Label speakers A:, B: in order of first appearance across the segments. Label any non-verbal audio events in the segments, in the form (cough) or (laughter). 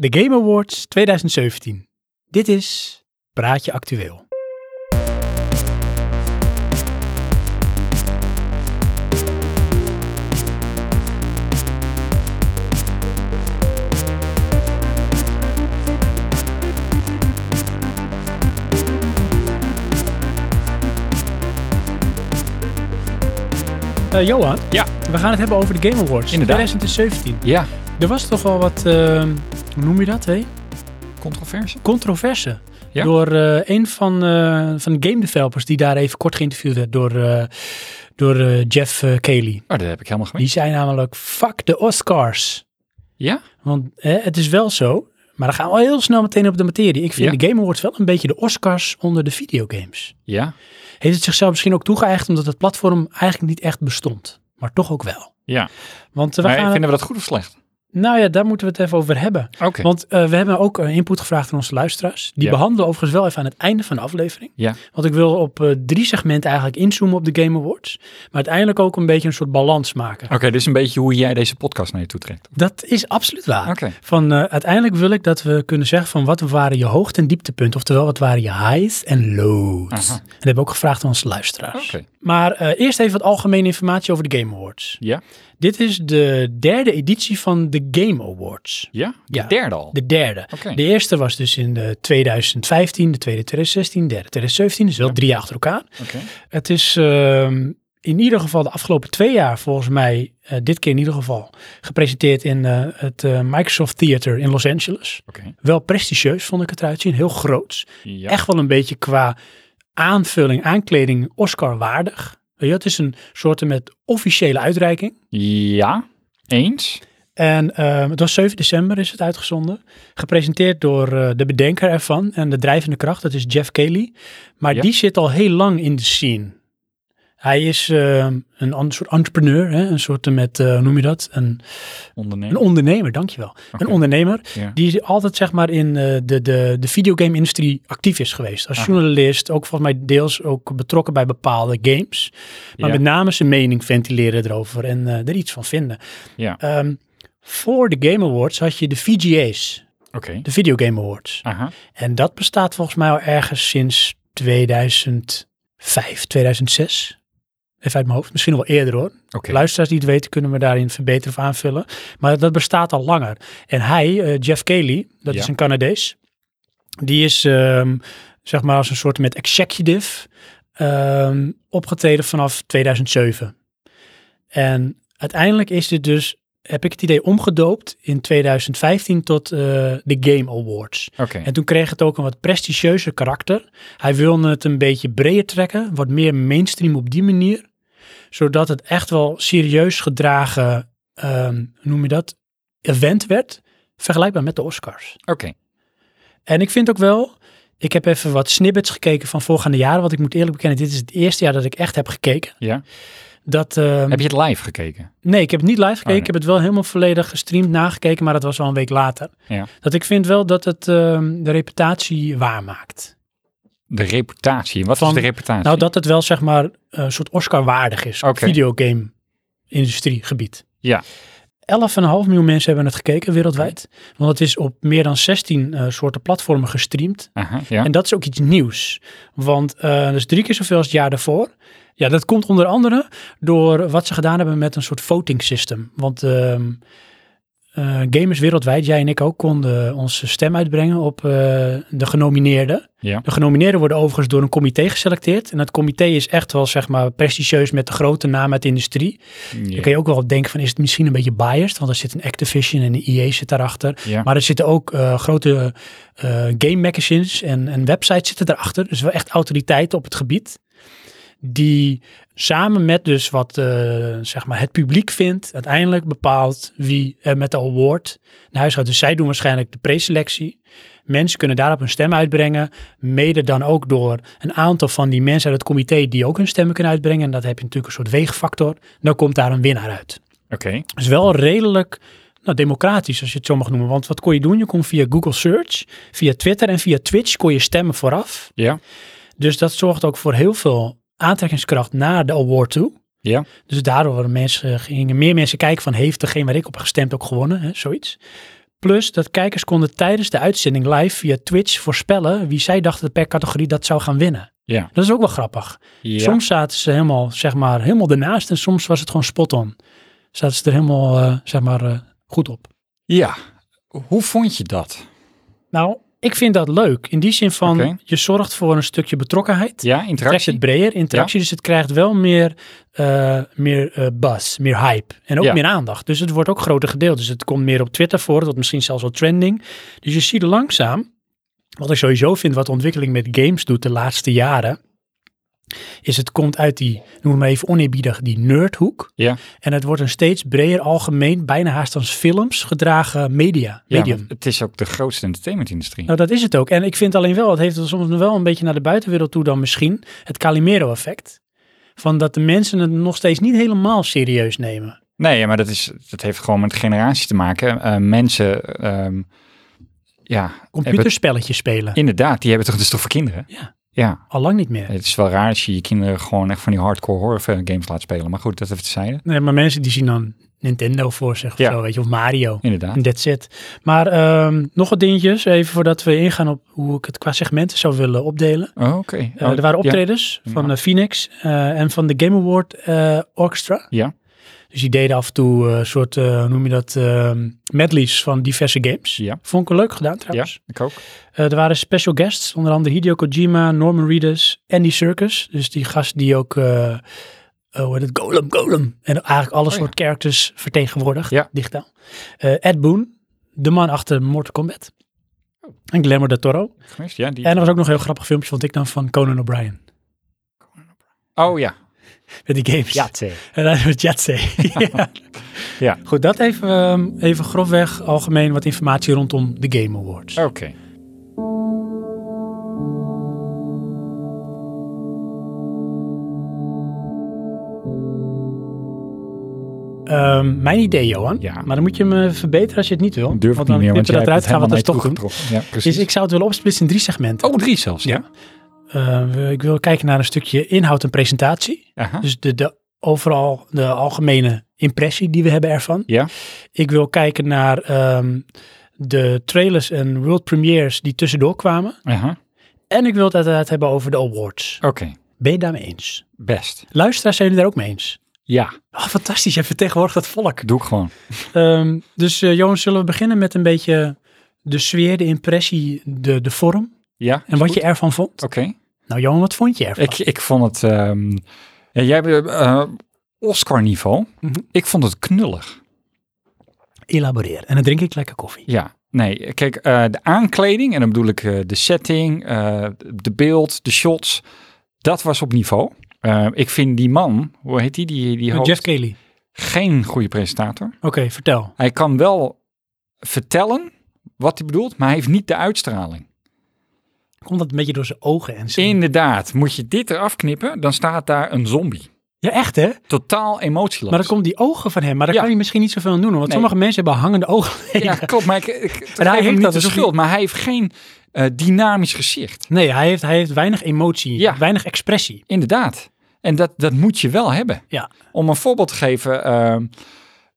A: De Game Awards 2017. Dit is Praatje Actueel. Eh, Eh, Johan,
B: Ja.
A: we gaan het hebben over de Game Awards
B: Inderdaad.
A: 2017.
B: Ja,
A: Er was toch wel wat, ehm, hoe noem je dat, hé?
B: controverse.
A: controverse.
B: Ja.
A: Door eh, een van, eh, van de game developers die daar even kort geïnterviewd werd door, eh, door eh, Jeff eh, Cayley.
B: Oh, dat heb ik helemaal gemist.
A: Die zei namelijk, fuck de Oscars.
B: Ja?
A: Want eh, het is wel zo, maar dan gaan we al heel snel meteen op de materie. Ik vind
B: Ja.
A: de Game Awards wel een beetje de Oscars onder de videogames.
B: Ja.
A: Heeft het zichzelf misschien ook toegeëigend omdat het platform eigenlijk niet echt bestond. Maar toch ook wel.
B: Ja.
A: Want eh, we
B: Maar
A: gaan...
B: vinden we dat goed of slecht?
A: Nou ja, daar moeten we het even over hebben.
B: Oké.
A: Want eh, we hebben ook eh, input gevraagd aan onze luisteraars. Die
B: Ja.
A: behandelen we overigens wel even aan het einde van de aflevering.
B: Ja.
A: Want ik wil op eh, drie segmenten eigenlijk inzoomen op de Game Awards. Maar uiteindelijk ook een beetje een soort balans maken.
B: Oké, dus een beetje hoe jij deze podcast naar je toe trekt.
A: Dat is absoluut waar.
B: Oké.
A: Van, eh, uiteindelijk wil ik dat we kunnen zeggen van wat waren je hoogte- en dieptepunten. Oftewel, wat waren je highs en lows.
B: Aha.
A: En dat hebben we ook gevraagd aan onze luisteraars.
B: Oké.
A: Maar eh, eerst even wat algemene informatie over de Game Awards.
B: Ja.
A: Dit is de derde editie van de Game Awards.
B: Ja? De
A: Ja.
B: derde al.
A: De derde.
B: Oké.
A: De eerste was dus in de 2015, de tweede 2016, de derde 2017. Dus wel drie jaar achter elkaar.
B: Oké.
A: Het is ehm, in ieder geval de afgelopen twee jaar volgens mij, eh, dit keer in ieder geval, gepresenteerd in eh, het eh, Microsoft Theater in Los Angeles.
B: Oké.
A: Wel prestigieus vond ik het eruit zien, heel groots.
B: Ja.
A: Echt wel een beetje qua aanvulling, aankleding Oscar waardig. Weet je, het is een soort met officiële uitreiking.
B: Ja. Eens.
A: En ehm, het was 7 december is het uitgezonden. Gepresenteerd door eh, de bedenker ervan en de drijvende kracht, dat is Jeff Cayley. Maar
B: Ja.
A: die zit al heel lang in de scene. Hij is ehm, een an- soort entrepreneur, hè? een soort met, eh, hoe noem je dat? Een, een
B: Ondernemen.
A: ondernemer, dankjewel. Een
B: Oké.
A: ondernemer
B: Ja.
A: die altijd zeg maar in eh, de, de, de videogame-industrie actief is geweest. Als
B: Aha.
A: journalist, ook volgens mij deels ook betrokken bij bepaalde games. Maar
B: Ja.
A: met name zijn mening ventileren erover en eh, er iets van vinden.
B: Ja.
A: Ehm, voor de Game Awards had je de VGA's,
B: Oké.
A: de Video Game Awards.
B: Aha.
A: En dat bestaat volgens mij al ergens sinds 2005, 2006. Even uit mijn hoofd, misschien nog wel eerder hoor.
B: Oké.
A: Luisteraars die het weten kunnen me daarin verbeteren of aanvullen. Maar dat bestaat al langer. En hij, eh, Jeff Cayley, dat
B: Ja.
A: is een Canadees. Die is ehm, zeg maar als een soort met executive ehm, opgetreden vanaf 2007. En uiteindelijk is dit dus, heb ik het idee, omgedoopt in 2015 tot eh, de Game Awards.
B: Oké.
A: En toen kreeg het ook een wat prestigieuzer karakter. Hij wilde het een beetje breder trekken, wat meer mainstream op die manier. Zodat het echt wel serieus gedragen, ehm, hoe noem je dat, event werd. Vergelijkbaar met de Oscars.
B: Oké.
A: En ik vind ook wel, ik heb even wat snippets gekeken van voorgaande jaren. Want ik moet eerlijk bekennen, dit is het eerste jaar dat ik echt heb gekeken.
B: Ja.
A: Dat, ehm,
B: Heb je het live gekeken?
A: Nee, ik heb het niet live gekeken.
B: nee.
A: Ik heb het wel helemaal volledig gestreamd nagekeken. Maar dat was al een week later.
B: Ja.
A: Dat ik vind wel dat het ehm, de reputatie waarmaakt.
B: De reputatie. Wat
A: Van-
B: is de reputatie?
A: Nou, dat het wel zeg maar eh, een soort Oscar-waardig is. op
B: Oké.
A: Videogame industriegebied.
B: Ja.
A: 11,5 miljoen mensen hebben het gekeken wereldwijd. Want het is op meer dan 16 eh, soorten platformen gestreamd.
B: Aha. Ja.
A: En dat is ook iets nieuws. Want eh dat is drie keer zoveel als het jaar daarvoor. Ja, dat komt onder andere door wat ze gedaan hebben met een soort voting system. Want ehm, eh, gamers wereldwijd, jij en ik ook, konden onze stem uitbrengen op eh, de genomineerden.
B: Ja.
A: De genomineerden worden overigens door een comité geselecteerd. En dat comité is echt wel, zeg maar, prestigieus met de grote namen uit de industrie.
B: Ja.
A: Dan kun je ook wel denken van, is het misschien een beetje biased? Want er zit een Activision en een EA zit daarachter.
B: Ja.
A: Maar er zitten ook eh, grote eh, game magazines en, en websites zitten daarachter. Dus wel echt autoriteiten op het gebied. Die samen met dus wat eh, zeg maar het publiek vindt, uiteindelijk bepaalt wie er met de award naar huis gaat. Dus zij doen waarschijnlijk de preselectie. Mensen kunnen daarop hun stem uitbrengen. Mede dan ook door een aantal van die mensen uit het comité die ook hun stemmen kunnen uitbrengen. En dat heb je natuurlijk een soort weegfactor. Dan komt daar een winnaar uit
B: Oké.
A: is wel redelijk nou, democratisch, als je het zo mag noemen. Want wat kon je doen? Je kon via Google Search, via Twitter en via Twitch kon je stemmen vooraf.
B: Ja.
A: Dus dat zorgt ook voor heel veel aantrekkingskracht naar de award toe.
B: Ja.
A: Dus daardoor waren mensen, gingen meer mensen kijken van heeft degene waar ik op heb gestemd ook gewonnen, hè, zoiets. Plus dat kijkers konden tijdens de uitzending live via Twitch voorspellen wie zij dachten per categorie dat zou gaan winnen.
B: Ja.
A: Dat is ook wel grappig.
B: Ja.
A: Soms zaten ze helemaal, zeg maar, helemaal ernaast en soms was het gewoon spot on. Zaten ze er helemaal, eh, zeg maar, eh, goed op.
B: ja. Hoe vond je dat?
A: Nou, ik vind dat leuk. In die zin van,
B: Oké.
A: je zorgt voor een stukje betrokkenheid.
B: Ja,
A: trekt
B: interactie.
A: het breder, interactie. Dus het krijgt wel meer, eh, meer eh, buzz, meer hype en ook
B: Ja.
A: meer aandacht. Dus het wordt ook groter gedeeld. Dus het komt meer op Twitter voor, tot misschien zelfs wel trending. Dus je ziet er langzaam, wat ik sowieso vind, wat de ontwikkeling met games doet de laatste jaren, is het komt uit die, noem het maar even oneerbiedig, die nerdhoek.
B: Ja.
A: En het wordt een steeds breder algemeen, bijna haast als films gedragen media,
B: Ja,
A: medium.
B: want het is ook de grootste entertainmentindustrie.
A: Nou, dat is het ook. En ik vind alleen wel, het heeft er soms nog wel een beetje naar de buitenwereld toe dan misschien, het Calimero-effect. Van dat de mensen het nog steeds niet helemaal serieus nemen.
B: Nee, ja, maar dat, is, dat heeft gewoon met generatie te maken. Eh, mensen, ehm, ja, hebben,
A: Computerspelletjes spelen.
B: inderdaad, die hebben toch dus toch voor kinderen?
A: Ja.
B: Ja,
A: Allang niet meer.
B: het is wel raar als je je kinderen gewoon echt van die hardcore horror eh, games laat spelen. Maar goed, dat even te zeiden.
A: Nee, maar mensen die zien dan Nintendo voor zich of
B: Ja.
A: zo, weet je, of Mario.
B: Inderdaad.
A: En that's it. Maar ehm, nog wat dingetjes, even voordat we ingaan op hoe ik het qua segmenten zou willen opdelen.
B: Oh, Oké.
A: Eh,
B: Oh,
A: er waren
B: ja.
A: optredens van
B: Ja.
A: eh, Phoenix eh, en van de Game Award eh, Orchestra.
B: Ja.
A: Dus die deden af en toe een soort, eh, hoe noem je dat, ehm medleys van diverse games.
B: Ja.
A: Vond ik wel leuk gedaan
B: Ja,
A: trouwens.
B: ik ook.
A: Eh, er waren special guests, onder andere Hideo Kojima, Norman Reedus, Andy Serkis. Dus die gast die ook, eh eh, hoe heet het, Golem, Golem. En eigenlijk alle
B: Oh, ja.
A: soort characters vertegenwoordigt,
B: Ja.
A: digitaal. Eh, Ed Boon, de man achter Mortal Kombat. En Glamour de Toro.
B: Gemist, Oh. Ja, die...
A: En er was ook nog een heel grappig filmpje, vond ik dan, van Conan O'Brien.
B: Oh ja.
A: Met die games.
B: zeker.
A: En dan met Jetse.
B: (laughs)
A: ja.
B: Ja.
A: Goed, dat even, ehm, even grofweg algemeen wat informatie rondom de Game Awards.
B: Oké.
A: Ehm, mijn idee, Johan.
B: Ja.
A: Maar dan moet je me verbeteren als je het niet wil.
B: Durf ik
A: want
B: niet
A: dan
B: meer, want
A: knippen
B: jij
A: we dat
B: hebt
A: eruit,
B: het
A: gaan we dat toch
B: helemaal naar je
A: doen.
B: toegetrokken. Ja, precies.
A: Dus ik zou het willen opsplitsen in drie segmenten.
B: Oh, drie zelfs, ja. Oh.
A: Eh, we- ik wil kijken naar een stukje inhoud en presentatie.
B: Aha.
A: Dus de, de, overal de algemene impressie die we hebben ervan.
B: Ja.
A: Ik wil kijken naar ehm, de trailers en world premieres die tussendoor kwamen.
B: Aha.
A: En ik wil het uiteraard hebben over de awards.
B: Oké.
A: Ben je daarmee eens?
B: Best.
A: Luisteraars, zijn jullie daar ook mee eens?
B: Ja,
A: Ah, fantastisch, jij vertegenwoordigt dat volk.
B: doe ik gewoon.
A: Ehm, dus eh Johan, zullen we beginnen met een beetje de sfeer, de impressie, de, de vorm
B: Ja.
A: en
B: is
A: wat
B: goed.
A: je ervan vond?
B: Oké.
A: Nou Johan, wat vond je ervan?
B: Ik, ik vond het. ehm, ja, jij hebt eh, Oscar-niveau.
A: Mhm.
B: Ik vond het knullig.
A: Elaboreer. En dan drink ik lekker koffie.
B: Ja. Nee, kijk, eh, de aankleding, en dan bedoel ik eh, de setting, eh, de beeld, de shots, dat was op niveau. Eh, ik vind die man, hoe heet die? Die, die hoofd,
A: Oh, Jeff Kelly.
B: geen goede presentator.
A: Oké, vertel.
B: Hij kan wel vertellen wat hij bedoelt, maar hij heeft niet de uitstraling.
A: Komt dat een beetje door zijn ogen en zijn...
B: Inderdaad, moet je dit eraf knippen, dan staat daar een zombie.
A: Ja, echt hè?
B: Totaal emotieloos.
A: Maar dan komt die ogen van hem. Maar daar
B: Ja.
A: kan hij misschien niet zoveel aan doen. hoor, Want
B: Nee.
A: sommige mensen hebben hangende ogen. (laughs)
B: Ja, klopt. Maar ik, ik, ik
A: hij
B: geef
A: heeft
B: hem niet
A: dat
B: de
A: dus ook
B: schuld, maar hij heeft geen eh, dynamisch gezicht.
A: Nee, hij heeft, hij heeft weinig emotie.
B: Ja.
A: Weinig expressie.
B: Inderdaad. En dat, dat moet je wel hebben.
A: Ja.
B: Om een voorbeeld te geven, ehm,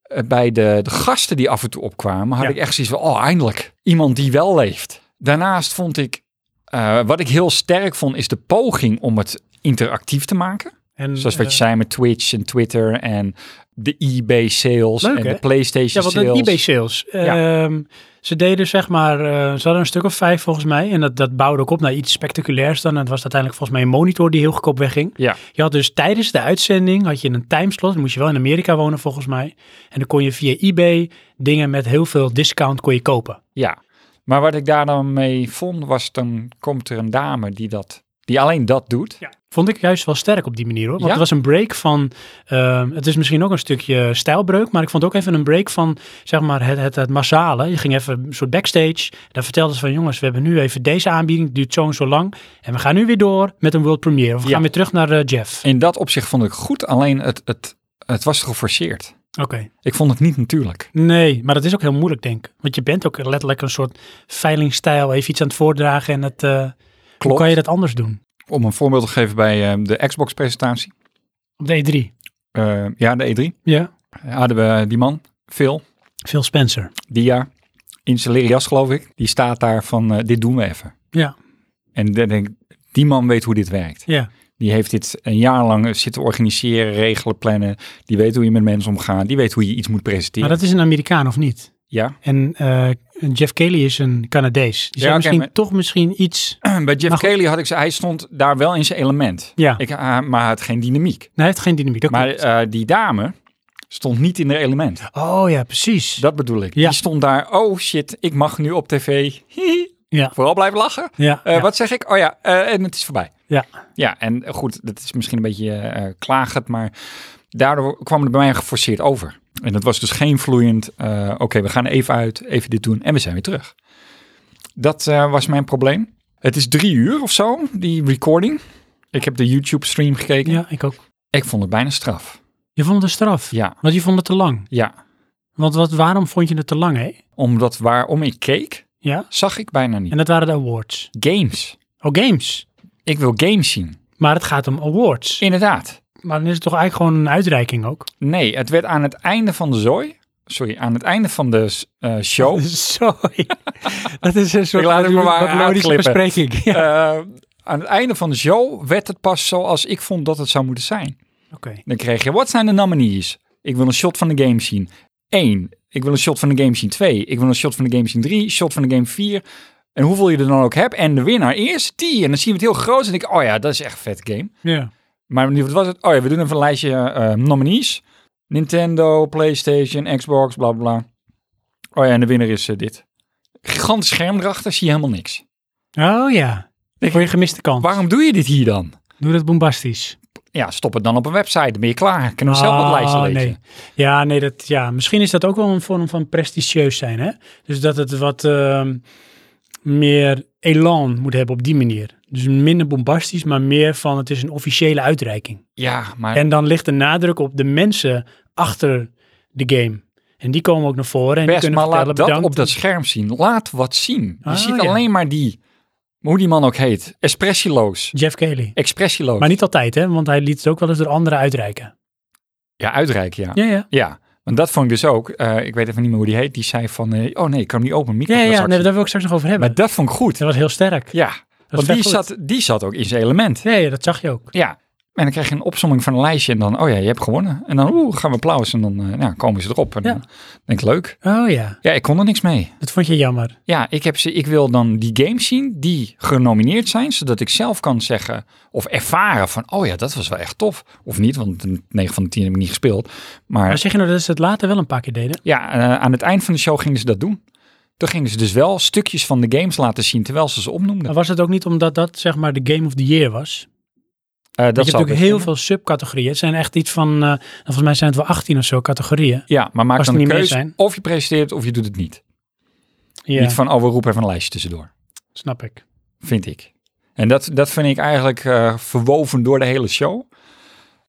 B: eh, bij de, de gasten die af en toe opkwamen, had
A: Ja.
B: ik echt zoiets van, oh eindelijk, iemand die wel leeft. Daarnaast vond ik, eh, wat ik heel sterk vond, is de poging om het interactief te maken.
A: En,
B: Zoals wat
A: eh,
B: je zei met Twitch en Twitter en de eBay sales
A: Leuk,
B: en
A: hè?
B: de PlayStation
A: Ja, want
B: sales.
A: een eBay sales. Ehm, ze deden zeg maar, eh, ze hadden een stuk of vijf volgens mij. En dat, dat bouwde ook op naar iets spectaculairs dan. En het was uiteindelijk volgens mij een monitor die heel goedkoop wegging.
B: Ja,
A: Je had dus tijdens de uitzending had je een timeslot. Dan moest je wel in Amerika wonen volgens mij. En dan kon je via eBay dingen met heel veel discount kon je kopen.
B: ja. Maar wat ik daar dan mee vond, was dan komt er een dame die, dat, die alleen dat doet.
A: Vond ik juist wel sterk op die manier hoor. Want
B: Ja?
A: het was een break van, ehm, het is misschien ook een stukje stijlbreuk, maar ik vond ook even een break van zeg maar het, het, het massale. Je ging even een soort backstage, daar vertelden ze van jongens, we hebben nu even deze aanbieding, het duurt zo en zo lang. En we gaan nu weer door met een world premiere. Of we
B: Ja.
A: gaan weer terug naar eh, Jeff.
B: In dat opzicht vond ik goed, alleen het, het, het was geforceerd.
A: Oké.
B: Ik vond het niet natuurlijk.
A: Nee, maar dat is ook heel moeilijk denk ik. Want je bent ook letterlijk een soort veilingstijl, even iets aan het voordragen en het, eh, hoe
B: Klopt.
A: kan je dat anders doen?
B: Om een voorbeeld te geven bij eh, de Xbox-presentatie.
A: Op de E3.
B: Eh, ja, de E3.
A: Ja.
B: Hadden we die man, eh, Phil,
A: Phil Spencer.
B: Dia. in zijn leren jas, geloof ik, die staat daar van, eh, dit doen we even.
A: Ja.
B: En dan denk ik, die man weet hoe dit werkt.
A: Ja.
B: Die heeft dit een jaar lang eh, zitten organiseren, regelen, plannen. Die weet hoe je met mensen omgaat. Die weet hoe je iets moet presenteren.
A: Maar dat is een Amerikaan of niet?
B: Ja,
A: En eh, Jeff Kelly is een Canadees. Die
B: Ja,
A: zou
B: oké,
A: misschien
B: maar-
A: toch misschien iets...
B: (clears throat) bij Jeff
A: Maar goed.
B: Kelly had ik ze, hij stond daar wel in zijn element.
A: Ja,
B: Ik, ah, maar hij had geen dynamiek.
A: hij heeft geen dynamiek. Dat
B: Maar
A: klopt.
B: eh, die dame stond niet in haar element.
A: oh ja, precies.
B: Dat bedoel ik.
A: Ja.
B: Die stond daar, oh shit, ik mag nu op tv. (laughs) Hihi.
A: Ja.
B: Vooral blijven lachen.
A: ja,
B: Eh,
A: ja.
B: Wat zeg ik? Oh ja, eh, en het is voorbij.
A: Ja.
B: Ja, en eh, goed, dat is misschien een beetje eh, eh, klagend, maar daardoor kwam het bij mij geforceerd over. En dat was dus geen vloeiend, eh, oké, we gaan even uit, even dit doen en we zijn weer terug. Dat eh, was mijn probleem. Het is drie uur of zo, die recording. Ik heb de YouTube-stream gekeken.
A: ja, ik ook.
B: Ik vond het bijna straf.
A: Je vond het een straf.
B: Ja,
A: Want je vond het te lang.
B: ja.
A: Want wat, waarom vond je het te lang, hè?
B: Omdat waarom ik keek,
A: Ja.
B: zag ik bijna niet.
A: En dat waren de awards.
B: Games.
A: Oh, games.
B: Ik wil games zien.
A: Maar het gaat om awards.
B: Inderdaad.
A: Maar dan is het toch eigenlijk gewoon een uitreiking ook?
B: Nee, het werd aan het einde van de zooi. Sorry, aan het einde van de eh, show.
A: (laughs) Sorry. Dat is een soort
B: Ik laat het me maar
A: logische
B: uitklippen.
A: bespreking. Ja.
B: eh, aan het einde van de show werd het pas zoals ik vond dat het zou moeten zijn.
A: Oké.
B: Dan kreeg je, wat zijn de nominees? Ik wil een shot van de game zien. Eén. Ik wil een shot van de game zien. Twee. Ik wil een shot van de game zien. Drie. Shot van de game. Vier. En hoeveel je er dan ook hebt. En de winnaar is die. En dan zien we het heel groot. En denk ik, oh ja, dat is echt een vet game.
A: Ja.
B: Maar nu, wat was het? Oh ja, we doen even een lijstje eh nominees. Nintendo, PlayStation, Xbox, bla bla, bla. Oh ja, en de winnaar is eh, dit. Gigantisch scherm erachter, zie je helemaal niks.
A: Oh ja.
B: Denk
A: Voor je gemiste kans.
B: Waarom doe je dit hier dan?
A: Doe dat bombastisch.
B: Ja, stop het dan op een website, dan ben je klaar. Kunnen we zelf dat
A: Ah,
B: lijstje lezen?
A: nee. Ja, nee, dat, ja, misschien is dat ook wel een vorm van prestigieus zijn, hè? Dus dat het wat ehm, meer elan moet hebben op die manier. Dus minder bombastisch, maar meer van het is een officiële uitreiking.
B: Ja, maar
A: En dan ligt de nadruk op de mensen achter de game. En die komen ook naar voren en die
B: best,
A: kunnen
B: maar laat
A: vertellen
B: dat
A: bedankt.
B: op dat scherm zien. Laat wat zien. Je
A: Ah,
B: ziet
A: ja.
B: alleen maar die, hoe die man ook heet, expressieloos.
A: Jeff Kelly.
B: Expressieloos.
A: Maar niet altijd, hè? Want hij liet het ook wel eens door anderen uitreiken.
B: Ja, uitreiken, ja.
A: Ja, ja.
B: Ja, want dat vond ik dus ook. eh, ik weet even niet meer hoe die heet. Die zei van, eh, oh nee, ik kan hem niet open.
A: Ja, ja,
B: microtransactie.
A: nee, daar wil ik straks nog over hebben.
B: Maar dat vond ik goed.
A: Dat was heel sterk.
B: Ja,
A: Dat is
B: want die
A: vet goed.
B: zat, die zat ook in zijn element.
A: Nee, dat zag je ook.
B: Ja, en dan krijg je een opsomming van een lijstje en dan, oh ja, je hebt gewonnen. En dan, oeh, gaan we applaus en dan eh, nou, komen ze erop. En
A: Ja.
B: dan denk ik, leuk.
A: Oh ja,
B: Ja, ik kon er niks mee.
A: dat vond je jammer.
B: Ja, ik, heb ze, ik wil dan die games zien die genomineerd zijn, zodat ik zelf kan zeggen of ervaren van, oh ja, dat was wel echt tof. Of niet, want 9 van de 10 heb ik niet gespeeld. Maar
A: Maar zeg je nou dat ze het later wel een paar keer deden?
B: Ja, eh, aan het eind van de show gingen ze dat doen. Toen gingen ze dus wel stukjes van de games laten zien terwijl ze ze opnoemden.
A: Maar was het ook niet omdat dat zeg maar de Game of the Year was?
B: Eh,
A: Dat je
B: zou
A: hebt natuurlijk heel
B: best
A: veel subcategorieën. Het zijn echt iets van, eh, volgens mij zijn het wel 18 of zo categorieën.
B: kunnen. Ja, maar maak
A: Als
B: dan
A: er
B: een
A: niet meer
B: keuze.
A: zijn.
B: Of je presenteert of je doet het niet.
A: Ja,
B: Niet van, oh, we roepen even een lijstje tussendoor.
A: snap ik.
B: Vind ik. En dat, dat vind ik eigenlijk eh, verwoven door de hele show.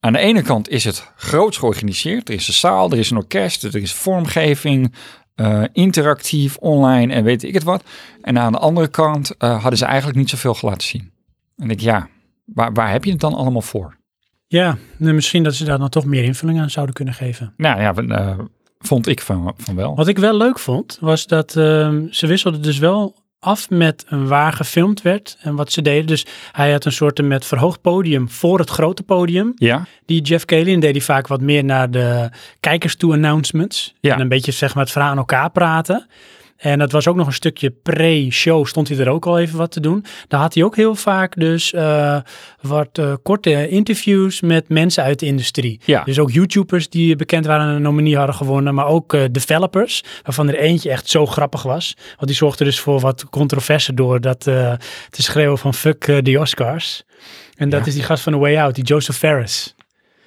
B: Aan de ene kant is het groots georganiseerd. Er is een zaal, er is een orkest, er is vormgeving, eh, interactief, online en weet ik het wat. En aan de andere kant eh, hadden ze eigenlijk niet zoveel laten zien. En ik, ja, waar, waar heb je het dan allemaal voor?
A: Ja, nou, misschien dat ze daar dan toch meer invulling aan zouden kunnen geven.
B: Nou ja, we- eh, vond ik van, van wel.
A: Wat ik wel leuk vond, was dat ehm, ze wisselden dus wel af met waar gefilmd werd en wat ze deden. Dus hij had een soort met verhoogd podium voor het grote podium.
B: Ja,
A: Die Jeff Kalin deed die vaak wat meer naar de kijkers toe announcements.
B: Ja.
A: En een beetje zeg maar het verhaal aan elkaar praten. En dat was ook nog een stukje pre-show, stond hij er ook al even wat te doen. Daar had hij ook heel vaak dus eh, wat eh, korte interviews met mensen uit de industrie.
B: ja.
A: Dus ook YouTubers die bekend waren en een nominee hadden gewonnen. Maar ook eh, developers, waarvan er eentje echt zo grappig was. Want die zorgde dus voor wat controverse door dat eh, te schreeuwen van fuck eh, de Oscars. En dat
B: Ja.
A: is die gast van The Way Out, die Joseph Ferris.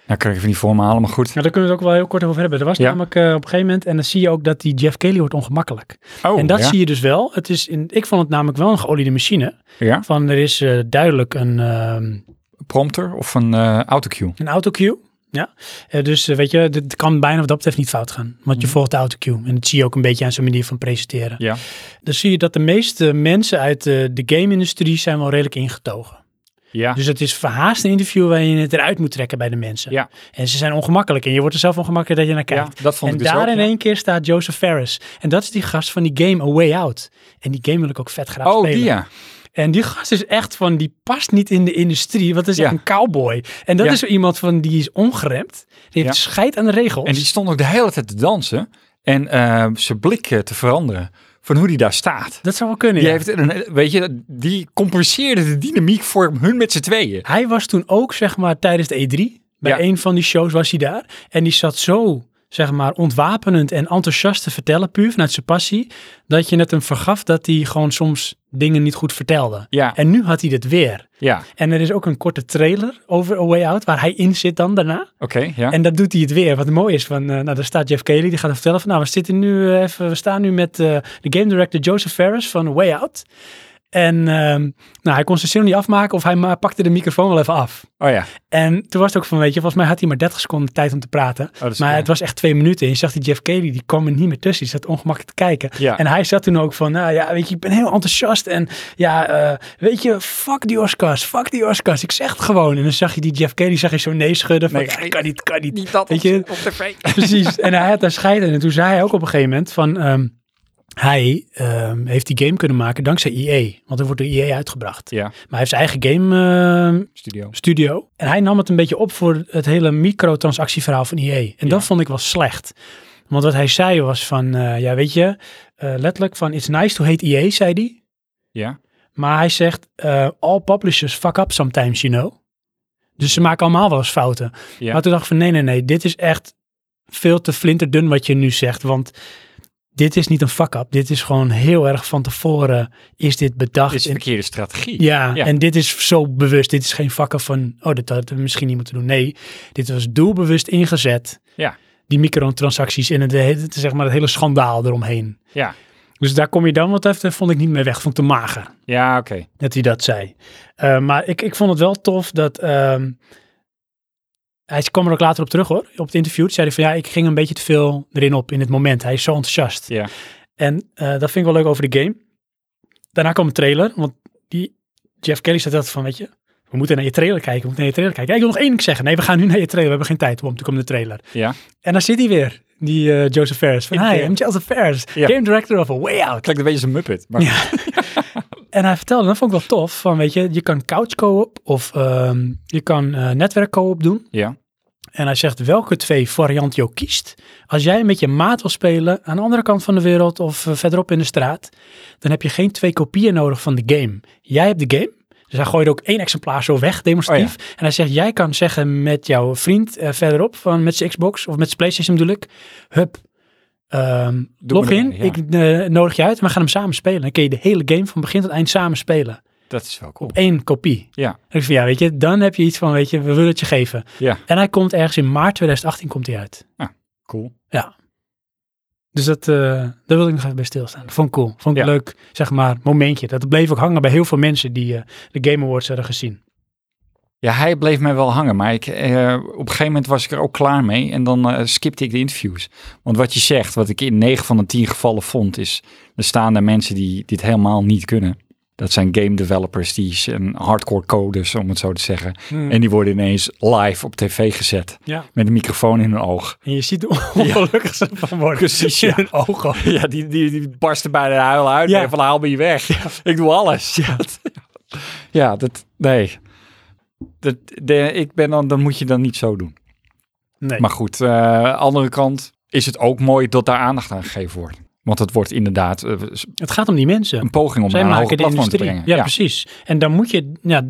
B: Nou krijg ik even niet voor me halen, maar goed.
A: Nou, daar kunnen we het ook wel heel kort over hebben. Er was
B: Ja.
A: namelijk eh, op een gegeven moment, en dan zie je ook dat die Jeff Kelly wordt ongemakkelijk.
B: Oh,
A: en dat
B: ja.
A: zie je dus wel. Het is in, ik vond het namelijk wel een geoliede machine.
B: ja.
A: Van er is eh, duidelijk een, ehm
B: Prompter of een eh, autocue.
A: een autocue. Ja, Eh, dus eh, weet je, het kan bijna wat dat betreft niet fout gaan. Want
B: Mhm.
A: je volgt de autocue. En dat zie je ook een beetje aan zijn manier van presenteren.
B: Ja.
A: Dan zie je dat de meeste mensen uit eh, de game-industrie zijn wel redelijk ingetogen.
B: Ja.
A: Dus het is verhaast een interview waarin je het eruit moet trekken bij de mensen.
B: Ja.
A: En ze zijn ongemakkelijk en je wordt er zelf ongemakkelijk dat je naar
B: ja,
A: kijkt.
B: dat vond
A: en
B: ik dus
A: daar
B: ook,
A: in
B: ja.
A: één keer staat Joseph Ferris. En dat is die gast van die game A Way Out. En die game wil ik ook vet graag
B: Oh,
A: spelen.
B: die ja.
A: En die gast is echt van, die past niet in de industrie, want dat is
B: Ja.
A: echt een cowboy. En dat
B: Ja.
A: is zo iemand van, die is ongeremd, die heeft
B: Ja.
A: scheid aan de regels.
B: En die stond ook de hele tijd te dansen en eh, zijn blik eh, te veranderen van hoe die daar staat.
A: Dat zou wel kunnen.
B: Die
A: ja.
B: heeft een, weet je, die compenseerde de dynamiek voor hun met z'n tweeën.
A: Hij was toen ook, zeg maar, tijdens de E3. Bij
B: Ja.
A: een van die shows was hij daar. En die zat zo, zeg maar, ontwapenend en enthousiast te vertellen, puur vanuit zijn passie, dat je het hem vergaf dat hij gewoon soms dingen niet goed vertelde.
B: Ja,
A: En nu had hij dit weer.
B: ja,
A: En er is ook een korte trailer over A Way Out, waar hij in zit dan daarna.
B: oké, ja.
A: En dat doet hij het weer. Wat mooi is, van, eh, nou, daar staat Jeff Kelly, die gaat hem vertellen van, nou, we, zitten nu, eh, even, we staan nu met eh, de game director Joseph Ferris van Way Out. En ehm, nou, hij kon zijn zin nog niet afmaken of hij ma- pakte de microfoon wel even af.
B: Oh ja,
A: En toen was het ook van, weet je, volgens mij had hij maar 30 seconden tijd om te praten.
B: Oh, dat is-
A: maar het was echt twee minuten. En je zag die Jeff Kelly, die kwam er niet meer tussen. Die zat ongemakkelijk te kijken.
B: ja.
A: En hij zat toen ook van, nou ja, weet je, ik ben heel enthousiast. En ja, eh, weet je, fuck die Oscars, fuck die Oscars. Ik zeg het gewoon. En dan zag je die Jeff Kelly, zag je zo nee schudden van,
B: Nee,
A: ja,
B: geen-
A: kan niet, kan niet. (laughs)
B: (laughs) niet dat
A: weet
B: op,
A: je-
B: op tv.
A: Precies. En hij had daar scheiden. En toen zei hij ook op een gegeven moment van, ehm, hij ehm, heeft die game kunnen maken dankzij EA. Want er wordt door EA uitgebracht.
B: Ja,
A: Maar hij heeft zijn eigen game ehm,
B: studio.
A: studio. En hij nam het een beetje op voor het hele microtransactieverhaal van EA. En dat vond ik wel slecht. Want wat hij zei was van, eh, ja weet je, eh, letterlijk van it's nice to hate EA, zei hij.
B: Ja,
A: Maar hij zegt, eh, all publishers fuck up sometimes, you know. Dus ze maken allemaal wel eens fouten.
B: Ja.
A: Maar toen dacht ik van, nee, nee, nee, dit is echt veel te flinterdun wat je nu zegt. Want dit is niet een fuck-up. Dit is gewoon heel erg van tevoren is dit bedacht.
B: dit is een
A: en-
B: verkeerde strategie.
A: ja,
B: Ja.
A: en dit is zo bewust. Dit is geen vakken van, oh, dit hadden we misschien niet moeten doen. Nee, dit was doelbewust ingezet.
B: Ja.
A: Die microtransacties en het, hele- zeg maar, het hele schandaal eromheen.
B: Ja.
A: Dus daar kom je dan wat even, vond ik niet mee weg. Vond ik te mager
B: Ja, oké.
A: dat hij dat zei. Eh, maar ik, ik vond het wel tof dat... ehm, hij kwam er ook later op terug hoor, op het interview. Toen zei hij van ja, ik ging een beetje te veel erin op in het moment. Hij is zo enthousiast.
B: Ja.
A: En eh, dat vind ik wel leuk over de game. Daarna kwam een trailer, want die Jeff Kelly zei dat van, weet je, we moeten naar je trailer kijken, we moeten naar je trailer kijken. Ja, ik wil nog één ding zeggen. Nee, we gaan nu naar je trailer, we hebben geen tijd. om toen kwam de trailer.
B: Ja.
A: En daar zit hij weer, die eh, Joseph Ferris. Van,
B: In de
A: hi,
B: trailer.
A: I'm Joseph Ferris,
B: Ja.
A: game director of A Way Out.
B: Klinkt een beetje een muppet. Maar
A: Ja. en hij vertelde, dat vond ik wel tof, van weet je, je kan couch co-op of ehm, je kan eh, netwerk co-op doen.
B: Ja.
A: En hij zegt welke twee variant je ook kiest. Als jij met je maat wil spelen aan de andere kant van de wereld of eh, verderop in de straat, dan heb je geen twee kopieën nodig van de game. Jij hebt de game. Dus hij gooide ook één exemplaar zo weg, demonstratief. En hij zegt, jij kan zeggen met jouw vriend eh, verderop, van met zijn Xbox of met zijn Playstation bedoel ik, hup, ehm,
B: Doe
A: log
B: maar
A: in,
B: erbij, ja.
A: ik eh, nodig je uit en we gaan hem samen spelen. Dan kun je de hele game van begin tot eind samen spelen.
B: dat is wel cool.
A: Eén kopie.
B: Ja,
A: En ik van, ja, weet je, dan heb je iets van, weet je, we willen het je geven.
B: Ja.
A: En hij komt ergens in maart 2018 komt hij uit.
B: cool.
A: Dus dat, eh, daar wil ik nog even bij stilstaan. Dat vond ik cool. Vond ik
B: Ja.
A: een leuk, zeg maar, momentje. Dat bleef ook hangen bij heel veel mensen die eh, de Game Awards hadden gezien.
B: Ja, hij bleef mij wel hangen, maar ik, eh, op een gegeven moment was ik er ook klaar mee en dan eh, skipte ik de interviews. Want wat je zegt, wat ik in 9 van de 10 gevallen vond, is er staan daar mensen die dit helemaal niet kunnen. Dat zijn game developers, die zijn hardcore coders, om het zo te zeggen. En die worden ineens live op tv gezet
A: Ja.
B: met een microfoon in hun oog.
A: En je ziet hoe ongelukkig ze van worden.
B: Precies, ja.
A: In hun ogen.
B: (laughs) Ja, die, die, die barsten bij de huil uit
A: Ja.
B: en van haal me je weg. (laughs) Ik doe alles. Ja, ja dat, nee. Dat, de, ik ben dan, dan moet je dan niet zo doen.
A: Nee.
B: Maar goed, eh andere kant is het ook mooi dat daar aandacht aan gegeven wordt. Want het wordt inderdaad eh,
A: het gaat om die mensen.
B: een poging om
A: Zij
B: naar een hoger
A: maken de
B: platform te
A: industrie.
B: brengen.
A: Ja, precies. En dan moet je, ja,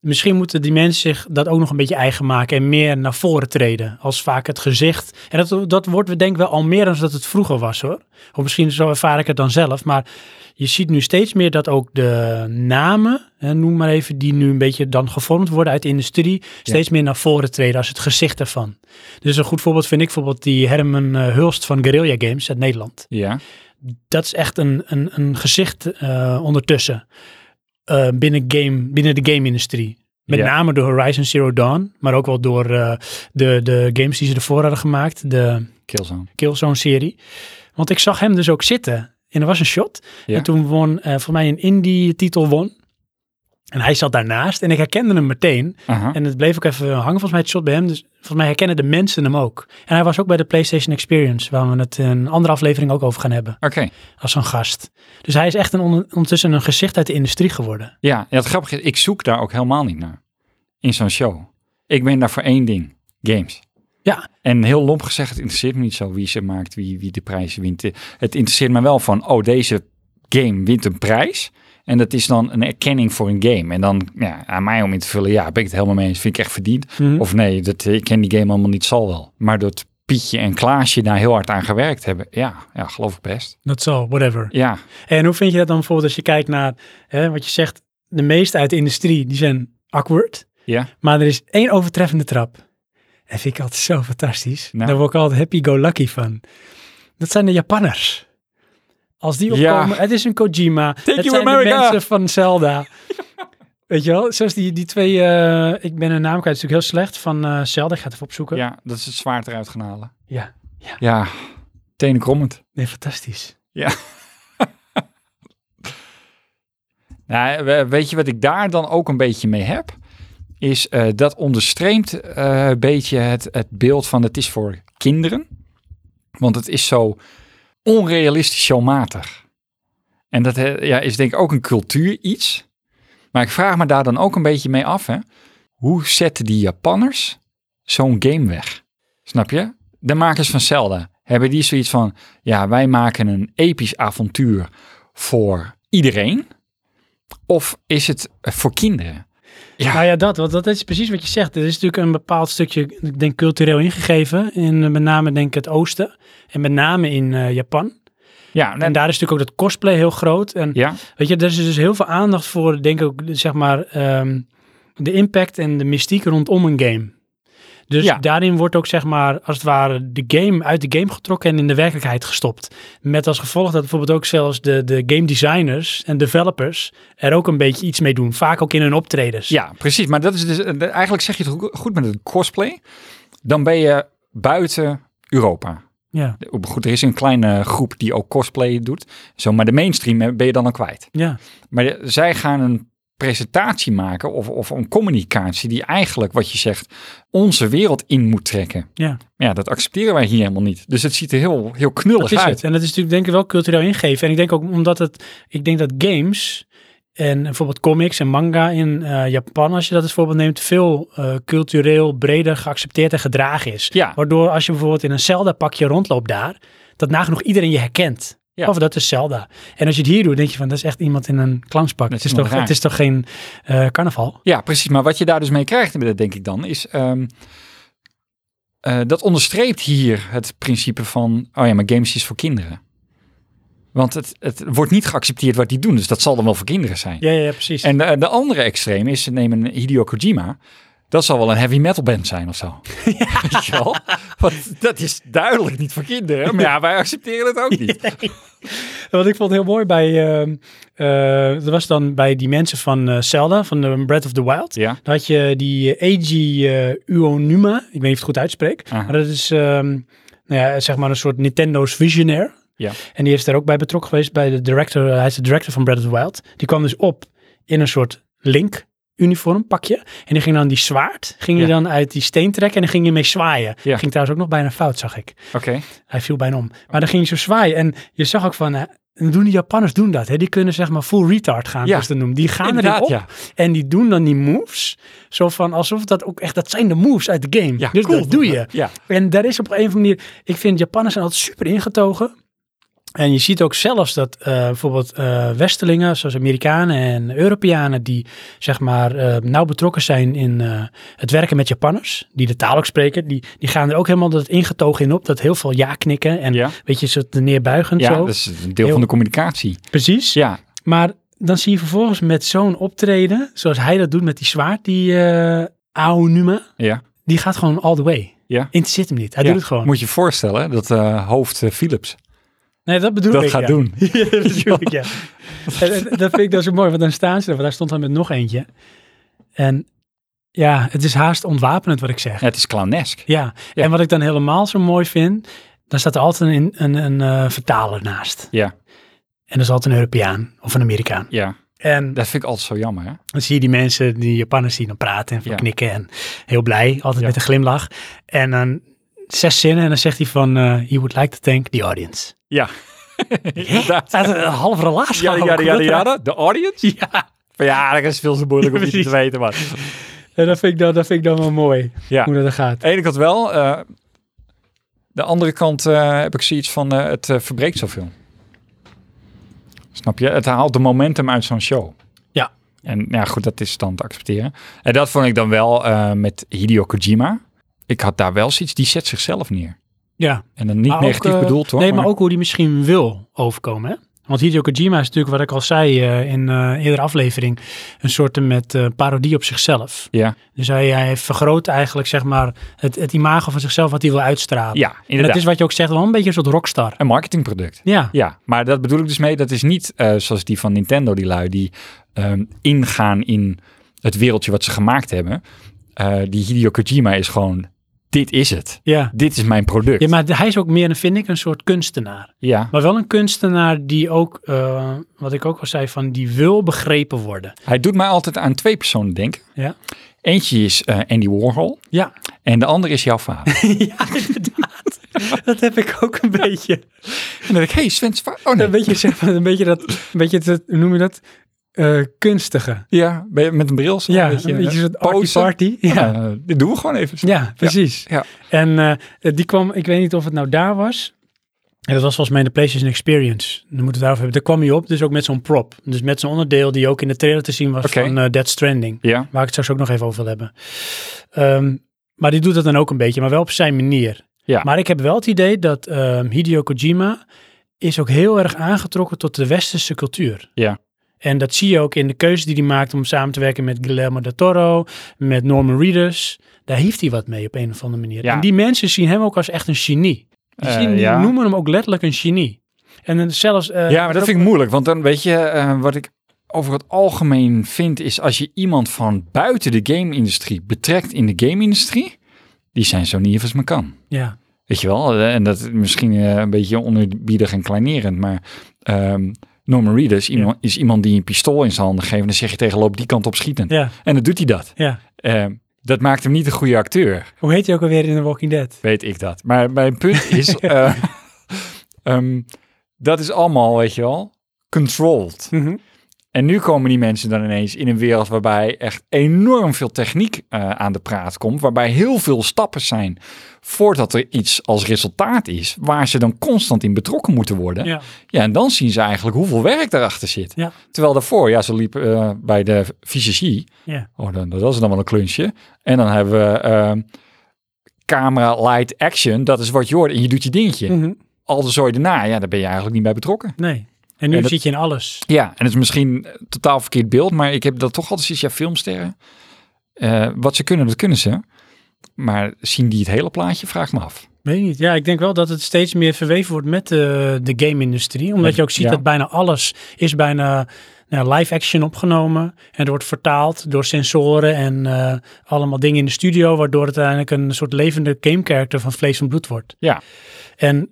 A: misschien moeten die mensen zich dat ook nog een beetje eigen maken en meer naar voren treden. Als vaak het gezicht. En dat, dat wordt, we denken wel al meer dan dat het vroeger was hoor. Of misschien zo ervaar ik het dan zelf. Maar je ziet nu steeds meer dat ook de namen, hè, noem maar even, die nu een beetje dan gevormd worden uit de industrie, steeds meer naar voren treden als het gezicht ervan. Dus een goed voorbeeld vind ik bijvoorbeeld die Herman eh, Hulst van Guerrilla Games uit Nederland
B: ja.
A: dat is echt een, een, een gezicht eh, ondertussen eh, binnen, game, binnen de game-industrie. Met
B: Ja.
A: name door Horizon Zero Dawn, maar ook wel door eh, de, de games die ze ervoor hadden gemaakt, de
B: Killzone.
A: Killzone-serie. Want ik zag hem dus ook zitten en er was een shot.
B: Ja.
A: En toen won, eh voor mij een indie-titel won. En hij zat daarnaast en ik herkende hem meteen.
B: Aha.
A: En het bleef ook even hangen. Volgens mij het shot bij hem. Dus volgens mij herkennen de mensen hem ook. En hij was ook bij de PlayStation Experience, waar we het in een andere aflevering ook over gaan hebben.
B: Oké,
A: Als een gast. Dus hij is echt een on- ondertussen een gezicht uit de industrie geworden.
B: ja. ja. Het grappige is, ik zoek daar ook helemaal niet naar. In zo'n show. Ik ben daar voor één ding. Games.
A: Ja,
B: En heel lomp gezegd, het interesseert me niet zo wie ze maakt, wie, wie de prijzen wint. Het interesseert me wel van, oh, deze game wint een prijs. En dat is dan een erkenning voor een game. En dan ja, aan mij om in te vullen, ja, ben ik het helemaal mee eens, vind ik echt verdiend.
A: Mhm.
B: Of nee, dat, eh, ik ken die game allemaal niet, zal wel. Maar dat Pietje en Klaasje daar heel hard aan gewerkt hebben, ja, ja geloof ik best.
A: dat zal, whatever.
B: Ja,
A: En hoe vind je dat dan bijvoorbeeld als je kijkt naar hè, wat je zegt? De meeste uit de industrie die zijn awkward.
B: ja.
A: Maar er is één overtreffende trap. En vind ik altijd zo fantastisch.
B: Nou.
A: Daar word ik altijd happy-go-lucky van. Dat zijn de Japanners. Als die
B: Ja.
A: opkomen, het is een Kojima. het
B: you,
A: zijn de
B: America!
A: mensen van
B: (laughs)
A: Zelda. Weet je wel? Zoals die, die twee, eh, ik ben hun naam kwijt, het is natuurlijk heel slecht, van eh, Zelda. Ik ga het even opzoeken.
B: ja, dat is het zwaard eruit gaan halen.
A: Ja.
B: Ja, tenen krommend.
A: Nee, fantastisch.
B: Nou, we- weet je wat ik daar dan ook een beetje mee heb? Is eh, dat onderstreemt eh, een beetje het, het beeld van het is voor kinderen. Want het is zo onrealistisch showmatig. En dat eh, ja, is denk ik ook een cultuur iets. Maar ik vraag me daar dan ook een beetje mee af. Hè? Hoe zetten die Japanners zo'n game weg? Snap je? De makers van Zelda hebben die zoiets van... Ja, wij maken een episch avontuur voor iedereen. Of is het eh, voor kinderen? Ja.
A: Nou ja, dat, want dat is precies wat je zegt. Er is natuurlijk een bepaald stukje, ik denk cultureel ingegeven. In eh, met name denk ik het oosten. En met name in eh, Japan.
B: Ja,
A: En
B: en,
A: daar is natuurlijk ook dat cosplay heel groot. En
B: ja,
A: Weet je, er is dus heel veel aandacht voor, denk ik ook, zeg maar, ehm, de impact en de mystiek rondom een game. Dus
B: Ja.
A: daarin wordt ook, zeg maar, als het ware de game uit de game getrokken en in de werkelijkheid gestopt. Met als gevolg dat bijvoorbeeld ook zelfs de, de game designers en developers er ook een beetje iets mee doen. Vaak ook in hun optredens.
B: ja, precies. Maar dat is dus, eh, de- eigenlijk zeg je het go- goed met het cosplay. Dan ben je buiten Europa.
A: Ja,
B: Goed, er is een kleine groep die ook cosplay doet. Zo, maar de mainstream eh, ben je dan al kwijt.
A: ja.
B: Maar de- zij gaan een presentatie maken of, of een communicatie die eigenlijk, wat je zegt, onze wereld in moet trekken.
A: Ja.
B: Maar ja, dat accepteren wij hier helemaal niet. Dus het ziet er heel, heel knullig
A: Dat is
B: uit.
A: het. En dat is natuurlijk denk ik wel cultureel ingeven. En ik denk ook omdat het, ik denk dat games en bijvoorbeeld comics en manga in eh, Japan, als je dat als voorbeeld neemt, veel eh, cultureel breder geaccepteerd en gedragen is.
B: Ja.
A: Waardoor als je bijvoorbeeld in een Zelda pakje rondloopt daar, dat nagenoeg iedereen je herkent.
B: Ja.
A: Of dat is Zelda. En als je het hier doet, denk je van, dat is echt iemand in een clownspak. Het
B: Dat is
A: is,
B: iemand
A: toch,
B: raar.
A: het is toch geen eh, carnaval?
B: Ja, precies. Maar wat je daar dus mee krijgt, eh, denk ik dan, is... ehm, eh, dat onderstreept hier het principe van... Oh ja, maar games is voor kinderen. Want het, het wordt niet geaccepteerd wat die doen. Dus dat zal dan wel voor kinderen zijn.
A: Ja, ja, ja, precies.
B: En eh, de, de andere extreem is, neem een Hideo Kojima... Dat zal wel een heavy metal band zijn of
A: (laughs)
B: zo. Weet je wel? Want dat is duidelijk niet voor kinderen. Maar ja, wij accepteren het ook
A: (laughs)
B: niet.
A: Wat ik vond heel mooi bij, ehm, eh, dat was dan bij die mensen van eh, Zelda, van de Breath of the Wild.
B: Ja,
A: Dan had je die eh, Eiji eh, Uonuma. Ik weet niet of ik het goed uitspreek.
B: Aha.
A: Maar dat is ehm, nou ja, zeg maar een soort Nintendo's visionair.
B: ja.
A: En die is daar ook bij betrokken geweest bij de director. eh, Hij is de director van Breath of the Wild. Die kwam dus op in een soort Link uniform pakje. En die ging dan die zwaard, ging hij
B: Ja.
A: dan uit die steen trekken en dan ging hij mee zwaaien.
B: Ja.
A: Ging trouwens ook nog bijna fout, zag ik.
B: Oké.
A: Hij viel bijna om. Maar dan ging hij zo zwaaien. En je zag ook van, eh, en doen die Japanners doen dat. Hè? Die kunnen zeg maar full retard gaan,
B: Ja.
A: zoals ze dat noemen. Die gaan erin
B: Inderdaad,
A: op
B: ja.
A: en die doen dan die moves. Zo van alsof dat ook echt, dat zijn de moves uit de game.
B: ja
A: dus
B: cool.
A: dat doe je.
B: Ja,
A: En daar is op een of andere manier, ik vind Japanners zijn altijd super ingetogen. En je ziet ook zelfs dat eh, bijvoorbeeld eh, Westelingen, zoals Amerikanen en Europeanen, die zeg maar eh, nauw betrokken zijn in eh, het werken met Japanners, die de taal ook spreken, die, die gaan er ook helemaal dat ingetogen in op, dat heel veel ja knikken en
B: Ja.
A: weet je, soort neerbuigend
B: ja
A: zo.
B: dat is een deel
A: Heel-
B: van de communicatie.
A: Precies.
B: Ja,
A: Maar dan zie je vervolgens met zo'n optreden, zoals hij dat doet met die zwaard, die eh Aonuma,
B: ja.
A: die gaat gewoon all the way.
B: Ja.
A: Interesseert hem niet. Hij
B: Ja,
A: doet het gewoon.
B: Moet je je voorstellen dat eh, hoofd eh, Philips
A: Nee, dat bedoel
B: dat
A: ik.
B: gaat
A: ja. (laughs)
B: doen.
A: Ja, dat bedoel ik,
B: (laughs)
A: ja. En, en dat vind ik dan zo mooi, want dan staan ze er, want daar stond hij met nog eentje. En ja, het is haast ontwapenend wat ik zeg.
B: Ja, het is clownesk.
A: Ja.
B: Ja.
A: En wat ik dan helemaal zo mooi vind, dan staat er altijd een, een, een eh, vertaler naast.
B: Ja,
A: En dat is altijd een Europeaan of een Amerikaan.
B: ja.
A: En
B: Dat vind ik altijd zo jammer, hè?
A: dan zie je die mensen, die Japanners die dan praten en van
B: Ja.
A: knikken en heel blij, altijd
B: Ja.
A: met een glimlach. En dan zes zinnen en dan zegt hij van, eh, you would like to thank the audience.
B: Ja.
A: Hè? Dat is een half relaas.
B: Ja,
A: gewoon.
B: ja, ja,
A: Dat-
B: ja. De audience?
A: Ja,
B: Van ja, dat is veel te moeilijk om
A: Ja,
B: niet te
A: precies.
B: weten, maar...
A: en dat vind ik dan, dat vind ik dan wel mooi,
B: Ja.
A: hoe dat er gaat.
B: Aan de ene kant wel. eh, de andere kant eh, heb ik zoiets van, eh, het eh, verbreekt zoveel. Snap je? Het haalt de momentum uit zo'n show.
A: Ja.
B: En nou ja, goed, dat is dan te accepteren. En dat vond ik dan wel eh, met Hideo Kojima. Ik had daar wel zoiets, die zet zichzelf neer.
A: Ja.
B: En dan niet
A: Maar ook,
B: negatief
A: eh,
B: bedoeld hoor.
A: nee, maar, ook hoe die misschien wil overkomen. Hè? Want Hideo Kojima is natuurlijk, wat ik al zei eh, in eh eerdere aflevering, een soort met eh, parodie op zichzelf.
B: Ja,
A: Dus hij, hij vergroot eigenlijk zeg maar het, het imago van zichzelf wat hij wil uitstralen.
B: ja
A: en dat
B: inderdaad.
A: is wat je ook zegt, wel een beetje een soort rockstar.
B: Een marketingproduct.
A: Ja,
B: Ja, maar dat bedoel ik dus mee. Dat is niet eh, zoals die van Nintendo, die lui, die ehm, ingaan in het wereldje wat ze gemaakt hebben. Eh, die Hideo Kojima is gewoon, dit is het.
A: ja.
B: Dit is mijn product.
A: Ja, maar hij is ook meer, vind ik, een soort kunstenaar.
B: Ja,
A: Maar wel een kunstenaar die ook, eh, wat ik ook al zei, van die wil begrepen worden.
B: hij doet mij altijd aan twee personen denken.
A: Ja.
B: Eentje is eh, Andy Warhol
A: Ja,
B: en de andere is jouw vader.
A: (laughs) ja inderdaad. dat heb ik ook een beetje.
B: en dan denk ik, hey Sven, va- oh nee.
A: Een beetje, zeg maar, een beetje dat, een beetje het, hoe noem je dat? Eh, kunstige.
B: Ja, ben je met een bril. zo,
A: Ja,
B: weet je,
A: een beetje
B: eh,
A: zo'n arty
B: posen.
A: party. (laughs) Ja,
B: Ja, eh, dit doen we gewoon even.
A: ja precies.
B: Ja.
A: En eh, die kwam, ik weet niet of het nou daar was. En dat was volgens mij in de PlayStation Experience. Dan moeten we het daarover hebben. Daar kwam hij op, dus ook met zo'n prop. Dus met zo'n onderdeel die ook in de trailer te zien was
B: Oké.
A: van eh, Dead Stranding.
B: Ja,
A: Waar ik het straks ook nog even over wil hebben. Ehm, maar die doet dat dan ook een beetje, maar wel op zijn manier.
B: Ja.
A: Maar ik heb wel het idee dat ehm, Hideo Kojima is ook heel erg aangetrokken tot de westerse cultuur.
B: Ja.
A: En dat zie je ook in de keuze die hij maakt om samen te werken met Guillermo del Toro, met Norman Reedus. Daar heeft hij wat mee op een of andere manier.
B: Ja.
A: En die mensen zien hem ook als echt een genie. Die,
B: Eh,
A: zien, die
B: ja.
A: noemen hem ook letterlijk een genie. En dan zelfs... eh,
B: ja maar dat vind ik moeilijk. Want dan weet je, eh, wat ik over het algemeen vind, is als je iemand van buiten de game-industrie betrekt in de game-industrie, die zijn zo niet als men kan.
A: Ja,
B: Weet je wel, eh, en dat is misschien eh, een beetje onerbiedig en kleinerend, maar ehm, Norman Reedus iemand, is iemand die een pistool in zijn handen geeft en dan zeg je tegen loop die kant op schieten.
A: ja,
B: En dan doet hij dat.
A: ja.
B: Ehm, dat maakt hem niet een goede acteur
A: Hoe heet hij ook alweer in The Walking Dead?
B: weet ik dat. Maar mijn punt
A: (laughs)
B: is, eh, ehm, dat is allemaal, weet je wel, controlled.
A: Mhm.
B: En nu komen die mensen dan ineens in een wereld waarbij echt enorm veel techniek eh, aan de praat komt, waarbij heel veel stappen zijn voordat er iets als resultaat is, waar ze dan constant in betrokken moeten worden.
A: Ja.
B: Ja, en dan zien ze eigenlijk hoeveel werk daarachter zit.
A: Ja.
B: Terwijl daarvoor, ja, ze liep eh, bij de fysici.
A: Ja.
B: Oh, dan, dat was dan wel een klunsje. En dan hebben we eh, camera, light, action. Dat is wat je hoort en je doet je dingetje.
A: Mhm.
B: Al de zooi daarna, ja, daar ben je eigenlijk niet bij betrokken.
A: Nee. En nu
B: En dat-
A: zit je in alles.
B: Ja, en het is misschien een totaal verkeerd beeld, maar ik heb dat toch altijd zoiets, ja, filmsterren. eh, wat ze kunnen, dat kunnen ze. Maar zien die het hele plaatje? Vraag me af.
A: Weet ik niet. Ja, ik denk wel dat het steeds meer verweven wordt met eh, de game-industrie. Omdat
B: Met-
A: je ook ziet
B: ja.
A: dat bijna alles is bijna nou, live-action opgenomen. En er wordt vertaald door sensoren en eh, allemaal dingen in de studio. Waardoor het uiteindelijk een soort levende game-character van vlees en bloed wordt.
B: Ja.
A: En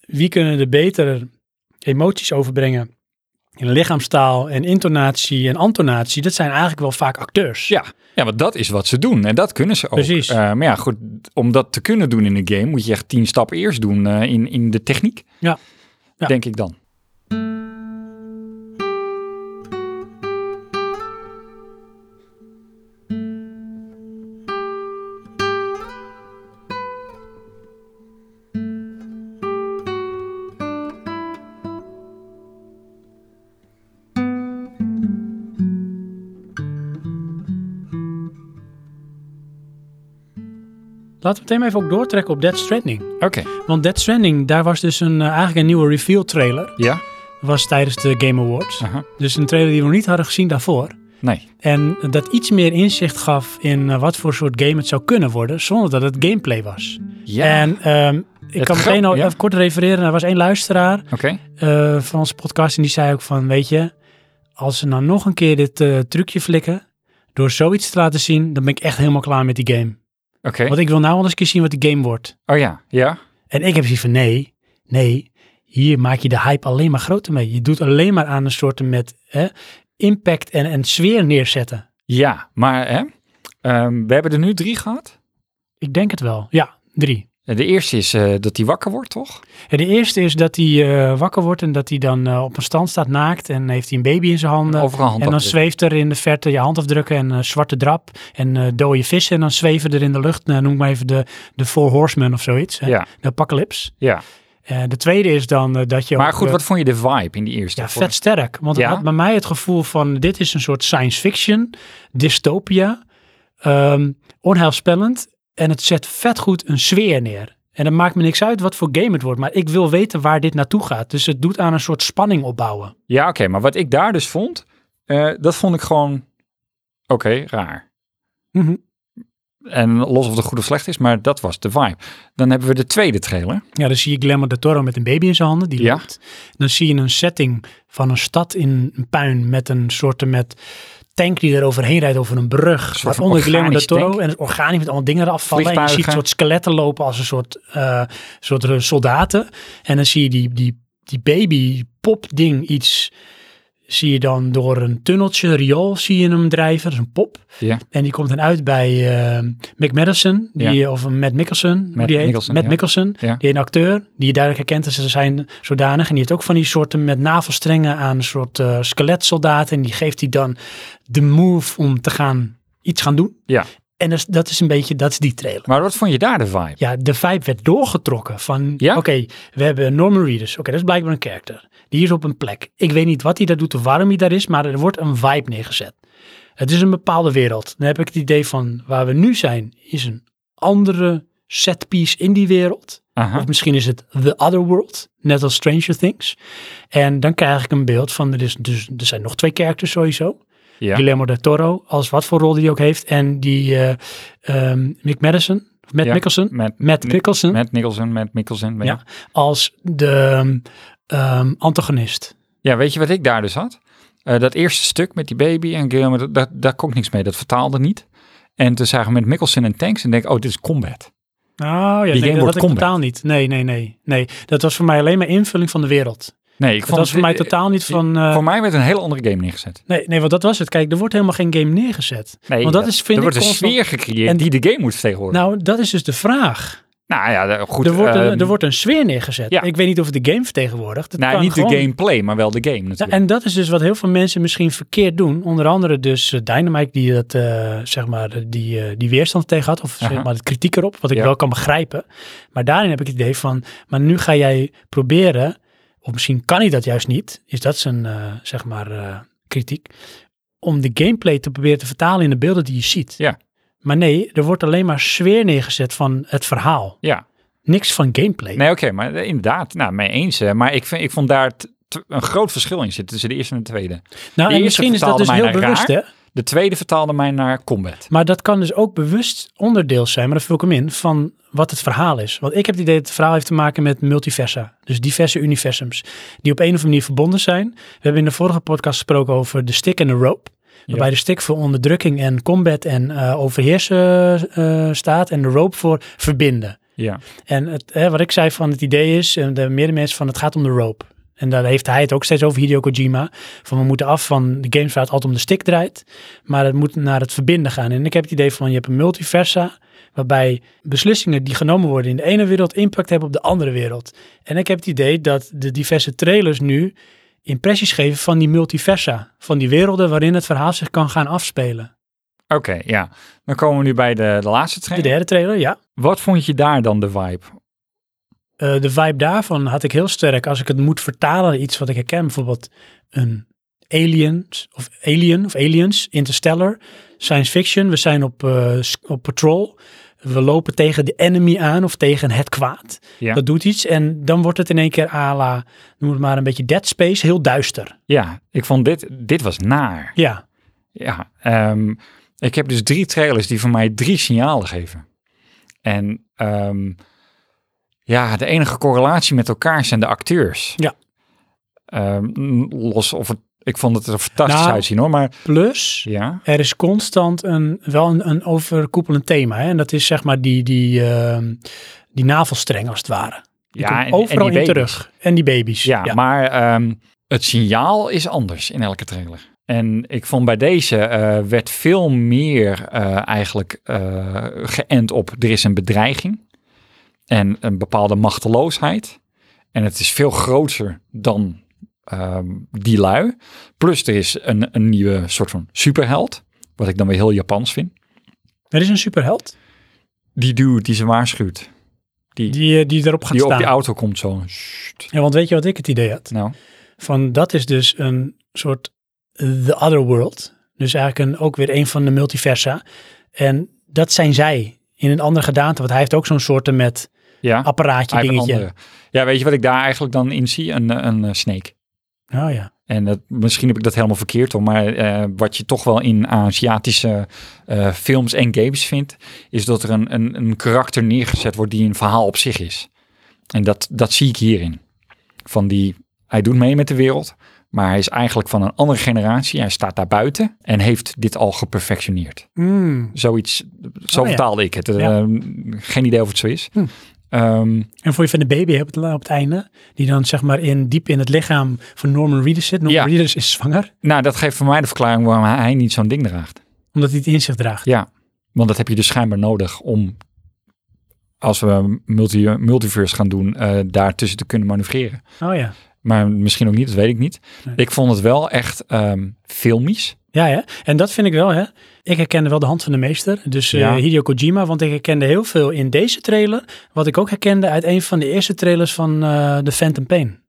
A: wie kunnen er beter emoties overbrengen? In lichaamstaal en intonatie en antonatie. Dat zijn eigenlijk wel vaak acteurs.
B: Ja. Ja, want dat is wat ze doen en dat kunnen ze ook.
A: Precies.
B: Eh, maar ja, goed, om dat te kunnen doen in een game moet je echt tien stappen eerst doen eh, in, in de techniek.
A: Ja. Ja.
B: Denk ik dan.
A: Laten we meteen even ook doortrekken op Dead Stranding.
B: Oké.
A: Want Dead Stranding, daar was dus een, eh, eigenlijk een nieuwe reveal trailer.
B: Ja?
A: Was tijdens de Game Awards.
B: Aha.
A: Dus een trailer die we nog niet hadden gezien daarvoor.
B: Nee.
A: En dat iets meer inzicht gaf in eh, wat voor soort game het zou kunnen worden. Zonder dat het gameplay was.
B: Ja.
A: En ehm, ik
B: Het
A: kan
B: grap-
A: meteen al
B: ja.
A: even kort refereren. Er was één luisteraar
B: Oké.
A: eh, van onze podcast. En die zei ook van, weet je, als ze nou nog een keer dit eh, trucje flikken. Door zoiets te laten zien, dan ben ik echt helemaal klaar met die game.
B: Oké.
A: Want ik wil nou wel eens een keer zien wat die game wordt.
B: Oh ja. Ja.
A: En ik heb zoiets van nee, nee, hier maak je de hype alleen maar groter mee. Je doet alleen maar aan een soort met hè, impact en, en sfeer neerzetten.
B: Ja, maar hè, ehm, we hebben er nu drie gehad.
A: Ik denk het wel. Ja, drie.
B: De eerste is eh, dat hij wakker wordt, toch?
A: En de eerste is dat hij eh, wakker wordt en dat hij dan eh, op een stand staat naakt en heeft hij een baby in zijn handen.
B: Overal
A: Nou, En dan
B: handafdrukken.
A: zweeft er in de verte je handafdrukken en eh, zwarte drap en eh dode vissen. En dan zweven er in de lucht, nou, noem maar even de, de Four Horsemen of zoiets. hè.
B: Ja,
A: De apocalypse.
B: ja.
A: Eh, de tweede is dan eh, dat je...
B: Maar
A: ook,
B: goed,
A: eh,
B: wat vond je de vibe in die eerste?
A: Ja,
B: Voor-
A: vet sterk. Want het
B: Ja?
A: had bij mij het gevoel van dit is een soort science fiction, dystopia, ehm, onheilspellend. En het zet vet goed een sfeer neer. En het maakt me niks uit wat voor game het wordt, maar ik wil weten waar dit naartoe gaat. Dus het doet aan een soort spanning opbouwen.
B: Ja, oké, maar wat ik daar dus vond, eh, dat vond ik gewoon, oké, raar. Mhm. En los of het goed of slecht is, maar dat was de vibe. Dan hebben we de tweede trailer.
A: Ja, dan zie je Guillermo de Toro met een baby in zijn handen, die
B: Ja.
A: loopt. Dan zie je een setting van een stad in een puin met een soort met tank die er overheen rijdt over een brug.
B: van
A: Waaronder Guillermo de
B: organisch
A: Toro.
B: tank.
A: En het organisch met allemaal dingen eraf vallen. En je ziet
B: Vliegtuigen.
A: een soort skeletten lopen als een soort, eh, soort eh, soldaten. En dan zie je die, die, die baby pop ding iets... Zie je dan door een tunneltje, riool, zie je hem drijven. Dat is een pop.
B: Ja.
A: En die komt dan uit bij eh Mick Madison, die, of Matt Mickelson, hoe
B: Matt
A: die heet.
B: Mickelson,
A: Matt
B: ja.
A: Mickelson,
B: Ja.
A: die een acteur, die je duidelijk herkent als ze zijn zodanig. En die heeft ook van die soorten met navelstrengen aan een soort eh, skeletsoldaten. En die geeft hij dan de move om te gaan, iets gaan doen.
B: Ja.
A: En dus, dat is een beetje, dat is die trailer.
B: Maar wat vond je daar de vibe?
A: Ja, de vibe werd doorgetrokken van,
B: Ja?
A: oké, we hebben Norman Reedus. Oké, dat is blijkbaar een karakter. Die is op een plek. Ik weet niet wat hij daar doet of waarom hij daar is, maar er wordt een vibe neergezet. Het is een bepaalde wereld. Dan heb ik het idee van, waar we nu zijn, is een andere setpiece in die wereld.
B: Aha.
A: Of misschien is het The Other World, net als Stranger Things. En dan krijg ik een beeld van, er, is, dus, er zijn nog twee characters sowieso.
B: Ja.
A: Guillermo del Toro, als wat voor rol die ook heeft. En die eh, ehm, Mick Madison, of Matt
B: Ja,
A: Mickelson.
B: Met,
A: Matt Mickelson
B: Matt Nicholson, Matt Mickelson. weet
A: Ja.
B: je.
A: als de ehm, ehm, antagonist.
B: ja, weet je wat ik daar dus had? Eh, dat eerste stuk met die baby en Guillermo, dat- dat- daar kon ik niks mee. Dat vertaalde niet. En toen zagen we met Mickelson en tanks en denk ik, oh, dit is combat.
A: Oh ja,
B: game
A: nee, dat
B: wordt
A: had ik
B: combat.
A: totaal niet. Nee, nee, nee, nee. Dat was voor mij alleen maar invulling van de wereld.
B: Nee, ik
A: Dat
B: vond
A: was voor mij
B: eh,
A: totaal niet van... eh,
B: Voor mij werd een hele andere game neergezet.
A: nee, nee, want dat was het. Kijk, er wordt helemaal geen game neergezet.
B: Nee,
A: Want dat is, vind
B: er
A: ik,
B: wordt een
A: constant-
B: sfeer gecreëerd
A: En-
B: die de game moet vertegenwoordigen.
A: Nou, dat is dus de vraag.
B: Nou, ja, de- goed.
A: er, wordt een,
B: ehm,
A: er wordt een sfeer neergezet.
B: ja.
A: Ik weet niet of het de game vertegenwoordigt. Het
B: nou,
A: kan
B: niet
A: gewoon-
B: de gameplay, maar wel de game
A: Ja,
B: natuurlijk.
A: en dat is dus wat heel veel mensen misschien verkeerd doen. Onder andere dus eh, Dynamite die, dat, eh, zeg maar, eh, die, eh, die weerstand tegen had. Of
B: Aha.
A: zeg maar de kritiek erop, wat ik
B: Ja.
A: wel kan begrijpen. Maar daarin heb ik het idee van, maar nu ga jij proberen, of misschien kan hij dat juist niet. Is dat zijn, eh, zeg maar, eh, kritiek. Om de gameplay te proberen te vertalen in de beelden die je ziet.
B: Ja.
A: Maar nee, er wordt alleen maar sfeer neergezet van het verhaal.
B: Ja,
A: Niks van gameplay.
B: nee, oké, maar eh, inderdaad, nou, mee eens. hè. Maar ik, vind, ik vond daar t- t- een groot verschil in zitten tussen de eerste en de tweede.
A: nou,
B: de
A: en
B: eerste
A: misschien is dat
B: vertaalde
A: dus heel
B: mij naar
A: bewust,
B: raar.
A: hè?
B: De tweede vertaalde mij naar combat.
A: Maar dat kan dus ook bewust onderdeel zijn, maar dat vul ik hem in, van wat het verhaal is. Want ik heb het idee dat het verhaal heeft te maken met multiversa. Dus diverse universums die op een of andere manier verbonden zijn. We hebben in de vorige podcast gesproken over de stick en de rope. Waarbij de stick voor onderdrukking en combat en eh, overheersen eh, staat. En de rope voor verbinden.
B: Ja,
A: En het, hè, wat ik zei van het idee is, en de meerdere mensen van het gaat om de rope. En daar heeft hij het ook steeds over, Hideo Kojima. Van we moeten af van de games waar het altijd om de stick draait. Maar het moet naar het verbinden gaan. En ik heb het idee van je hebt een multiversa. Waarbij beslissingen die genomen worden in de ene wereld impact hebben op de andere wereld. En ik heb het idee dat de diverse trailers nu impressies geven van die multiversa. Van die werelden waarin het verhaal zich kan gaan afspelen.
B: oké, ja. Dan komen we nu bij de, de laatste
A: De
B: trailer.
A: derde trailer, ja.
B: Wat vond je daar dan de vibe?
A: Eh, de vibe daarvan had ik heel sterk. Als ik het moet vertalen naar iets wat ik herken, bijvoorbeeld een aliens of alien of aliens, interstellar, science fiction. We zijn op, eh, s- op patrol. We lopen tegen de enemy aan of tegen het kwaad.
B: Ja.
A: Dat doet iets. En dan wordt het in één keer à la, noem het maar een beetje Dead Space, heel duister.
B: Ja, ik vond dit, dit was naar.
A: Ja,
B: Ja, ehm, ik heb dus drie trailers die voor mij drie signalen geven. En ehm, ja, de enige correlatie met elkaar zijn de acteurs.
A: Ja.
B: Ehm, los of het, ik vond het er fantastisch
A: Nou.
B: uitzien hoor, maar
A: plus...
B: ja.
A: Er is constant een, wel een, een overkoepelend thema. Hè? En dat is zeg maar die, die, ehm, die navelstreng als het ware. Die
B: Ja,
A: komt
B: en- en
A: overal
B: die
A: in
B: baby's.
A: terug. En die baby's.
B: Ja, maar ehm, het signaal is anders in elke trailer. En ik vond bij deze eh, werd veel meer eh, eigenlijk eh, geënt op er is een bedreiging en een bepaalde machteloosheid. En het is veel groter dan ehm, die lui. Plus er is een, een nieuwe soort van superheld, wat ik dan weer heel Japans vind.
A: Er is een superheld
B: Die dude die ze waarschuwt,
A: die, eh, die erop gaat
B: die op
A: staan.
B: die auto komt zo. Sst.
A: Ja, want weet je wat ik het idee had?
B: Nou,
A: Van dat is dus een soort eh, The Other World. Dus eigenlijk een, ook weer een van de multiversa. En dat zijn zij in een andere gedaante. Want hij heeft ook zo'n soorten met
B: ja.
A: apparaatje
B: Hij heeft
A: dingetje.
B: andere. Ja, weet je wat ik daar eigenlijk dan in zie? Een, eh, een eh, snake.
A: Oh ja.
B: En dat, misschien heb ik dat helemaal verkeerd hoor, maar eh, wat je toch wel in Aziatische eh, films en games vindt, is dat er een, een, een karakter neergezet wordt die een verhaal op zich is. En dat, dat zie ik hierin. Van die, hij doet mee met de wereld, maar hij is eigenlijk van een andere generatie. Hij staat daar buiten en heeft dit al geperfectioneerd.
A: Mm.
B: Zoiets, zo
A: Oh ja.
B: vertaalde ik het. Eh,
A: Ja.
B: geen idee of het zo is.
A: Hm.
B: Ehm,
A: En voor je van de baby op het, la- op het einde, die dan zeg maar in, diep in het lichaam van Norman Reedus zit. Norman
B: Ja.
A: Reedus is zwanger,
B: nou, dat geeft voor mij de verklaring waarom hij niet zo'n ding draagt.
A: omdat hij het in zich draagt.
B: Ja, want dat heb je dus schijnbaar nodig om, als we multi, multiverse gaan doen, eh daartussen te kunnen manoeuvreren.
A: Oh ja.
B: Maar misschien ook niet, dat weet ik niet.
A: Nee.
B: Ik vond het wel echt ehm, filmisch.
A: Ja, hè? en dat vind ik wel, hè. Ik herkende wel de hand van de meester, dus eh,
B: Ja.
A: Hideo Kojima, want ik herkende heel veel in deze trailer, wat ik ook herkende uit een van de eerste trailers van eh The Phantom Pain.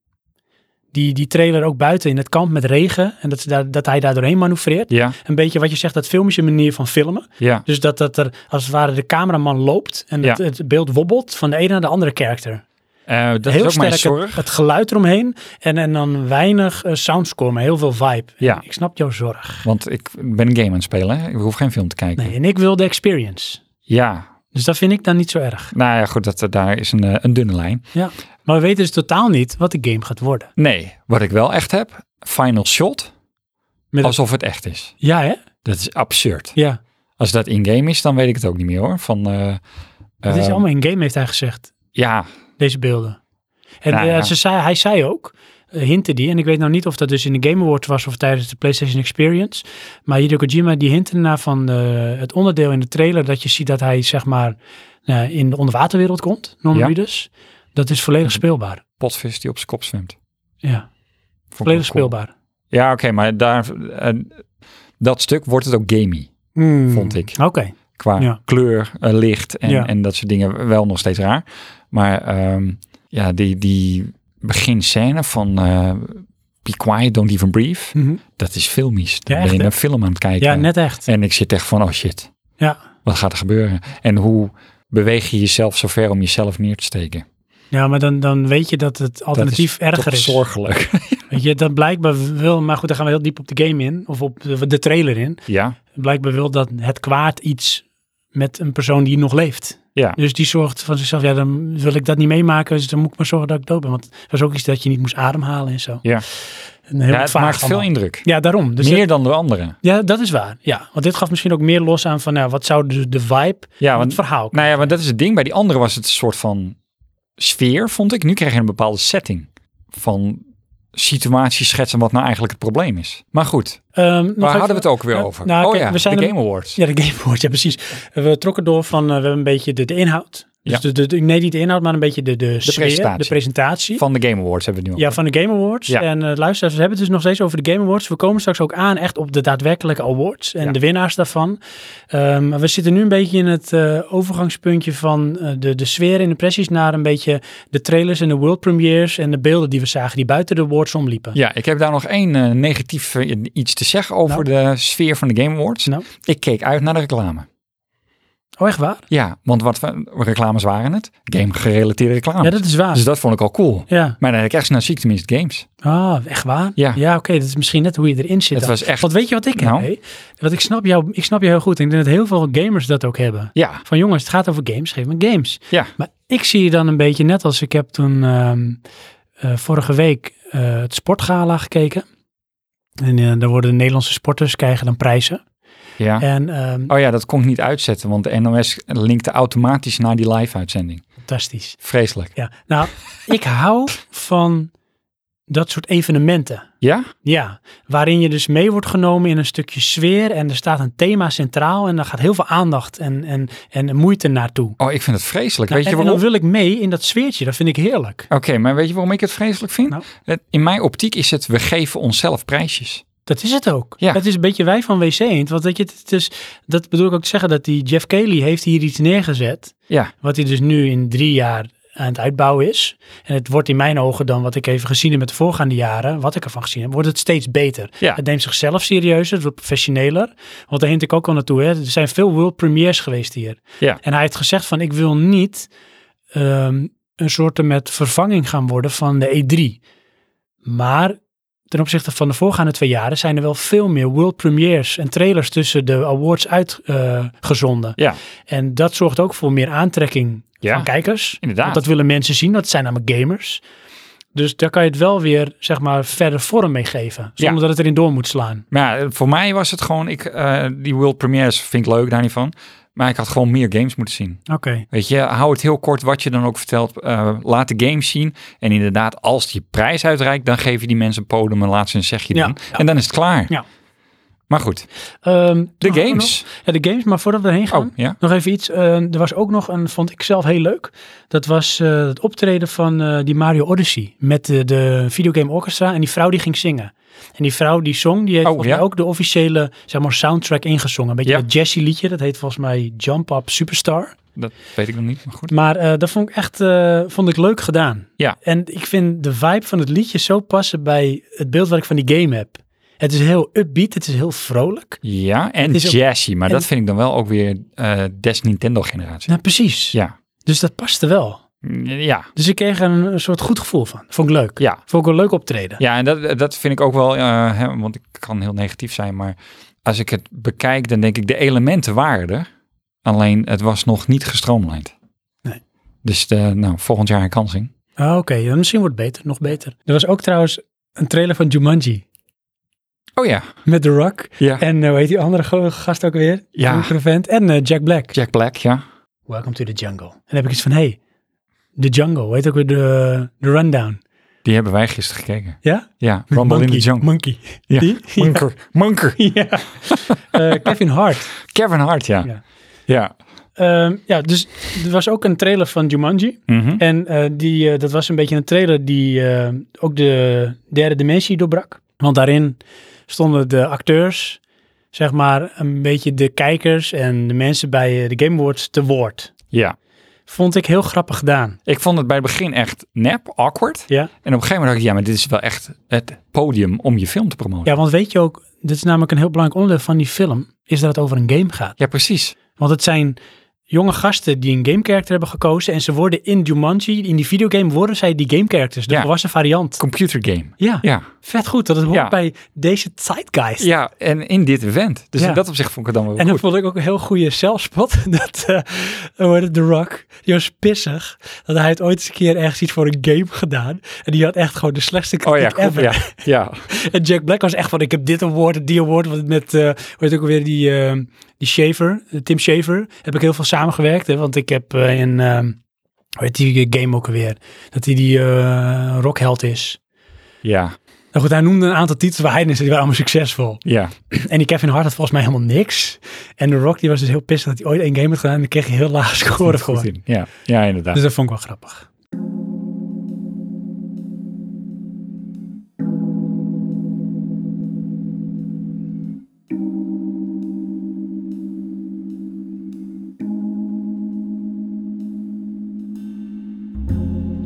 A: Die, die trailer ook buiten in het kamp met regen en dat, ze daar, dat hij daar doorheen manoeuvreert.
B: Ja,
A: Een beetje wat je zegt, dat filmische manier van filmen.
B: ja.
A: Dus dat, dat er als het ware de cameraman loopt en
B: Ja.
A: het, het beeld wobbelt van de ene naar de andere character.
B: Eh, dat
A: heel
B: is ook
A: sterk
B: mijn
A: het-
B: zorg.
A: Het, geluid eromheen en, en dan weinig eh, soundscore, maar heel veel vibe.
B: Ja.
A: Ik snap jouw zorg.
B: Want ik ben een game aan het spelen. Hè? Ik hoef geen film te kijken.
A: Nee, en ik wil de experience.
B: Ja,
A: Dus dat vind ik dan niet zo erg.
B: nou ja, goed, dat, dat- daar is een, eh, een dunne lijn.
A: Ja. Maar we weten dus totaal niet wat de game gaat worden.
B: Nee, wat ik wel echt heb, final shot,
A: Met
B: alsof het echt is.
A: Ja, hè?
B: Dat is absurd.
A: Ja.
B: Als dat in-game is, dan weet ik het ook niet meer hoor. Van, eh,
A: Het is
B: eh,
A: allemaal in game, heeft hij gezegd.
B: Ja,
A: Deze beelden. En
B: Nou
A: eh,
B: ja.
A: ze zei, hij zei ook, eh, hintte die, en ik weet nou niet of dat dus in de Game Awards was of tijdens de PlayStation Experience, maar Hideo Kojima die hintte ernaar van eh, het onderdeel in de trailer dat je ziet dat hij zeg maar eh, in de onderwaterwereld komt, Norman
B: Ja.
A: Reedus. dus, Dat is volledig speelbaar.
B: potvis die op zijn kop zwemt. Vond
A: Ja,
B: ik wel
A: volledig
B: cool.
A: speelbaar.
B: Ja, oké, maar daar, eh, dat stuk wordt het ook gamey Vond ik.
A: Mm. Oké.
B: qua
A: Hmm. Ja.
B: kleur, eh, licht en,
A: Ja.
B: en dat soort dingen wel nog steeds raar. Maar ehm, ja, die, die beginscène van eh, Be Quiet, Don't Even Brief,
A: Mhm.
B: dat is filmisch.
A: Ja,
B: Dan ben
A: echt,
B: je
A: hè?
B: een film aan het kijken.
A: Ja, net echt.
B: En ik eh, zit echt van, oh shit,
A: Ja.
B: wat gaat er gebeuren? En hoe beweeg je jezelf zover om jezelf neer te steken?
A: Ja, maar dan, dan weet je dat het alternatief
B: dat is
A: erger
B: toch
A: is.
B: zorgelijk.
A: Weet je, dat blijkbaar wil, maar goed, daar gaan we heel diep op de game in, of op de, de trailer in.
B: ja,
A: Blijkbaar wil dat het kwaad iets met een persoon die nog leeft.
B: ja.
A: Dus die zorgt van zichzelf, ja, dan wil ik dat niet meemaken, dus dan moet ik maar zorgen dat ik dood ben. Want het was ook iets dat je niet moest ademhalen en zo.
B: Ja.
A: En heel
B: ja het
A: vaag
B: maakt veel
A: allemaal.
B: indruk.
A: Ja, daarom. Dus
B: Meer
A: dat-
B: dan de anderen.
A: ja, dat is waar. Ja, want dit gaf misschien ook meer los aan van, nou, wat zou de, de vibe
B: Ja,
A: van
B: want
A: het verhaal
B: Nou ja, maar dat is het ding. Bij die andere was het een soort van sfeer, vond ik. Nu krijg je een bepaalde setting van situatie schetsen wat nou eigenlijk het probleem is. Maar goed,
A: Ehm, nog
B: waar
A: even-
B: hadden we het ook weer
A: Ja,
B: over?
A: nou,
B: oh
A: kijk,
B: ja,
A: we zijn
B: de
A: er-
B: Game Awards.
A: Ja, de Game Awards, ja precies. We trokken door van, eh, we hebben een beetje de, de inhoud. Dus
B: Ja.
A: de, de, de- nee, niet de inhoud, maar een beetje de, de, sfeer,
B: presentatie.
A: de presentatie.
B: Van de Game Awards hebben we het nu
A: ja, van de Game Awards.
B: Ja.
A: En eh, luisteraars, we hebben het dus nog steeds over de Game Awards. We komen straks ook aan echt op de daadwerkelijke awards en
B: Ja.
A: de winnaars daarvan. Ehm, maar we zitten nu een beetje in het eh, overgangspuntje van eh, de, de sfeer en impressies naar een beetje de trailers en de world premieres en de beelden die we zagen die buiten de awards omliepen.
B: Ja, ik heb daar nog één eh, negatief eh, iets te zeggen over de sfeer van de Game Awards.
A: Nou.
B: Ik keek uit naar de reclame.
A: Oh, echt waar?
B: Ja, want wat voor reclames waren het? Game-gerelateerde reclames.
A: Ja, dat is waar.
B: Dus dat vond ik al cool.
A: Ja.
B: Maar dan heb ik echt snel zie ik tenminste games.
A: Ah, echt waar?
B: Ja.
A: oké, dat is misschien net hoe je erin zit.
B: Het
A: dan.
B: was echt-
A: Want weet je wat ik heb?
B: Nou?
A: hé? Want ik snap, jou, ik snap jou heel goed. Ik denk dat heel veel gamers dat ook hebben.
B: Ja,
A: Van jongens, het gaat over games, geef me games.
B: ja.
A: Maar ik zie je dan een beetje net als ik heb toen ehm, eh, vorige week eh, het sportgala gekeken. En eh, daar worden de Nederlandse sporters krijgen dan prijzen.
B: ja.
A: En ehm,
B: Oh ja, dat kon ik niet uitzetten, want de NOS linkte automatisch naar die live-uitzending.
A: fantastisch.
B: Vreselijk.
A: Ja, nou, ik hou Nou, van dat soort evenementen.
B: Ja?
A: Ja, waarin je dus mee wordt genomen in een stukje sfeer en er staat een thema centraal en daar gaat heel veel aandacht en, en, en moeite naartoe.
B: Oh, ik vind het vreselijk.
A: Nou,
B: Weet je
A: en, en
B: waarom?
A: dan wil ik mee in dat sfeertje, dat vind ik heerlijk.
B: Oké, maar weet je waarom ik het vreselijk vind?
A: Nou.
B: Het- In mijn optiek is het, we geven onszelf prijsjes.
A: Dat is het ook.
B: Ja.
A: Dat is een beetje wij van WC Eend, want weet je, het is, dat bedoel ik ook te zeggen dat die Jeff Kelly heeft hier iets neergezet,
B: Ja,
A: wat hij dus nu in drie jaar aan het uitbouwen is. En het wordt in mijn ogen dan, wat ik even gezien heb met de voorgaande jaren, wat ik ervan gezien heb, wordt het steeds beter.
B: Ja.
A: Het neemt zichzelf serieuzer, het wordt professioneler. Want daar hint ik ook al naartoe. Hè. Er zijn veel world premiers geweest hier.
B: Ja.
A: En hij heeft gezegd van, ik wil niet ehm, een soort met vervanging gaan worden van de E3. Maar ten opzichte van de voorgaande twee jaren zijn er wel veel meer world premiers en trailers tussen de awards eh, uitgezonden.
B: ja,
A: En dat zorgt ook voor meer aantrekking
B: Ja,
A: van kijkers.
B: inderdaad.
A: Want dat willen mensen zien, dat zijn namelijk gamers. Dus daar kan je het wel weer, zeg maar, verder vorm mee geven. Zonder
B: Ja.
A: dat het erin door moet slaan.
B: Maar ja, voor mij was het gewoon, ik, eh, die world premiers vind ik leuk, daar niet van. Maar ik had gewoon meer games moeten zien.
A: Oké.
B: Weet je, hou het heel kort wat je dan ook vertelt. eh, laat de games zien. En inderdaad, als die prijs uitreikt, dan geef je die mensen een podium en laat ze een zegje
A: Ja,
B: doen.
A: ja.
B: En dan is het klaar.
A: Ja.
B: Maar goed,
A: Ehm,
B: de
A: nog-
B: games.
A: nog- Ja, de games, maar voordat we erheen gaan,
B: Oh, ja.
A: nog even iets. Eh, er was ook nog een, vond ik zelf heel leuk. Dat was eh, het optreden van eh, die Mario Odyssey met de, de Videogame Orchestra. En die vrouw die ging zingen. En die vrouw die zong, die heeft
B: Oh,
A: volgens mij
B: ja.
A: ook de officiële zeg maar, soundtrack ingezongen. Een beetje
B: Ja.
A: dat jazzy liedje, dat heet volgens mij Jump Up Superstar.
B: Dat weet ik nog niet, maar goed.
A: Maar eh, dat vond ik echt eh, vond ik leuk gedaan.
B: Ja.
A: En ik vind de vibe van het liedje zo passen bij het beeld wat ik van die game heb. Het is heel upbeat, het is heel vrolijk.
B: Ja, en
A: Het is ook-
B: Jazzy. Maar
A: en-
B: dat vind ik dan wel ook weer eh des Nintendo-generatie.
A: Nou, precies.
B: Ja.
A: Dus dat paste wel.
B: Ja,
A: Dus ik kreeg er een, een soort goed gevoel van. Vond ik leuk.
B: ja.
A: Vond ik een leuk optreden.
B: Ja, en dat, dat vind ik ook wel, eh, hè, want ik kan heel negatief zijn, maar als ik het bekijk, dan denk ik de elementen waren er. Alleen het was nog niet gestroomlijnd.
A: Nee.
B: Dus de, nou, volgend jaar een kansing.
A: Ah, Oké, ja, misschien wordt het beter. Nog beter. Er was ook trouwens een trailer van Jumanji.
B: Oh ja.
A: Met The Rock.
B: ja.
A: En eh, hoe heet die andere go- gast ook weer?
B: Ja.
A: Die andere vent. En eh, Jack Black.
B: Jack Black, ja.
A: Welcome to the jungle. En dan heb ik iets van, hey, de jungle. Hoe heet ook weer de, de rundown?
B: Die hebben wij gisteren gekeken.
A: Ja?
B: Ja,
A: Met
B: Rumble in
A: Monkey.
B: the Jungle.
A: Monkey.
B: (laughs) Ja.
A: Die? (laughs)
B: Monker. Monker.
A: Ja. Eh, Kevin Hart.
B: Kevin Hart, ja.
A: Ja.
B: Ja.
A: Ehm, ja, dus er was ook een trailer van Jumanji.
B: Mhm.
A: En eh, die, eh, dat was een beetje een trailer die eh, ook de derde dimensie doorbrak. Want daarin stonden de acteurs, zeg maar, een beetje de kijkers en de mensen bij eh, de Game Awards te woord.
B: ja.
A: Vond ik heel grappig gedaan.
B: Ik vond het bij het begin echt nep, awkward.
A: Ja.
B: En op een gegeven moment dacht ik, ja, maar dit is wel echt het podium om je film te promoten.
A: Ja, want weet je ook, dit is namelijk een heel belangrijk onderdeel van die film, is dat het over een game gaat.
B: ja precies.
A: Want het zijn jonge gasten die een gamecharacter hebben gekozen. En ze worden in Jumanji, in die videogame, worden zij die gamecharacters. De
B: Ja.
A: volwassen variant.
B: Computer game.
A: Ja,
B: Ja.
A: vet goed. Dat het hoort
B: Ja.
A: bij deze zeitgeist.
B: Ja, en in dit event. Dus
A: Ja.
B: in dat opzicht vond ik het dan wel
A: En dan
B: goed.
A: vond ik ook een heel goede zelfspot. (laughs) Dat eh, hoe heet het, The Rock, die was pissig. Dat hij het ooit eens een keer ergens iets voor een game gedaan. En die had echt gewoon de slechtste kritiek
B: Oh ja, goed,
A: ever.
B: ja, ja.
A: En (laughs) Jack Black was echt van, ik heb dit award, die award. Want met, eh hoe heet ook alweer, die, eh, die Shaver, eh, Tim Shaver, heb ik heel veel samengewerkt. Hè, want ik heb eh, in, ehm, hoe heet die game ook alweer, dat hij die eh, rockheld is.
B: Ja,
A: Nou goed, hij noemde een aantal titels waar hij in zit, die waren allemaal succesvol.
B: ja.
A: En die Kevin Hart had volgens mij helemaal niks. En The Rock, die was dus heel pissig dat hij ooit één game had gedaan. En dan kreeg hij heel laag (laughs) score
B: Goed
A: voor.
B: in. Ja, ja inderdaad.
A: Dus dat vond ik wel grappig.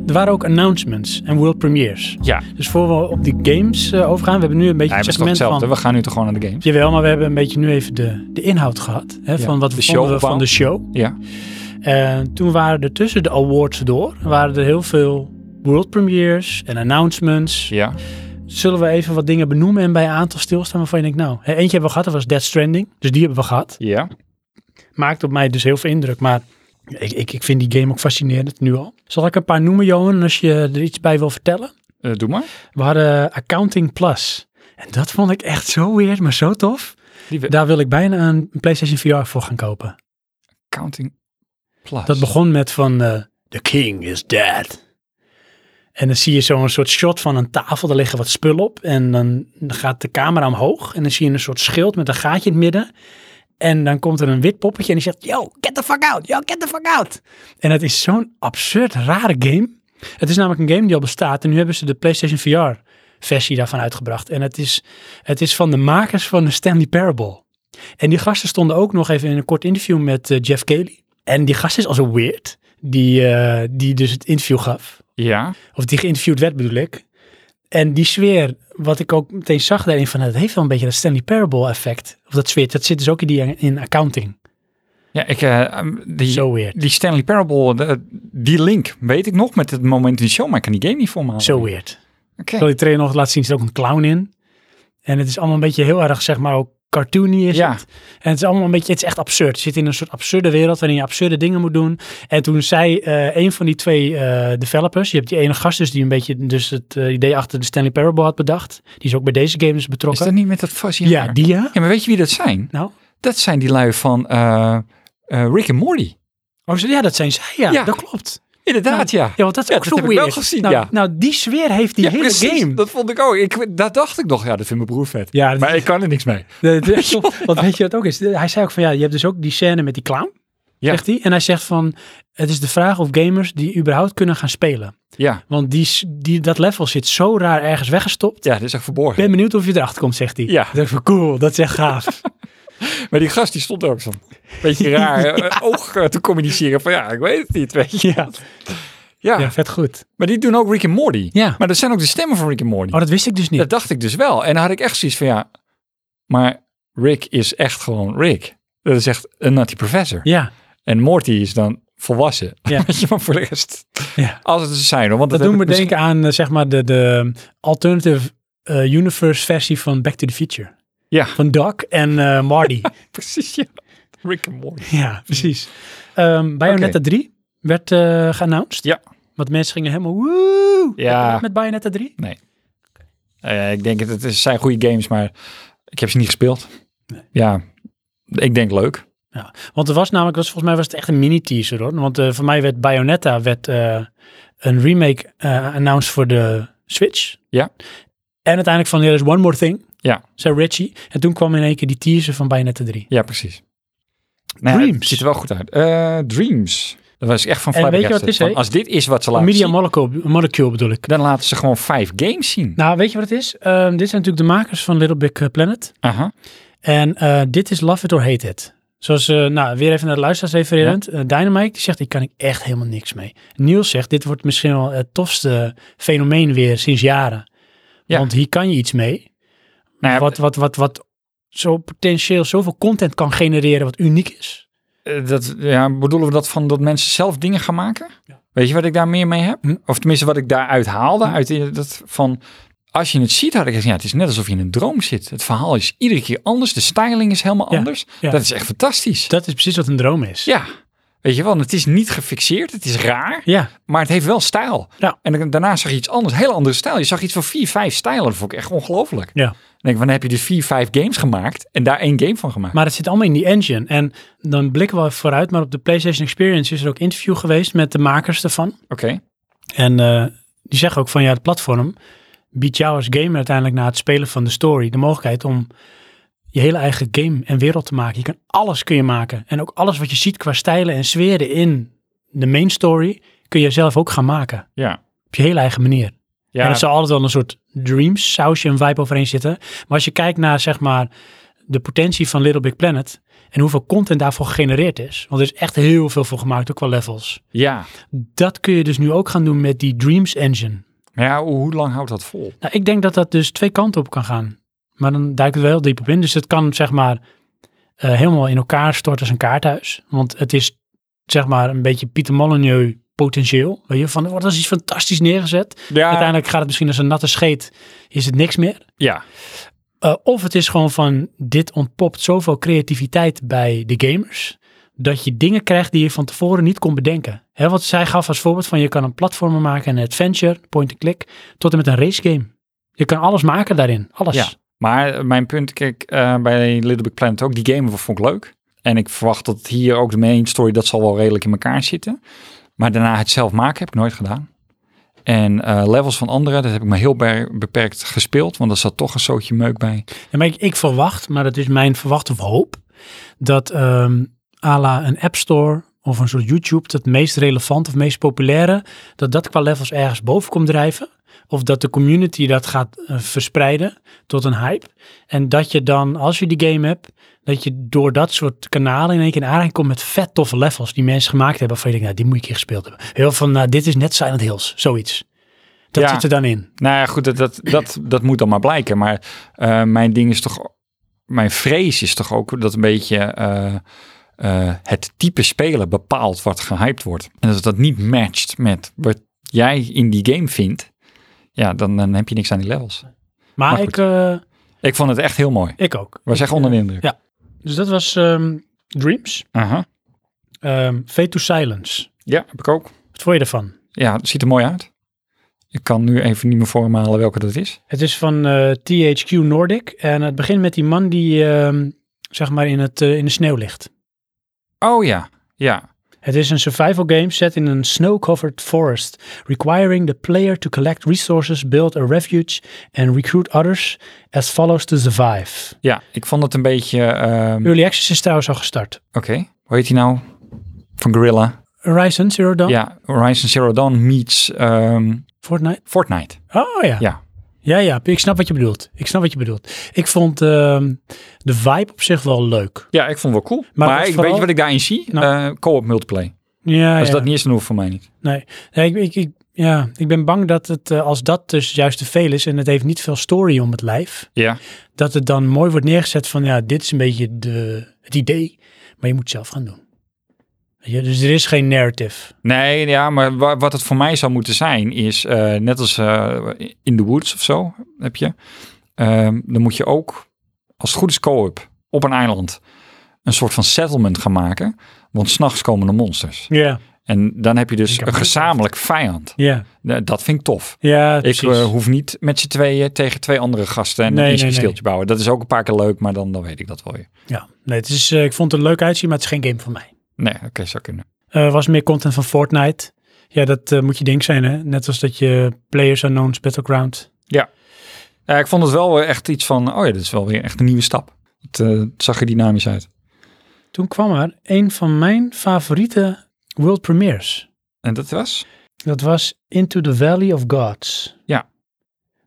A: Er waren ook announcements en world premieres.
B: ja,
A: Dus voor we op die games eh, overgaan, we hebben nu een beetje
B: hij
A: het
B: is toch
A: segment
B: hetzelfde.
A: van...
B: We gaan nu toch gewoon naar de games.
A: Jawel, maar we hebben een beetje nu even de, de inhoud gehad. Hè, van wat we
B: de
A: vonden
B: show
A: van de show.
B: Ja,
A: En toen waren er tussen de awards door, waren er heel veel world premieres en announcements.
B: ja,
A: Zullen we even wat dingen benoemen en bij een aantal stilstaan waarvan je denkt, nou, hè, eentje hebben we gehad, dat was Dead Stranding. Dus die hebben we gehad.
B: ja.
A: Maakt op mij dus heel veel indruk, maar ik, ik, ik vind die game ook fascinerend, nu al. Zal ik een paar noemen, Johan, als je er iets bij wil vertellen?
B: Eh, doe maar.
A: We hadden Accounting Plus. En dat vond ik echt zo weird, maar zo tof.
B: Die we-
A: Daar wil ik bijna een PlayStation VR voor gaan kopen.
B: Counting Plus.
A: Dat begon met van eh, The King is dead. En dan zie je zo'n soort shot van een tafel, daar liggen wat spullen op. En dan gaat de camera omhoog en dan zie je een soort schild met een gaatje in het midden. En dan komt er een wit poppetje en die zegt, yo, get the fuck out, yo, get the fuck out. En het is zo'n absurd rare game. Het is namelijk een game die al bestaat en nu hebben ze de PlayStation VR versie daarvan uitgebracht. En het is, het is van de makers van de Stanley Parable. En die gasten stonden ook nog even in een kort interview met eh, Jeff Kelly. En die gast is al zo weird, die, eh, die dus het interview gaf
B: Ja.
A: of die geïnterviewd werd bedoel ik. En die sfeer, wat ik ook meteen zag daarin, van het heeft wel een beetje dat Stanley Parable effect. Of dat sfeer, dat zit dus ook in, die, in accounting.
B: Ja, ik, eh, um, die,
A: Zo weird.
B: die Stanley Parable, de- die link, weet ik nog met het moment in de show, maar ik kan die game niet voor me halen.
A: Zo weird.
B: Oké.
A: Ik wil die trailer nog laten zien, er zit ook een clown in. En het is allemaal een beetje heel erg, zeg maar, ook cartoony is
B: Ja.
A: het. En het is allemaal een beetje, het is echt absurd. Je zit in een soort absurde wereld waarin je absurde dingen moet doen. En toen zei eh, een van die twee eh, developers, je hebt die ene gast dus die een beetje dus het eh, idee achter de Stanley Parable had bedacht. Die is ook bij deze games
B: Is
A: betrokken.
B: dat niet met dat fuzzy
A: ja,
B: haar?
A: die ja.
B: Ja, maar weet je wie dat zijn?
A: Nou,
B: Dat zijn die lui van eh, eh, Rick en Morty.
A: Oh, zo- ja, dat zijn zij. Ja,
B: Ja.
A: dat klopt.
B: Inderdaad, ja.
A: Ja, want dat is
B: Ja,
A: ook
B: dat
A: zo
B: heb ik
A: weird.
B: wel gezien,
A: nou,
B: ja.
A: nou, die sfeer heeft die
B: Ja,
A: hele
B: precies.
A: game.
B: Dat vond ik ook. Ik, dat dacht ik nog. Ja, dat vindt mijn broer vet.
A: Ja, dat-
B: maar ik kan er niks mee. (laughs)
A: Dat- dat- Want weet je wat ook is? Hij zei ook van, ja, je hebt dus ook die scène met die clown,
B: Ja.
A: zegt hij. En hij zegt van, het is de vraag of gamers die überhaupt kunnen gaan spelen.
B: Ja,
A: Want die, s- die, dat level zit zo raar ergens weggestopt.
B: ja dat is echt verborgen.
A: Ik ben benieuwd of je erachter komt, zegt hij.
B: Ja.
A: Ik dacht van, cool, dat is echt
B: (laughs)
A: gaaf.
B: Maar die gast die stond er ook zo'n
A: (laughs)
B: beetje raar eh, oog eh, te communiceren. Van ja, ik weet het niet. Weet je.
A: ja.
B: Ja,
A: ja, vet goed.
B: maar die doen ook Rick en Morty.
A: Ja.
B: Maar dat zijn ook de stemmen van Rick en Morty.
A: Oh, dat wist ik dus niet.
B: Dat dacht ik dus wel. En dan had ik echt zoiets van ja, maar Rick is echt gewoon Rick. Dat is echt een nutty professor.
A: ja,
B: En Morty is dan volwassen.
A: Ja.
B: (laughs) Weet je, maar voor de rest.
A: ja.
B: Als het is zijn hoor. Want
A: Dat,
B: dat,
A: doen
B: heb
A: we
B: ik misschien-
A: denken aan, eh, zeg maar, de, de alternative eh, universe versie van Back to the Future.
B: Ja.
A: Van Doc en eh, Marty.
B: (laughs) Precies, ja. Rick en Morty.
A: ja, (laughs) precies. Ehm Bayonetta 3 werd eh geannounced.
B: Ja.
A: Want mensen gingen helemaal woe
B: Ja.
A: met Bayonetta 3.
B: Eh, ik denk dat het is- zijn goede games, maar ik heb ze niet gespeeld. Ja, ik denk leuk.
A: Want er was namelijk, was, volgens mij was het echt een mini-teaser hoor. Want eh, voor mij werd Bayonetta werd, eh, een remake eh, announced voor de Switch.
B: Ja.
A: En uiteindelijk van, er is one more thing.
B: Ja.
A: Zei Richie. En toen kwam in één keer die teaser van Bayonetta 3.
B: Ja, precies. Nou,
A: Dreams.
B: Het ziet er wel goed uit. Eh, Dreams. Dat was ik echt van
A: En
B: flabbergasted.
A: weet je wat het is,
B: Van,
A: hè?
B: Als dit is wat ze
A: Een
B: laten
A: Media
B: zien,
A: molecule, molecule bedoel ik.
B: dan laten ze gewoon vijf games zien.
A: Nou, weet je wat het is? Ehm, dit zijn natuurlijk de makers van Little Big eh, Planet.
B: Aha.
A: En eh, dit is Love It or Hate It. Zoals, eh, nou, weer even naar de luisteraars refererend. Eh, Dynamite, die zegt, ik kan ik echt helemaal niks mee. Niels zegt, dit wordt misschien wel het tofste fenomeen weer sinds jaren.
B: Ja.
A: Want hier kan je iets mee.
B: Nou ja,
A: wat, wat, wat, wat zo potentieel zoveel content kan genereren wat uniek is.
B: Eh, dat, ja, bedoelen we dat van dat mensen zelf dingen gaan maken? Weet je wat ik daar meer mee heb?
A: Hm.
B: Of tenminste wat ik daaruit haalde? Uit die- dat van, als je het ziet, had ik gezegd, ja, het is net alsof je in een droom zit. Het verhaal is iedere keer anders. De styling is helemaal
A: Ja,
B: anders.
A: ja.
B: Dat is echt fantastisch.
A: Dat is precies wat een droom is.
B: Ja, weet je wel. Het is niet gefixeerd. Het is raar.
A: ja.
B: Maar het heeft wel stijl.
A: Ja.
B: En dan- daarna zag je iets anders. Heel andere stijl. Je zag iets van vier, vijf stijlen. Dat vond ik echt ongelooflijk.
A: Ja.
B: Dan denk ik, van, dan heb je dus vier, vijf games gemaakt. En daar één game van gemaakt.
A: Maar het zit allemaal in die engine. En dan blikken we vooruit. Maar op de PlayStation Experience is er ook interview geweest met de makers ervan.
B: Oké.
A: En eh, die zeggen ook van ja, het platform biedt jou als gamer uiteindelijk na het spelen van de story de mogelijkheid om je hele eigen game en wereld te maken. Je kan alles kun je maken. En ook alles wat je ziet qua stijlen en sferen in de main story kun je zelf ook gaan maken.
B: Ja.
A: Op je hele eigen manier.
B: Ja,
A: En het zal altijd wel een soort dreams sausje en vibe overheen zitten. Maar als je kijkt naar zeg maar de potentie van Little Big Planet en hoeveel content daarvoor gegenereerd is. Want er is echt heel veel voor gemaakt, ook qua levels.
B: ja.
A: Dat kun je dus nu ook gaan doen met die Dreams Engine.
B: Maar ja, hoe, hoe lang houdt dat vol?
A: Nou, ik denk dat dat dus twee kanten op kan gaan. Maar dan duiken we wel diep op in. Dus het kan zeg maar eh, helemaal in elkaar storten als een kaarthuis. Want het is zeg maar een beetje Pieter Molyneux potentieel. Weet je, van er wordt als iets fantastisch neergezet.
B: Ja,
A: Uiteindelijk gaat het misschien als een natte scheet. Is het niks meer.
B: ja.
A: Eh, of het is gewoon van, dit ontpopt zoveel creativiteit bij de gamers, dat je dingen krijgt die je van tevoren niet kon bedenken. Hè, wat zij gaf als voorbeeld van, je kan een platformer maken, een adventure, point-and-click, tot en met een race game. Je kan alles maken daarin, alles.
B: Ja. Maar mijn punt, kijk, eh, bij Little Big Planet ook, die game vond ik leuk. En ik verwacht dat hier ook de main story, dat zal wel redelijk in elkaar zitten. Maar daarna het zelf maken heb ik nooit gedaan. En eh, levels van anderen, dat heb ik maar heel be- beperkt gespeeld, want er zat toch een zootje meuk bij.
A: Ja, maar ik, ik verwacht, maar dat is mijn verwacht of hoop, dat ehm à la een App Store of een soort YouTube, dat meest relevant of meest populaire, dat dat qua levels ergens boven komt drijven. Of dat de community dat gaat eh, verspreiden tot een hype. En dat je dan, als je die game hebt, dat je door dat soort kanalen in één keer in aanraking komt met vet toffe levels die mensen gemaakt hebben. Van je denkt, nou, die moet ik hier gespeeld hebben. Heel veel van, nou, dit is net Silent Hills, zoiets. Dat
B: Ja.
A: zit er dan in.
B: Nou ja, goed, dat, dat, dat, dat moet dan maar blijken. Maar eh, mijn ding is toch, mijn vrees is toch ook dat een beetje eh, eh, het type speler bepaalt wat gehyped wordt. En als dat niet matcht met wat jij in die game vindt, ja, dan, dan heb je niks aan die levels.
A: Maar,
B: Maar goed.
A: ik, eh,
B: Ik vond het echt heel mooi.
A: ik ook.
B: We zijn onder de indruk.
A: ja. Dus dat was ehm, Dreams.
B: Aha.
A: Ehm Fade to Silence.
B: Ja, heb ik ook.
A: Wat vond je ervan?
B: Ja, het ziet er mooi uit. Ik kan nu even niet meer voormalen welke dat is.
A: Het is van eh, THQ Nordic. En het begint met die man die ehm, zeg maar in, het, eh, in de sneeuw ligt.
B: Oh ja, ja.
A: Het is een survival game set in een snow-covered forest, requiring the player to collect resources, build a refuge and recruit others as follows to survive.
B: Ja, ik vond het een beetje... ehm,
A: Early Access is trouwens al gestart.
B: Oké, hoe heet die nou? Van Gorilla.
A: Horizon Zero Dawn?
B: Ja, Horizon Zero Dawn meets ehm,
A: Fortnite?
B: Fortnite.
A: Oh ja.
B: Ja.
A: Ja, ja, ik snap wat je bedoelt. Ik snap wat je bedoelt. Ik vond ehm, de vibe op zich wel leuk.
B: Ja, ik vond het wel cool.
A: Maar
B: Maar,
A: dat
B: ik,
A: vooral-
B: weet je wat Ah, ik daarin zie?
A: Nou.
B: Eh, co-op multiplayer.
A: Ja,
B: Als
A: ja.
B: dat niet is, dan hoeft het voor mij niet.
A: Nee, nee ik, ik, ik- ja, ik ben bang dat het, eh, als dat dus juist te veel is en het heeft niet veel story om het lijf,
B: Ja.
A: dat het dan mooi wordt neergezet van, ja, dit is een beetje de, het idee, maar je moet het zelf gaan doen. Weet je, dus er is geen narrative.
B: Nee, ja, maar wa- wat het voor mij zou moeten zijn is, eh, net als eh, in the woods of zo, heb je, ehm, dan moet je ook, als het goed is co-op, op een eiland, een soort van settlement gaan maken, want s'nachts komen de monsters.
A: Ja,
B: En dan heb je dus
A: Ik heb
B: een
A: het
B: gezamenlijk vijand.
A: ja,
B: Nou, Dat vind ik tof.
A: ja,
B: Ik
A: precies.
B: eh, hoef niet met z'n tweeën tegen twee andere gasten en
A: Nee,
B: een
A: nee, nee.
B: steeltje bouwen. Dat is ook een paar keer leuk, maar dan, dan weet ik dat wel weer.
A: ja. Nee, het is, eh, ik vond het er leuk uitzien, maar het is geen game voor mij.
B: Nee, oké, zou kunnen.
A: Er Eh, was meer content van Fortnite. Ja, dat eh, moet je ding zijn, hè? Net als dat je Players Unknowns Battleground.
B: Ja, ik vond het wel weer echt iets van, oh ja, dit is wel weer echt een nieuwe stap. Het, eh, het zag er dynamisch uit.
A: Toen kwam er een van mijn favoriete world premieres.
B: En dat was?
A: Dat was Into the Valley of Gods.
B: Ja.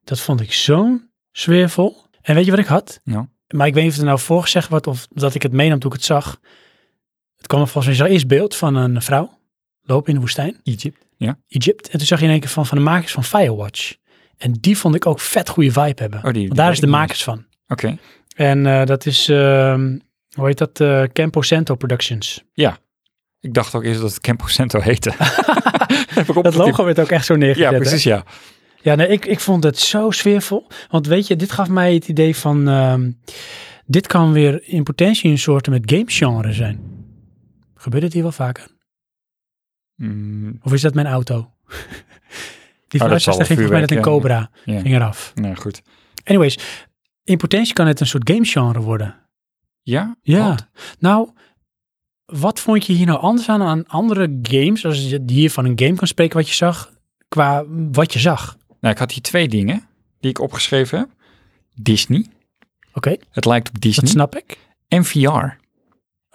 A: Dat vond ik zo'n sfeervol. En weet je wat ik had?
B: Nou.
A: Maar ik weet niet of er nou voorgezegd wordt of dat ik het meenam toen ik het zag. Het kwam er volgens mij zo'n beeld van een vrouw lopen in de woestijn,
B: Egypte.
A: Egypte. En toen zag je in één keer van, van de makers van Firewatch. En die vond ik ook vet goede vibe hebben.
B: Oh, die- die
A: Want daar
B: weet
A: is de
B: ik niet
A: makers van.
B: Oké.
A: En eh, dat is, ehm, hoe heet dat? eh Campo Santo Productions.
B: Ik dacht ook eerst dat het Campo Santo
A: (laughs)
B: heette. Heb ik
A: Dat logo werd ook echt zo neergezet.
B: Ja,
A: hè?
B: precies, ja.
A: Ja, nee, ik, ik vond het zo sfeervol. Want weet je, dit gaf mij het idee van... ehm, dit kan weer in potentie een soort met gamegenre zijn. Gebeurt dit hier wel vaker?
B: Mm,
A: Of is dat mijn auto? (laughs) Die
B: zal
A: oh,
B: wel
A: ging volgens mij net een
B: vuurwerk, ja.
A: Cobra.
B: Ja.
A: Ging eraf.
B: nou goed.
A: Anyways, in potentie kan het een soort gamegenre worden.
B: Ja?
A: Ja,
B: Wat?
A: nou, wat vond je hier nou anders aan aan andere games? Als je hier van een game kan spreken wat je zag, qua wat je zag.
B: Nou, ik had hier twee dingen die ik opgeschreven heb. Disney.
A: Oké,
B: Het lijkt op
A: dat nou-
B: Disney.
A: snap ik.
B: En VR.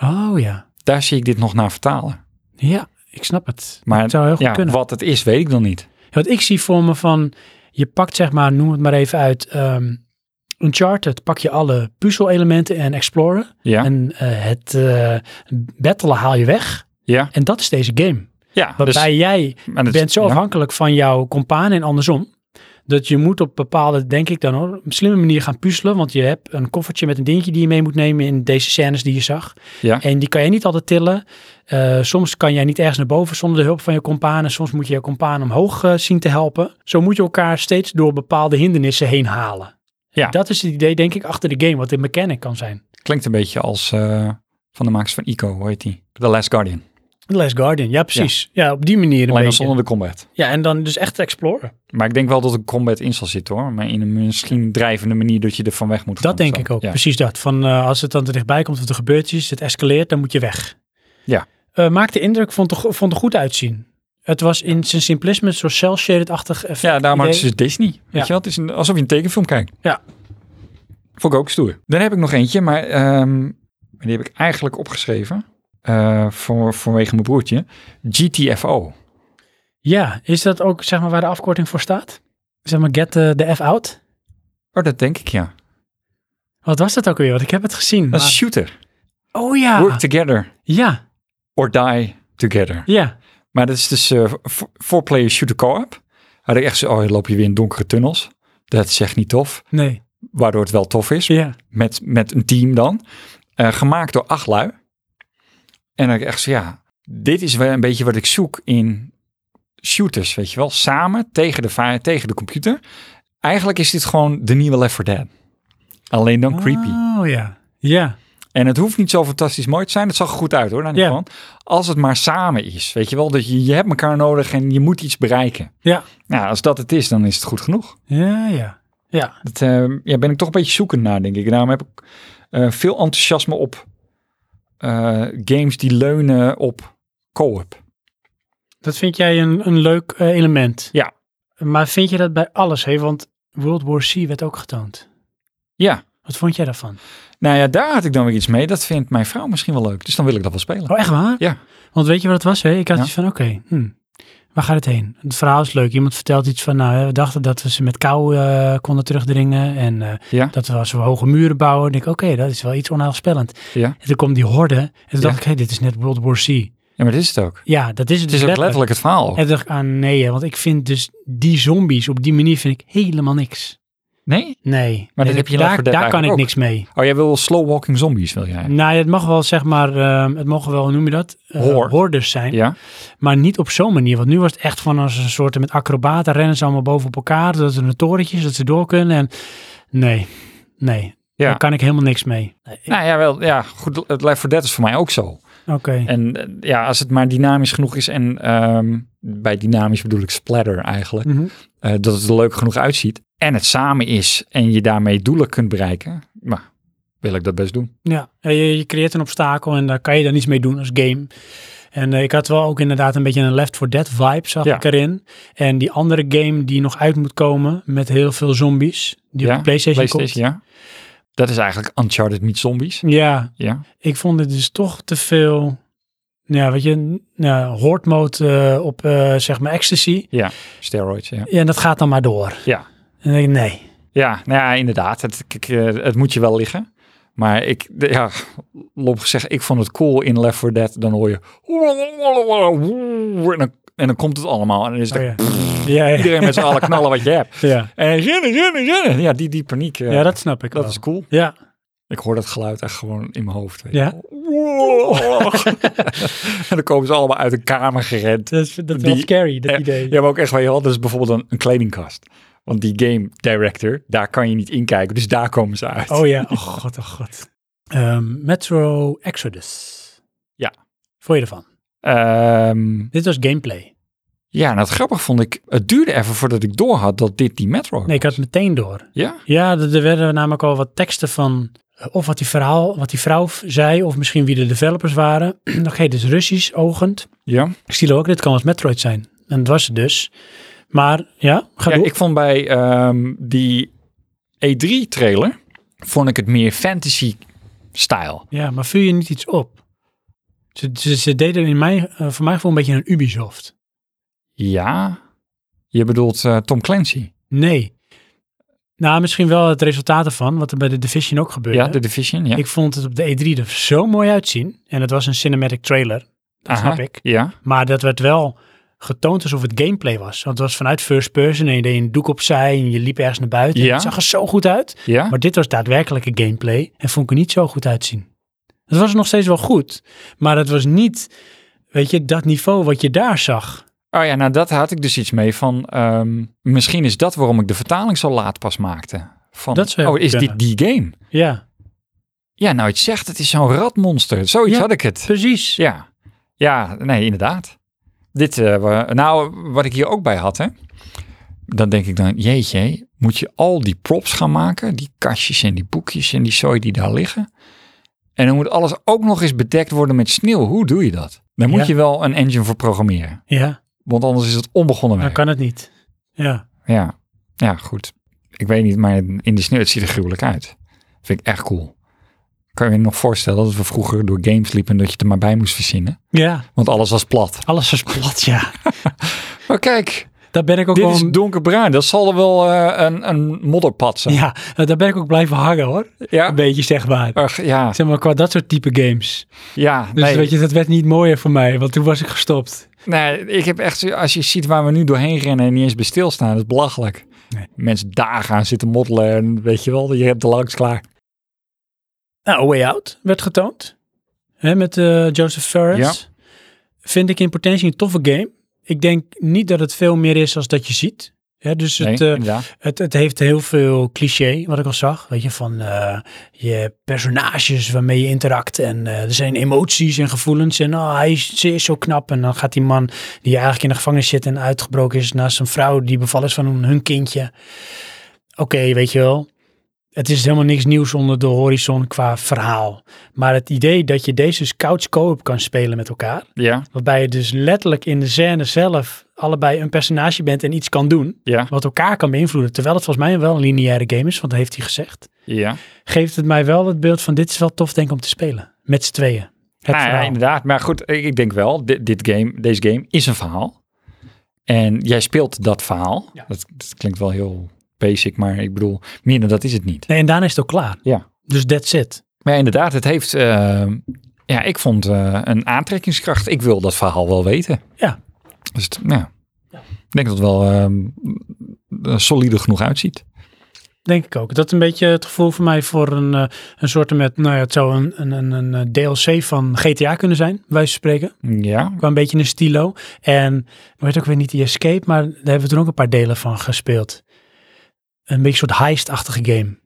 A: Oh ja.
B: Daar zie ik dit nog naar vertalen.
A: Ja, ik snap het. Maar
B: Maar
A: het zou heel goed
B: ja,
A: kunnen.
B: wat het is, weet ik dan niet.
A: Ja, Want ik zie voor me van, je pakt zeg maar, noem het maar even uit, ehm Uncharted, pak je alle puzzelelementen en exploren.
B: Ja,
A: En eh, het eh battelen haal je weg.
B: ja,
A: En dat is deze game.
B: ja.
A: Waarbij jij
B: maar dat-
A: bent zo
B: ja.
A: afhankelijk van jouw compaan en andersom. Dat je moet op bepaalde, denk ik dan hoor, een slimme manier gaan puzzelen. Want je hebt een koffertje met een dingetje die je mee moet nemen in deze scènes die je zag.
B: Ja.
A: En die kan je niet altijd tillen. Eh, soms kan jij niet ergens naar boven zonder de hulp van je compaan. En soms moet je je compaan omhoog eh, zien te helpen. Zo moet je elkaar steeds door bepaalde hindernissen heen halen.
B: Ja.
A: Dat is het idee, denk ik, achter de game, wat de mechanic kan zijn.
B: Klinkt een beetje als eh, van de makers van Ico, hoe heet die? The Last Guardian.
A: The Last Guardian, ja precies. Ja, op die manier een
B: Alleen dan
A: beetje.
B: zonder de combat.
A: Ja, en dan dus echt exploren.
B: Maar ik denk wel dat er combat in zal zitten hoor. Maar in een misschien drijvende manier dat je er van weg moet gaan.
A: Dat denk
B: of
A: ik
B: zo.
A: ook,
B: Ja.
A: precies dat. Van eh, als het dan te dichtbij komt of er gebeurt iets, het escaleert, dan moet je weg.
B: Ja.
A: Eh, maakt de indruk, vond er, go- vond er goed uitzien. Eh, Het was in zijn simplisme een soort cel-shaded-achtig effect.
B: Ja, daarom
A: idee.
B: is het Disney. Weet
A: Ja.
B: je wel? Het is een, alsof je een tekenfilm kijkt.
A: Ja.
B: Vond ik ook stoer. Dan heb ik nog eentje, maar ehm, die heb ik eigenlijk opgeschreven. eh, voor, vanwege mijn broertje. GTFO.
A: Ja, is dat ook zeg maar waar de afkorting voor staat? Zeg maar get eh, the F out?
B: Oh, dat denk ik ja.
A: Wat was dat ook weer? Want ik heb het gezien.
B: Dat is
A: maar-
B: shooter.
A: Oh ja.
B: Work together
A: Ja,
B: or die together.
A: ja.
B: Maar dat is dus eh, v- four-player shooter co-op. Had ik echt zo, oh, dan loop je weer in donkere tunnels. Dat is echt niet tof.
A: Nee.
B: Waardoor het wel tof is.
A: Ja.
B: met, met een team dan. eh, gemaakt door acht lui. En dan echt zo, ja, dit is wel een beetje wat ik zoek in shooters, weet je wel. Samen tegen de, va- tegen de computer. Eigenlijk is dit gewoon de nieuwe Left 4 Dead. Alleen dan creepy.
A: Oh ja. Ja.
B: En het hoeft niet zo fantastisch mooi te zijn. Het zag er goed uit hoor, daar niet
A: Ja.
B: van. Als het maar samen is, weet je wel. Dat je, je hebt elkaar nodig en je moet iets bereiken.
A: Ja.
B: Nou, als dat het is, dan is het goed genoeg.
A: Ja, ja. Ja.
B: Dat, eh, ja, ben ik toch een beetje zoekend naar, denk ik. Daarom heb ik eh, veel enthousiasme op eh, games die leunen op co-op.
A: Dat vind jij een, een leuk eh, element.
B: Ja.
A: Maar vind je dat bij alles? Hè? Want World War C werd ook getoond.
B: Ja,
A: Wat vond jij daarvan?
B: nou ja, daar had ik dan weer iets mee. Dat vindt mijn vrouw misschien wel leuk. Dus dan wil ik dat wel spelen.
A: Oh, echt waar?
B: Ja.
A: Want weet je wat het was? Hè? Ik had
B: Ja.
A: iets van, oké, hm, waar gaat het heen? Het verhaal is leuk. Iemand vertelt iets van, nou, hè, we dachten dat we ze met kou eh, konden terugdringen. En eh,
B: Ja.
A: dat we als we hoge muren bouwen. Ik denk, oké, dat is wel iets onheilspellend.
B: Ja.
A: En toen kwam die horde. En toen
B: Ja.
A: dacht ik, hé, dit is net World War C.
B: Ja, maar dit is het ook.
A: Ja, dat is het,
B: Het is
A: dus
B: ook letterlijk het verhaal.
A: En toen dacht ik, ah nee, hè, want ik vind dus die zombies op die manier vind ik helemaal niks.
B: Nee?
A: Nee. Maar
B: dat heb je in Left 4
A: daar,
B: Dead
A: daar kan ik
B: eigenlijk
A: niks mee.
B: Oh, jij wil wel slow walking zombies, wil jij?
A: Nou, het mag wel, zeg maar, ehm, het mogen wel, hoe noem je dat? Eh,
B: Hoor.
A: Hordes zijn.
B: Ja.
A: Maar niet op zo'n manier. Want nu was het echt van als een soort met acrobaten rennen ze allemaal boven op elkaar. Dat ze een torentjes, dat ze door kunnen. En nee, nee.
B: Ja.
A: Daar kan ik helemaal niks mee. Nee, ik-
B: Nou ja, wel, ja, goed. Het Left 4 Dead is voor mij ook zo.
A: Oké.
B: En eh, ja, als het maar dynamisch genoeg is en ehm, bij dynamisch bedoel ik splatter eigenlijk.
A: Mhm.
B: Eh, dat het er leuk genoeg uitziet. En het samen is en je daarmee doelen kunt bereiken. Nou, wil ik dat best doen.
A: Ja, eh, je, je creëert een obstakel en daar kan je dan iets mee doen als game. En eh, ik had wel ook inderdaad een beetje een Left 4 Dead vibe, zag
B: Ja.
A: ik erin. En die andere game die nog uit moet komen met heel veel zombies, die op de PlayStation, komt.
B: ja. Dat is eigenlijk Uncharted meets zombies.
A: Ja,
B: Ja.
A: ik vond het dus toch te veel, ja, weet je, n- nou, horde mode eh, op eh, zeg maar ecstasy.
B: Ja. Steroids, ja.
A: Ja, en dat gaat dan maar door.
B: Ja.
A: En dan denk ik, nee.
B: Ja, nou ja, inderdaad. Het, kijk, eh, het moet je wel liggen. Maar ik, de- ja, lomp gezegd, ik vond het cool in Left 4 Dead. Dan hoor je... En dan, en dan komt het allemaal. En dan is het
A: Oh, ja. Ja, ja.
B: iedereen met z'n allen knallen wat je
A: (laughs)
B: hebt.
A: ja.
B: En rennen, rennen, rennen. Ja, die, die paniek. eh,
A: ja, dat snap ik
B: dat
A: wel.
B: is cool.
A: Ja,
B: Ik hoor dat geluid echt gewoon in mijn hoofd. Weet
A: Ja?
B: je wel. (laughs) en dan komen ze allemaal uit een kamer gerend.
A: dat is, dat is wel
B: Die-
A: scary, dat
B: eh,
A: idee.
B: Ja, maar ook echt, weet je wel, dat is bijvoorbeeld een, een kledingkast. Want die game director, daar kan je niet in kijken. Dus daar komen ze uit.
A: Oh ja, oh god, oh god. Ehm, Metro Exodus.
B: Ja.
A: Vond je ervan?
B: Ehm,
A: Dit was gameplay.
B: ja, nou het grappig vond ik, het duurde even voordat ik door had dat dit die Metro
A: Nee, ik had het meteen door.
B: Ja?
A: Ja, er er werden namelijk al wat teksten van... eh, Of wat die, verhaal, wat die vrouw v- zei, of misschien wie de developers waren. (clears throat) Nog hey, dus Russisch, ogend.
B: Ja.
A: Ik zie ook, dit kan als Metroid zijn. En dat was het dus. Maar ja, ga
B: ja
A: door.
B: ik vond bij ehm, die E3-trailer, vond ik het meer fantasy-stijl.
A: Ja, maar vul je niet iets op? Ze, ze, ze deden in mijn, eh, voor mij gewoon een beetje een Ubisoft.
B: Ja, je bedoelt eh, Tom Clancy.
A: Nee. Nou, misschien wel het resultaat ervan, wat er bij de Division ook gebeurde.
B: Ja, de Division, ja.
A: Ik vond het op de E3 er zo mooi uitzien. En het was een cinematic trailer, dat
B: Aha,
A: snap ik.
B: Ja,
A: Maar dat werd wel getoond alsof het gameplay was. Want het was vanuit first person en je deed een doek opzij en je liep ergens naar buiten.
B: Ja.
A: Het zag er zo goed uit.
B: ja.
A: Maar dit was daadwerkelijke gameplay en vond ik er niet zo goed uitzien. Het was nog steeds wel goed, maar het was niet, weet je, dat niveau wat je daar zag.
B: Oh ja, nou dat had ik dus iets mee van. ehm, misschien is dat waarom ik de vertaling zo laat pas maakte. Van,
A: Dat zou
B: oh, is
A: kunnen.
B: dit die game?
A: Ja,
B: Ja, nou, het zegt, het is zo'n ratmonster. Zoiets
A: Ja.
B: had ik het.
A: precies.
B: Ja, ja, nee, inderdaad. Dit, eh, wa- nou, wat ik hier ook bij had, hè. Dan denk ik dan, jeetje, moet je al die props gaan maken? Die kastjes en die boekjes en die zooi die daar liggen. En dan moet alles ook nog eens bedekt worden met sneeuw. Hoe doe je dat? Daar moet
A: Ja.
B: je wel een engine voor programmeren.
A: Ja,
B: Want anders is het onbegonnen
A: Dan
B: werk.
A: kan het niet. Ja.
B: Ja. ja, goed. Ik weet niet, maar in de sneeuw het ziet er gruwelijk uit. Vind ik echt cool. Kan je je nog voorstellen dat we vroeger door games liepen en dat je het er maar bij moest verzinnen?
A: Ja,
B: Want alles was plat.
A: alles is plat, ja.
B: Maar kijk,
A: Daar ben ik ook
B: dit
A: wel...
B: is donkerbruin. Dat zal er wel eh, een, een modderpad zijn.
A: Ja, daar ben ik ook blijven hangen hoor.
B: Ja,
A: Een beetje zeg maar.
B: (laughs) Ach, ja.
A: Zeg maar qua dat soort type games.
B: ja
A: Dus
B: nee.
A: weet je, dat werd niet mooier voor mij, want toen was ik gestopt.
B: Nee, ik heb echt, zo- als je ziet waar we nu doorheen rennen en niet eens bij stilstaan, dat is belachelijk.
A: Nee.
B: Mensen dagen aan zitten moddelen en weet je wel, je hebt de langs klaar.
A: Nou, A Way Out werd getoond. Hè, met eh, Joseph Ferris. Vind ik in potentie een toffe game. Ik denk niet dat het veel meer is als dat je ziet. Hè, dus
B: Nee,
A: het, eh,
B: inderdaad.
A: Het, het heeft heel veel cliché, wat ik al zag. Weet je, van eh, je personages waarmee je interact. En eh, er zijn emoties en gevoelens. En oh, hij is, ze is zo knap. En dan gaat die man die eigenlijk in de gevangenis zit en uitgebroken is... naar zijn vrouw die bevallen is van hun, hun kindje. Oké, weet je wel. Het is helemaal niks nieuws onder de horizon qua verhaal. Maar het idee dat je deze couch co-op kan spelen met elkaar...
B: Ja,
A: waarbij je dus letterlijk in de scène zelf... allebei een personage bent en iets kan doen
B: ja,
A: wat elkaar kan beïnvloeden. Terwijl het volgens mij wel een lineaire game is, want dat heeft hij gezegd.
B: ja.
A: Geeft het mij wel het beeld van dit is wel tof denk ik om te spelen. Met z'n tweeën. Het
B: Ah, ja,
A: verhaal.
B: inderdaad. Maar goed, ik, ik denk wel, dit, dit game, deze game is een verhaal. En jij speelt dat verhaal.
A: Ja.
B: Dat, dat klinkt wel heel basic, maar ik bedoel, meer dan dat is het niet.
A: Nee, en daarna is het ook klaar.
B: Ja.
A: Dus that's it.
B: Maar inderdaad, het heeft, eh, ja, ik vond eh, een aantrekkingskracht. Ik wil dat verhaal wel weten.
A: Ja.
B: Dus het- ja. Ik denk dat het wel eh, eh, solide genoeg uitziet.
A: Denk ik ook. Dat is een beetje het gevoel voor mij voor een, eh, een soort met, nou ja, het zou een, een, een, een eh, DLC van GTA kunnen zijn, bij wijze van spreken.
B: Ja.
A: Qua een beetje een stilo. En weet ook weer niet die Escape, maar daar hebben we toen ook een paar delen van gespeeld. Een beetje een soort heist-achtige game.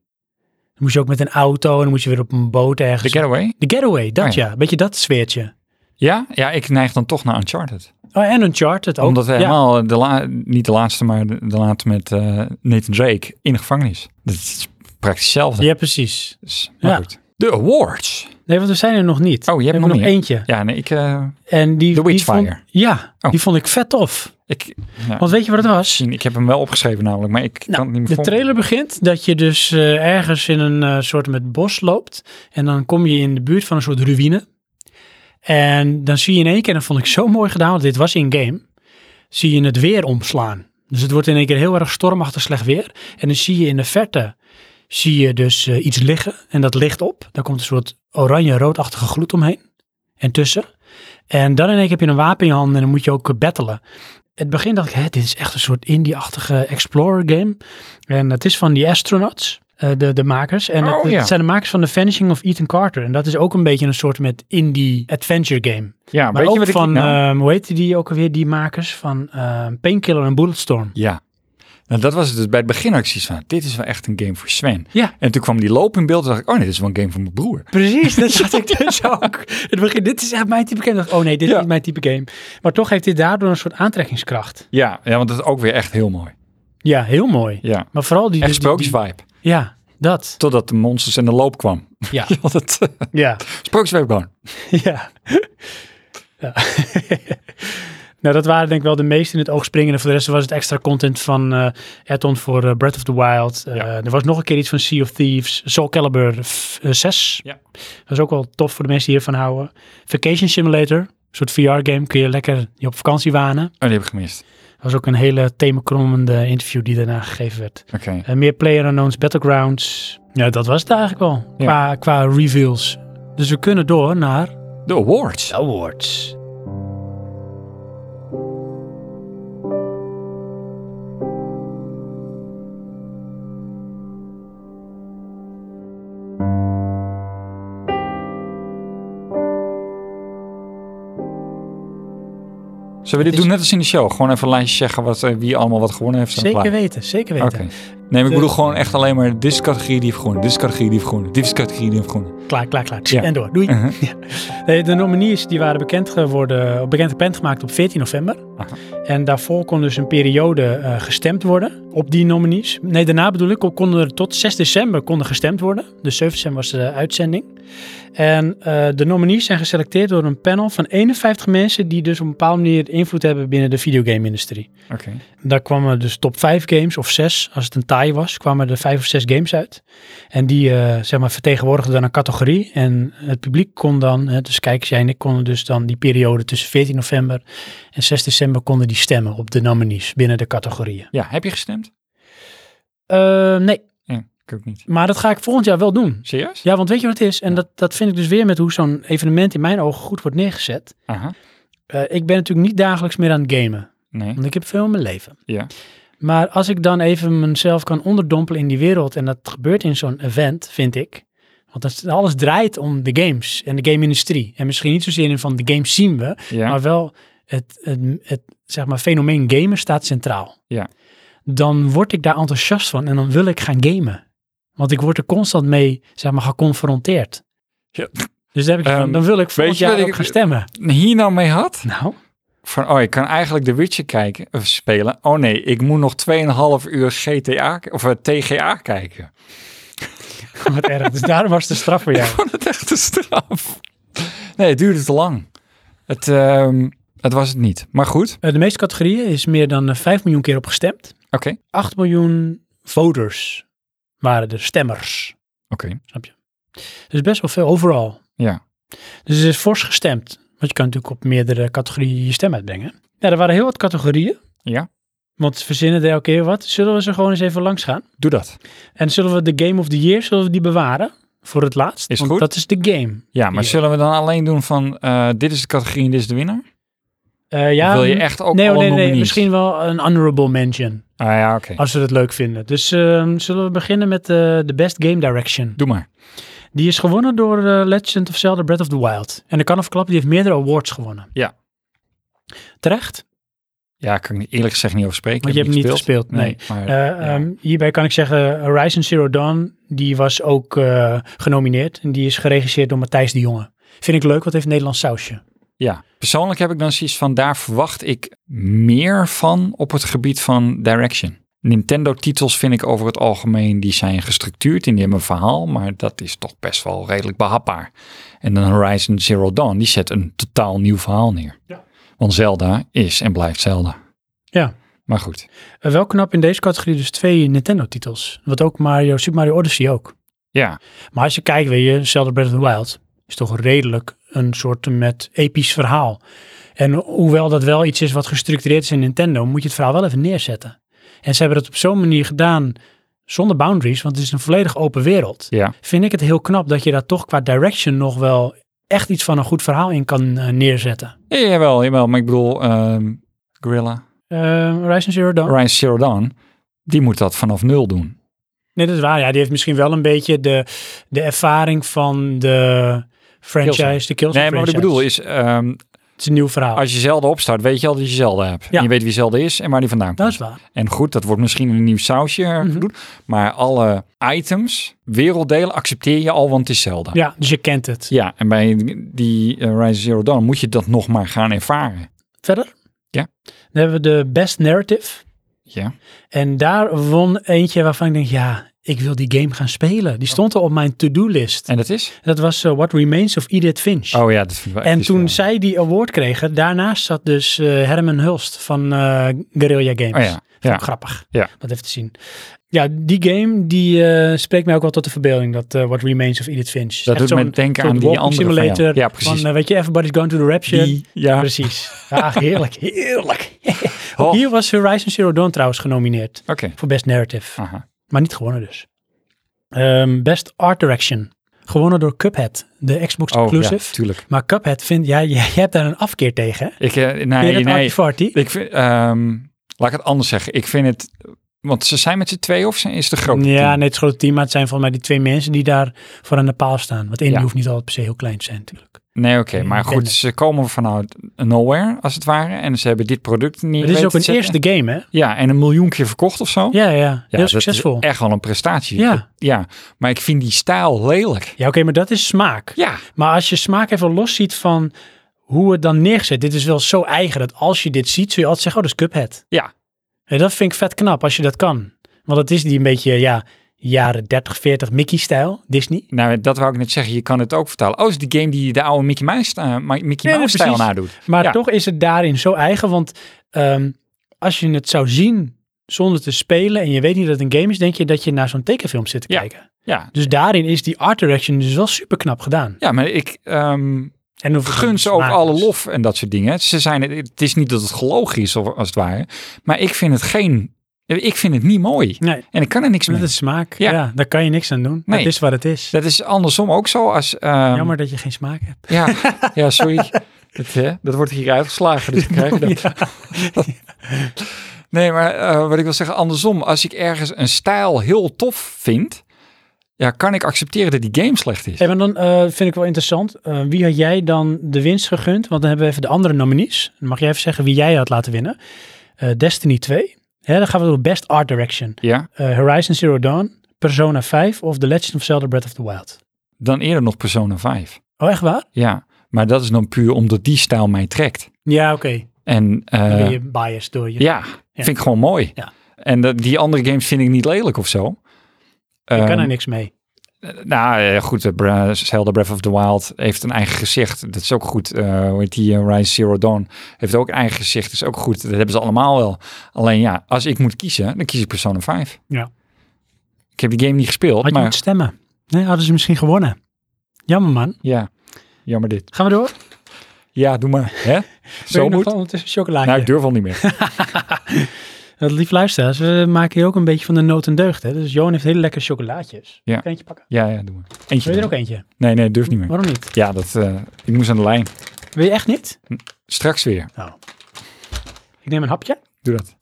A: Dan moest je ook met een auto en dan moest je weer op een boot
B: The
A: ergens.
B: Getaway?
A: The Getaway, dat
B: Oh ja.
A: ja. Beetje dat sfeertje.
B: Ja? Ja, ik neig dan toch naar Uncharted.
A: Oh, en Uncharted ook.
B: Omdat we
A: ja.
B: helemaal, de la- niet de laatste, maar de, de laatste met eh, Nathan Drake in de gevangenis. Dat is praktisch hetzelfde.
A: Ja, precies.
B: Dus, maar
A: Ja.
B: goed. De awards.
A: Nee, want we zijn er nog niet.
B: Oh, je hebt
A: we
B: nog
A: hebben nog
B: niet, hè?
A: eentje.
B: Ja, nee, ik... eh,
A: En die,
B: The
A: die
B: Witchfire.
A: vond- ja,
B: Oh.
A: die vond ik vet tof.
B: ik, ja,
A: Want weet je wat het was?
B: ik heb hem wel opgeschreven namelijk, maar ik
A: Nou,
B: kan het niet meer
A: De trailer begint dat je dus eh, ergens in een eh, soort met bos loopt. En dan kom je in de buurt van een soort ruïne. En dan zie je in één keer, en dat vond ik zo mooi gedaan, want dit was in-game. Zie je het weer omslaan. Dus het wordt in één keer heel erg stormachtig slecht weer. En dan zie je in de verte, zie je dus eh, iets liggen. En dat ligt op. Daar komt een soort oranje-roodachtige gloed omheen. En tussen. En dan in één keer heb je een wapen in je handen en dan moet je ook eh, battelen. Het begin dacht ik, hè, dit is echt een soort indie-achtige explorer game. En het is van die astronauts, eh, de, de makers. En het,
B: Oh,
A: het
B: ja.
A: zijn de makers van The Vanishing of Ethan Carter. En dat is ook een beetje een soort met indie-adventure game.
B: Ja,
A: Maar
B: Nou, weet
A: ook
B: je wat
A: van,
B: ik... nou-
A: ehm, hoe heet die ook alweer, die makers van ehm, Painkiller en Bulletstorm.
B: Ja. Nou, dat was het dus bij het begin acties van. Dit is wel echt een game voor Sven.
A: Ja.
B: En toen kwam die loop in beeld en dacht ik, oh nee, dit is wel een game voor mijn broer.
A: Precies, (laughs) dat zat ik dus ook. In Het begin, dit is echt mijn type game. Ik dacht, oh nee, dit
B: Ja.
A: is niet mijn type game. Maar toch heeft dit daardoor een soort aantrekkingskracht.
B: Ja, ja want dat is ook weer echt heel mooi.
A: Ja, heel mooi.
B: Ja.
A: Maar vooral die...
B: Echt
A: die- die-
B: sprookjesvibe.
A: Ja, dat.
B: Totdat de monsters en de loop (laughs) kwam.
A: (laughs) Ja,
B: Want het eh,
A: ja,
B: (laughs) sprookjesvibe kwam.
A: (laughs) ja. ja. (laughs) nou, dat waren denk ik wel de meest in het oog springende. Voor de rest was het extra content van eh Add-on voor eh, Breath of the Wild. Eh,
B: Ja.
A: Er was nog een keer iets van Sea of Thieves. Soul Calibur f- eh, 6.
B: Ja.
A: Dat is ook wel tof voor de mensen die hiervan houden. Vacation Simulator. Een soort VR-game. Kun je lekker je op vakantie wanen.
B: Oh, die heb ik gemist.
A: Dat was ook een hele themakromende interview die daarna gegeven werd.
B: Oké.
A: Eh, meer PlayerUnknown's Battlegrounds. Ja, dat was het eigenlijk wel.
B: Ja.
A: Qua, qua reveals. Dus we kunnen door naar
B: De awards.
A: awards.
B: Zullen we dit
A: is-
B: doen net als in de show? Gewoon even een lijstje zeggen wat, eh, wie allemaal wat gewonnen heeft. en
A: Zeker
B: klaar.
A: weten, zeker weten.
B: Oké. Nee, maar ik
A: De-
B: bedoel gewoon echt alleen maar dit is de categorie die heeft gewonnen. Dit is de categorie die heeft gewonnen. Dit is de categorie die heeft gewonnen.
A: Klaar, klaar, klaar.
B: Ja.
A: En door. Doei. (laughs)
B: Mhm.
A: Nee, de nominees die waren bekend geworden, bekend bekendgemaakt op 14 november.
B: Aha.
A: En daarvoor kon dus een periode eh, gestemd worden. op die nominees. Nee, daarna bedoel ik, konden er tot 6 december konden gestemd worden. Dus 7 december was de uitzending. En eh, de nominees zijn geselecteerd door een panel van 51 mensen die dus op een bepaalde manier invloed hebben binnen de videogame-industrie.
B: Oké.
A: Daar kwamen dus top 5 games of 6, als het een tie was, kwamen er 5 of 6 games uit. En die eh, zeg maar vertegenwoordigden dan een categorie. En het publiek kon dan, hè, dus kijkers jij en ik konden dus dan die periode tussen 14 november en 6 december konden die stemmen op de nominees binnen de categorieën.
B: Ja, heb je gestemd?
A: Eh, nee,
B: Ja, ik ook niet.
A: maar dat ga ik volgend jaar wel doen.
B: Serieus?
A: Ja, want weet je wat het is? En
B: Ja.
A: dat, dat vind ik dus weer met hoe zo'n evenement in mijn ogen goed wordt neergezet.
B: Aha.
A: Eh, ik ben natuurlijk niet dagelijks meer aan het gamen.
B: Nee.
A: Want ik heb veel in mijn leven.
B: Ja.
A: Maar als ik dan even mezelf kan onderdompelen in die wereld. En dat gebeurt in zo'n event, vind ik. Want dat, is- alles draait om de games en de game-industrie. En misschien niet zozeer in van de games zien we.
B: Ja.
A: Maar wel het, het, het zeg maar, fenomeen gamen staat centraal.
B: Ja.
A: Dan word ik daar enthousiast van en dan wil ik gaan gamen. Want ik word er constant mee zeg maar, geconfronteerd.
B: Ja.
A: Dus daar heb ik van,
B: Ehm,
A: dan wil ik volgend
B: weet je
A: jaar
B: wat
A: ook
B: ik-
A: gaan stemmen.
B: Hier nou mee had?
A: (laughs) Nou,
B: Van, oh, ik kan eigenlijk The Witcher kijken, of spelen. Oh nee, ik moet nog 2,5 uur GTA, k- of eh, TGA kijken. (laughs)
A: wat erg. Dus daarom was de straf voor jou.
B: (laughs) Gewoon het echt een straf. Nee, het duurde te lang. Het, ehm, het was het niet. Maar goed,
A: Eh, de meeste categorieën is meer dan eh, 5 miljoen keer op gestemd.
B: oké.
A: 8 miljoen voters waren de stemmers.
B: Oké,
A: Dus best wel veel overal.
B: ja.
A: Dus het is fors gestemd. Want je kan natuurlijk op meerdere categorieën je stem uitbrengen. Ja, er waren heel wat categorieën.
B: Ja.
A: Want ze verzinnen er elke keer wat. Zullen we ze gewoon eens even langs gaan?
B: Doe dat.
A: En zullen we de Game of the Year, zullen we die bewaren? Voor het laatst.
B: Is
A: Want
B: goed.
A: dat is de game.
B: Ja, maar
A: Ja.
B: zullen we dan alleen doen van, eh, dit is de categorie en dit is de winnaar?
A: Eh, ja,
B: Wil je echt ook
A: nee,
B: alle
A: nee, nee,
B: nominees?
A: misschien wel een honorable mention.
B: Ah ja, oké.
A: Als we het leuk vinden. Dus ehm, zullen we beginnen met eh, de Best Game Direction.
B: Doe maar.
A: Die is gewonnen door eh, Legend of Zelda Breath of the Wild. En ik kan al verklappen, die heeft meerdere awards gewonnen.
B: Ja.
A: Terecht?
B: Ja, kan ik niet- eerlijk gezegd niet over spreken.
A: Want je
B: Ik
A: hebt
B: heb
A: niet gespeeld, nee.
B: maar,
A: Eh, ehm, hierbij kan ik zeggen, Horizon Zero Dawn, die was ook eh, genomineerd. En die is geregisseerd door Matthijs de Jonge. Vind ik leuk, want het heeft een Nederlands sausje.
B: Ja, persoonlijk heb ik dan zoiets van, daar verwacht ik meer van op het gebied van direction. Nintendo-titels vind ik over het algemeen, die zijn gestructureerd en die hebben een verhaal, maar dat is toch best wel redelijk behapbaar. En dan Horizon Zero Dawn, die zet een totaal nieuw verhaal neer.
A: Ja.
B: Want Zelda is en blijft Zelda.
A: Ja.
B: Maar goed,
A: Eh, wel knap in deze categorie dus twee Nintendo-titels. Wat ook Mario, Super Mario Odyssey ook.
B: ja,
A: Maar als je kijkt, weet je, Zelda Breath of the Wild is toch redelijk een soort met episch verhaal. En hoewel dat wel iets is wat gestructureerd is in Nintendo, moet je het verhaal wel even neerzetten. En ze hebben het op zo'n manier gedaan zonder boundaries, want het is een volledig open wereld.
B: ja,
A: Vind ik het heel knap dat je daar toch qua direction nog wel echt iets van een goed verhaal in kan eh, neerzetten.
B: ja jawel, jawel, maar ik bedoel, ehm Gorilla,
A: Eh Horizon Zero Dawn.
B: Horizon Zero Dawn, die moet dat vanaf nul doen.
A: Nee, dat is waar. Ja, die heeft misschien wel een beetje de, de ervaring van de franchise,
B: Killzone.
A: de Killzone
B: Nee, maar wat ik
A: franchise.
B: bedoel is, ehm,
A: Het is een nieuw verhaal.
B: Als je Zelda opstart, weet je al dat je Zelda hebt.
A: Ja.
B: En je weet wie Zelda is en waar die vandaan
A: Dat
B: komt.
A: is waar.
B: En goed, dat wordt misschien een nieuw sausje eh,
A: Mhm.
B: gedoe. Maar alle items, werelddelen, accepteer je al, want het is Zelda.
A: Ja, dus je kent het.
B: Ja, en bij die eh, Rise Zero Dawn moet je dat nog maar gaan ervaren.
A: Verder?
B: Ja.
A: Dan hebben we de Best Narrative.
B: Ja,
A: En daar won eentje waarvan ik denk, ja, ik wil die game gaan spelen. Die stond al op mijn to-do-list.
B: en dat is?
A: Dat was eh, What Remains of Edith Finch.
B: Oh ja, dat vind ik wel echt
A: En
B: iets
A: toen
B: wel.
A: zij die award kregen, daarnaast zat dus eh, Herman Hulst van eh, Guerrilla Games.
B: Oh ja, ja.
A: Grappig,
B: Ja.
A: dat even te zien. Ja, die game die eh, spreekt mij ook wel tot de verbeelding, dat eh, What Remains of Edith Finch.
B: Dat doet me denken aan die andere van jou.
A: simulator
B: Ja,
A: van,
B: precies.
A: eh, weet je, Everybody's Going to the Rapture.
B: Die, ja.
A: Precies. Ja,
B: (laughs)
A: heerlijk, heerlijk.
B: Oh,
A: Hier was Horizon Zero Dawn trouwens genomineerd
B: Oké.
A: voor Best Narrative,
B: Aha. Oh,
A: maar niet gewonnen dus. Ehm, best Art Direction, gewonnen door Cuphead, de Xbox
B: Oh ja,
A: exclusive.
B: tuurlijk.
A: Maar Cuphead vind jij, (laughs) jij hebt daar een afkeer tegen. hè?
B: Ik, eh, nee,
A: Vind je dat
B: nee,
A: arty-farty?
B: Ik vind, ehm, laat ik het anders zeggen. Ik vind het, want ze zijn met z'n twee of zijn, is de grote
A: Ja,
B: team?
A: nee, het is grote team, maar het zijn volgens mij die twee mensen die daar voor aan de paal staan. Want één
B: Ja.
A: hoeft niet altijd per se heel klein te zijn natuurlijk.
B: Nee, oké.
A: Nee,
B: maar
A: ik ken
B: goed,
A: het.
B: ze komen vanuit nowhere, als het ware. En ze hebben dit product niet
A: Het is
B: weten
A: ook
B: te
A: een
B: zetten.
A: eerste game, hè?
B: Ja, en een miljoen keer verkocht of zo.
A: Ja, ja.
B: Ja,
A: heel
B: dat
A: succesvol.
B: is echt wel een prestatie.
A: Ja.
B: ja. Maar ik vind die stijl lelijk.
A: Ja, oké, maar dat is smaak.
B: Ja.
A: Maar als je smaak even los ziet van hoe het dan neergezet. Dit is wel zo eigen dat als je dit ziet, zul je altijd zeggen, oh, dat is Cuphead.
B: Ja.
A: En dat vind ik vet knap als je dat kan. Want het is die een beetje, ja, jaren 30, 40 Mickey-stijl, Disney.
B: Nou, dat wou ik net zeggen. Je kan het ook vertalen. Oh, is die game die de oude Mickey Mouse, eh, Ma- Mickey
A: nee,
B: Mouse stijl
A: precies.
B: nadoet.
A: Maar
B: Ja.
A: toch is het daarin zo eigen, want ehm, als je het zou zien zonder te spelen en je weet niet dat het een game is, denk je dat je naar zo'n tekenfilm zit te
B: Ja.
A: kijken.
B: Ja.
A: Dus daarin is die art direction dus wel super knap gedaan.
B: Ja, maar ik ehm
A: En hoe-
B: gun ze ook
A: maar-
B: alle lof en dat soort dingen. Ze zijn, het is niet dat het gelogen is, of- als het ware. Maar ik vind het geen... Ik vind het niet mooi.
A: Nee,
B: En ik kan er niks mee.
A: dat is smaak. Ja.
B: Ja.
A: daar kan je niks aan doen.
B: Nee.
A: Dat is wat het is.
B: Dat is andersom ook zo als... ehm,
A: Jammer dat je geen smaak hebt.
B: Ja, ja sorry.
A: (laughs)
B: Dat, hè, dat wordt hier uitgeslagen, dus ik krijg dat.
A: Ja.
B: Nee, maar eh, wat ik wil zeggen, andersom. Als ik ergens een stijl heel tof vind, ja, kan ik accepteren dat die game slecht is.
A: Hey, maar dan eh, vind ik wel interessant. eh, wie had jij dan de winst gegund? Want dan hebben we even de andere nominees. Dan mag jij even zeggen wie jij had laten winnen. Eh, Destiny 2. Hè, dan gaan we door Best Art Direction.
B: Ja,
A: Eh, Horizon Zero Dawn. Persona 5 of The Legend of Zelda Breath of the Wild.
B: dan eerder nog Persona 5.
A: Oh, echt waar?
B: Ja, maar dat is dan puur omdat die stijl mij trekt.
A: Ja, oké.
B: En eh,
A: Dan ben je biased door je.
B: ja, vind ik gewoon mooi.
A: Ja.
B: En dat, die andere games vind ik niet lelijk of zo.
A: Je kan er
B: Ehm,
A: niks mee.
B: Nou eh, goed, eh, Bra- Zelda Breath of the Wild heeft een eigen gezicht. Dat is ook goed. Eh hoe heet die? eh, Rise Zero Dawn heeft ook een eigen gezicht. Dat is ook goed. Dat hebben ze allemaal wel. Alleen ja, als ik moet kiezen, dan kies ik Persona 5.
A: Ja.
B: Ik heb die game niet gespeeld,
A: Had je
B: maar
A: moet stemmen. Nee, hadden ze misschien gewonnen. Jammer man.
B: ja, jammer dit.
A: Gaan we door?
B: Ja, doe maar. Hè?
A: (laughs) Wil
B: Zo
A: je nog
B: moet.
A: wel ondertussen een chocolaatje.
B: Nou, ik durf al niet
A: (laughs)
B: meer.
A: Dat lief luisteraars, we maken hier ook een beetje van de nood en deugd. Hè? Dus Johan heeft hele lekkere chocolaatjes.
B: Ja.
A: Kan je eentje pakken?
B: Ja, ja, doe maar. Eentje.
A: Wil je er
B: doen.
A: ook eentje?
B: Nee, nee, durf niet meer.
A: Waarom niet?
B: Ja, dat, eh, ik moest aan de lijn.
A: Wil je echt niet?
B: Straks weer.
A: Ik neem een hapje.
B: Doe dat.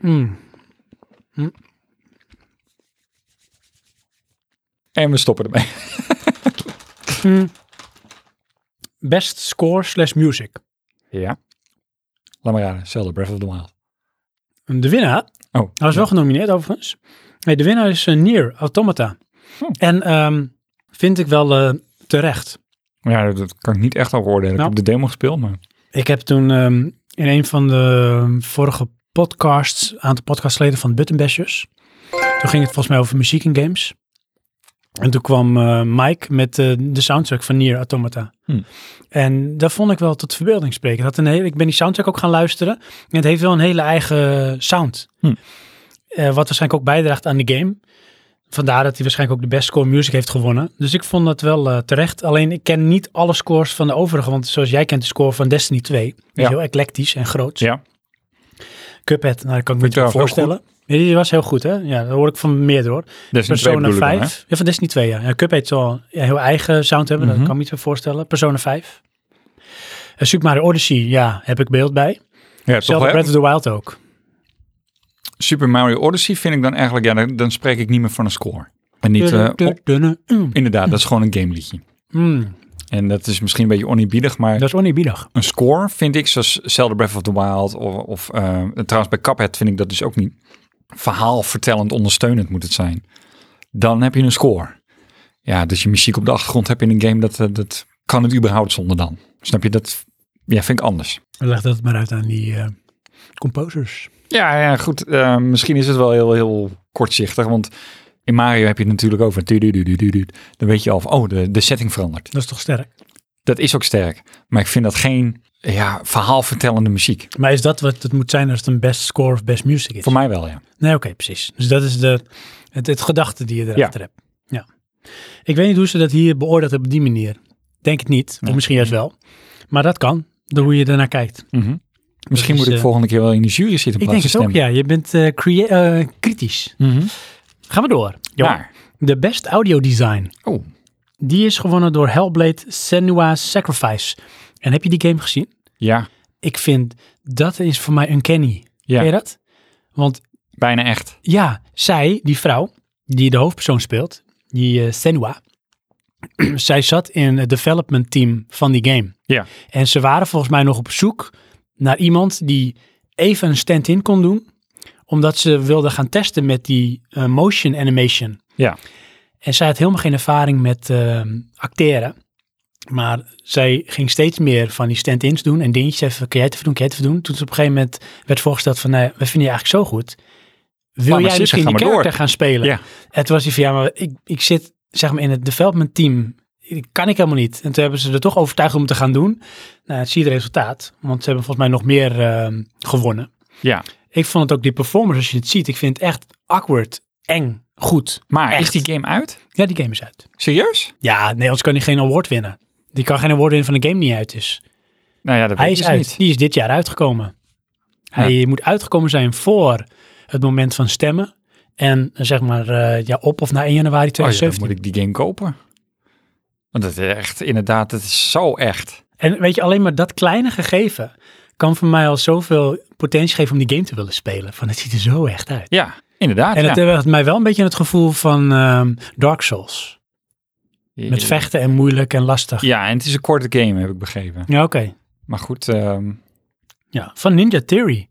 A: Mm.
B: En we stoppen ermee.
A: Mm. Best score slash music.
B: Ja. Laat maar raden. Zelda Breath of the Wild.
A: De winnaar,
B: Oh.
A: hij was wel genomineerd overigens. Nee, de winnaar is eh, Nier Automata.
B: Hm.
A: En ehm, vind ik wel eh, terecht.
B: Ja, dat- dat kan ik niet echt over oordelen.
A: Nou.
B: Ik heb de demo gespeeld, maar...
A: Ik heb toen ehm, in een van de ehm, vorige podcasts, een aantal podcastleden van Buttonbashers. Toen ging het volgens mij over muziek in games. En toen kwam eh, Mike met eh, de soundtrack van Nier Automata.
B: Hmm.
A: En dat vond ik wel tot verbeelding spreken. Dat een hele, ik ben die soundtrack ook gaan luisteren. En het heeft wel een hele eigen sound.
B: Hmm.
A: Eh, wat waarschijnlijk ook bijdraagt aan de game. Vandaar dat hij waarschijnlijk ook de best score music heeft gewonnen. Dus ik vond dat wel eh, terecht. Alleen ik ken niet alle scores van de overige. Want zoals jij kent de score van Destiny 2. Die is
B: Ja.
A: heel eclectisch en groot.
B: Ja.
A: Cuphead, nou, dat kan ik me
B: Vind
A: niet
B: ik trouwens heel
A: voorstellen. Ja, die was heel goed, hè? Ja, dat hoor ik van meerdere hoor.
B: Destiny 2
A: Persona
B: bedoel ik dan, hè?
A: 5. Ja, van Destiny 2, ja. ja Cuphead zal een heel eigen sound hebben,
B: Mhm.
A: dat kan ik me niet zo voorstellen. Persona 5. Eh, Super Mario Odyssey, ja, heb ik beeld bij.
B: Ja, toch
A: Zelfde
B: wel, hè?
A: Breath of the Wild ook.
B: Super Mario Odyssey vind ik dan eigenlijk... Ja, dan, dan spreek ik niet meer van een score. En niet... eh,
A: Dunne, dunne,
B: op-
A: dunne, mm.
B: inderdaad, dat is gewoon een gameliedje.
A: Mm,
B: En dat is misschien een beetje oneerbiedig, maar
A: Dat is oneerbiedig.
B: een score vind ik, zoals Zelda Breath of the Wild of... of eh, trouwens, bij Cuphead vind ik dat dus ook niet. Verhaalvertellend, ondersteunend moet het zijn. Dan heb je een score. Ja, dus je muziek op de achtergrond heb je in een game, dat, eh, dat kan het überhaupt zonder dan. Snap je? Dat ja, vind ik anders.
A: Leg dat maar uit aan die eh, composers.
B: Ja, ja goed. eh, misschien is het wel heel, heel kortzichtig. Want in Mario heb je het natuurlijk over. tudududududu. Dan weet je al van, oh, de, de setting verandert.
A: Dat is toch sterk?
B: Dat is ook sterk. Maar ik vind dat geen ja, verhaalvertellende muziek.
A: Maar is dat wat het moet zijn als het een best score of best music is?
B: Voor mij wel, ja.
A: Nee, oké, precies. Dus dat is de, het, het gedachte die je erachter hebt. Ja. Ik weet niet hoe ze dat hier beoordeeld hebben op die manier. Denk het niet, of
B: Nee.
A: misschien juist wel. Maar dat kan, door hoe je ernaar kijkt.
B: Mhm. Misschien
A: is,
B: moet ik
A: eh,
B: volgende keer wel in de jury
A: Ik
B: zitten. in
A: denk
B: plaats
A: het
B: van
A: ook, ja. Je bent eh, crea- eh, kritisch.
B: stemmen. Mhm.
A: Gaan we door.
B: Maar,
A: De Best Audio Design.
B: oh,
A: Die is gewonnen door Hellblade Senua's Sacrifice. En heb je die game gezien?
B: ja,
A: Ik vind, dat is voor mij uncanny.
B: Ja.
A: Ken je dat? Want
B: bijna echt.
A: Ja, zij, die vrouw, die de hoofdpersoon speelt, die eh, Senua, (clears throat) zij zat in het development team van die game.
B: Ja.
A: En ze waren volgens mij nog op zoek naar iemand die even een stand-in kon doen, omdat ze wilden gaan testen met die eh, motion animation.
B: Ja.
A: En zij had helemaal geen ervaring met ehm, acteren. Maar zij ging steeds meer van die stand-ins doen en dingetjes even, kun jij het even doen, kun jij het even doen. Toen ze op een gegeven moment werd voorgesteld van, nou, ja, we vinden je eigenlijk zo goed. Wil
B: Oh, maar
A: jij
B: zitten,
A: misschien
B: ga
A: die
B: maar
A: character
B: door.
A: gaan spelen?
B: Ja.
A: En toen was hij van, ja, maar ik, ik zit zeg maar in het development team. Ik- Kan ik helemaal niet. En toen hebben ze er toch overtuigd om het te gaan doen. Nou, het zie je het resultaat. Want ze hebben volgens mij nog meer ehm, gewonnen.
B: Ja.
A: Ik vond het ook die performance, als je het ziet. Ik vind het echt awkward, eng, goed.
B: Maar
A: Echt.
B: is die game uit?
A: Ja, die game is uit.
B: Serieus?
A: Ja, nee, anders kan hij geen award winnen. Die kan geen award winnen van de game die niet uit is.
B: Nou ja, dat
A: Hij
B: weet
A: is
B: ik dus
A: uit.
B: niet.
A: Die is dit jaar uitgekomen. Hij moet uitgekomen zijn voor het moment van stemmen. En eh, zeg maar eh, ja, op of na 1 januari
B: Oh ja, dan
A: 2017.
B: moet ik die game kopen. Want dat is echt, inderdaad, het is zo echt.
A: En weet je, alleen maar dat kleine gegeven kan voor mij al zoveel potentie geven om die game te willen spelen. Van het ziet er zo echt uit.
B: Ja, inderdaad.
A: En
B: ja.
A: het heeft mij wel een beetje het gevoel van ehm, Dark Souls. eh, Met vechten en moeilijk en lastig. Ja,
B: Ja, en het is een korte game, heb ik begrepen.
A: oké.
B: Maar goed, ehm,
A: Ja, van Ninja Theory.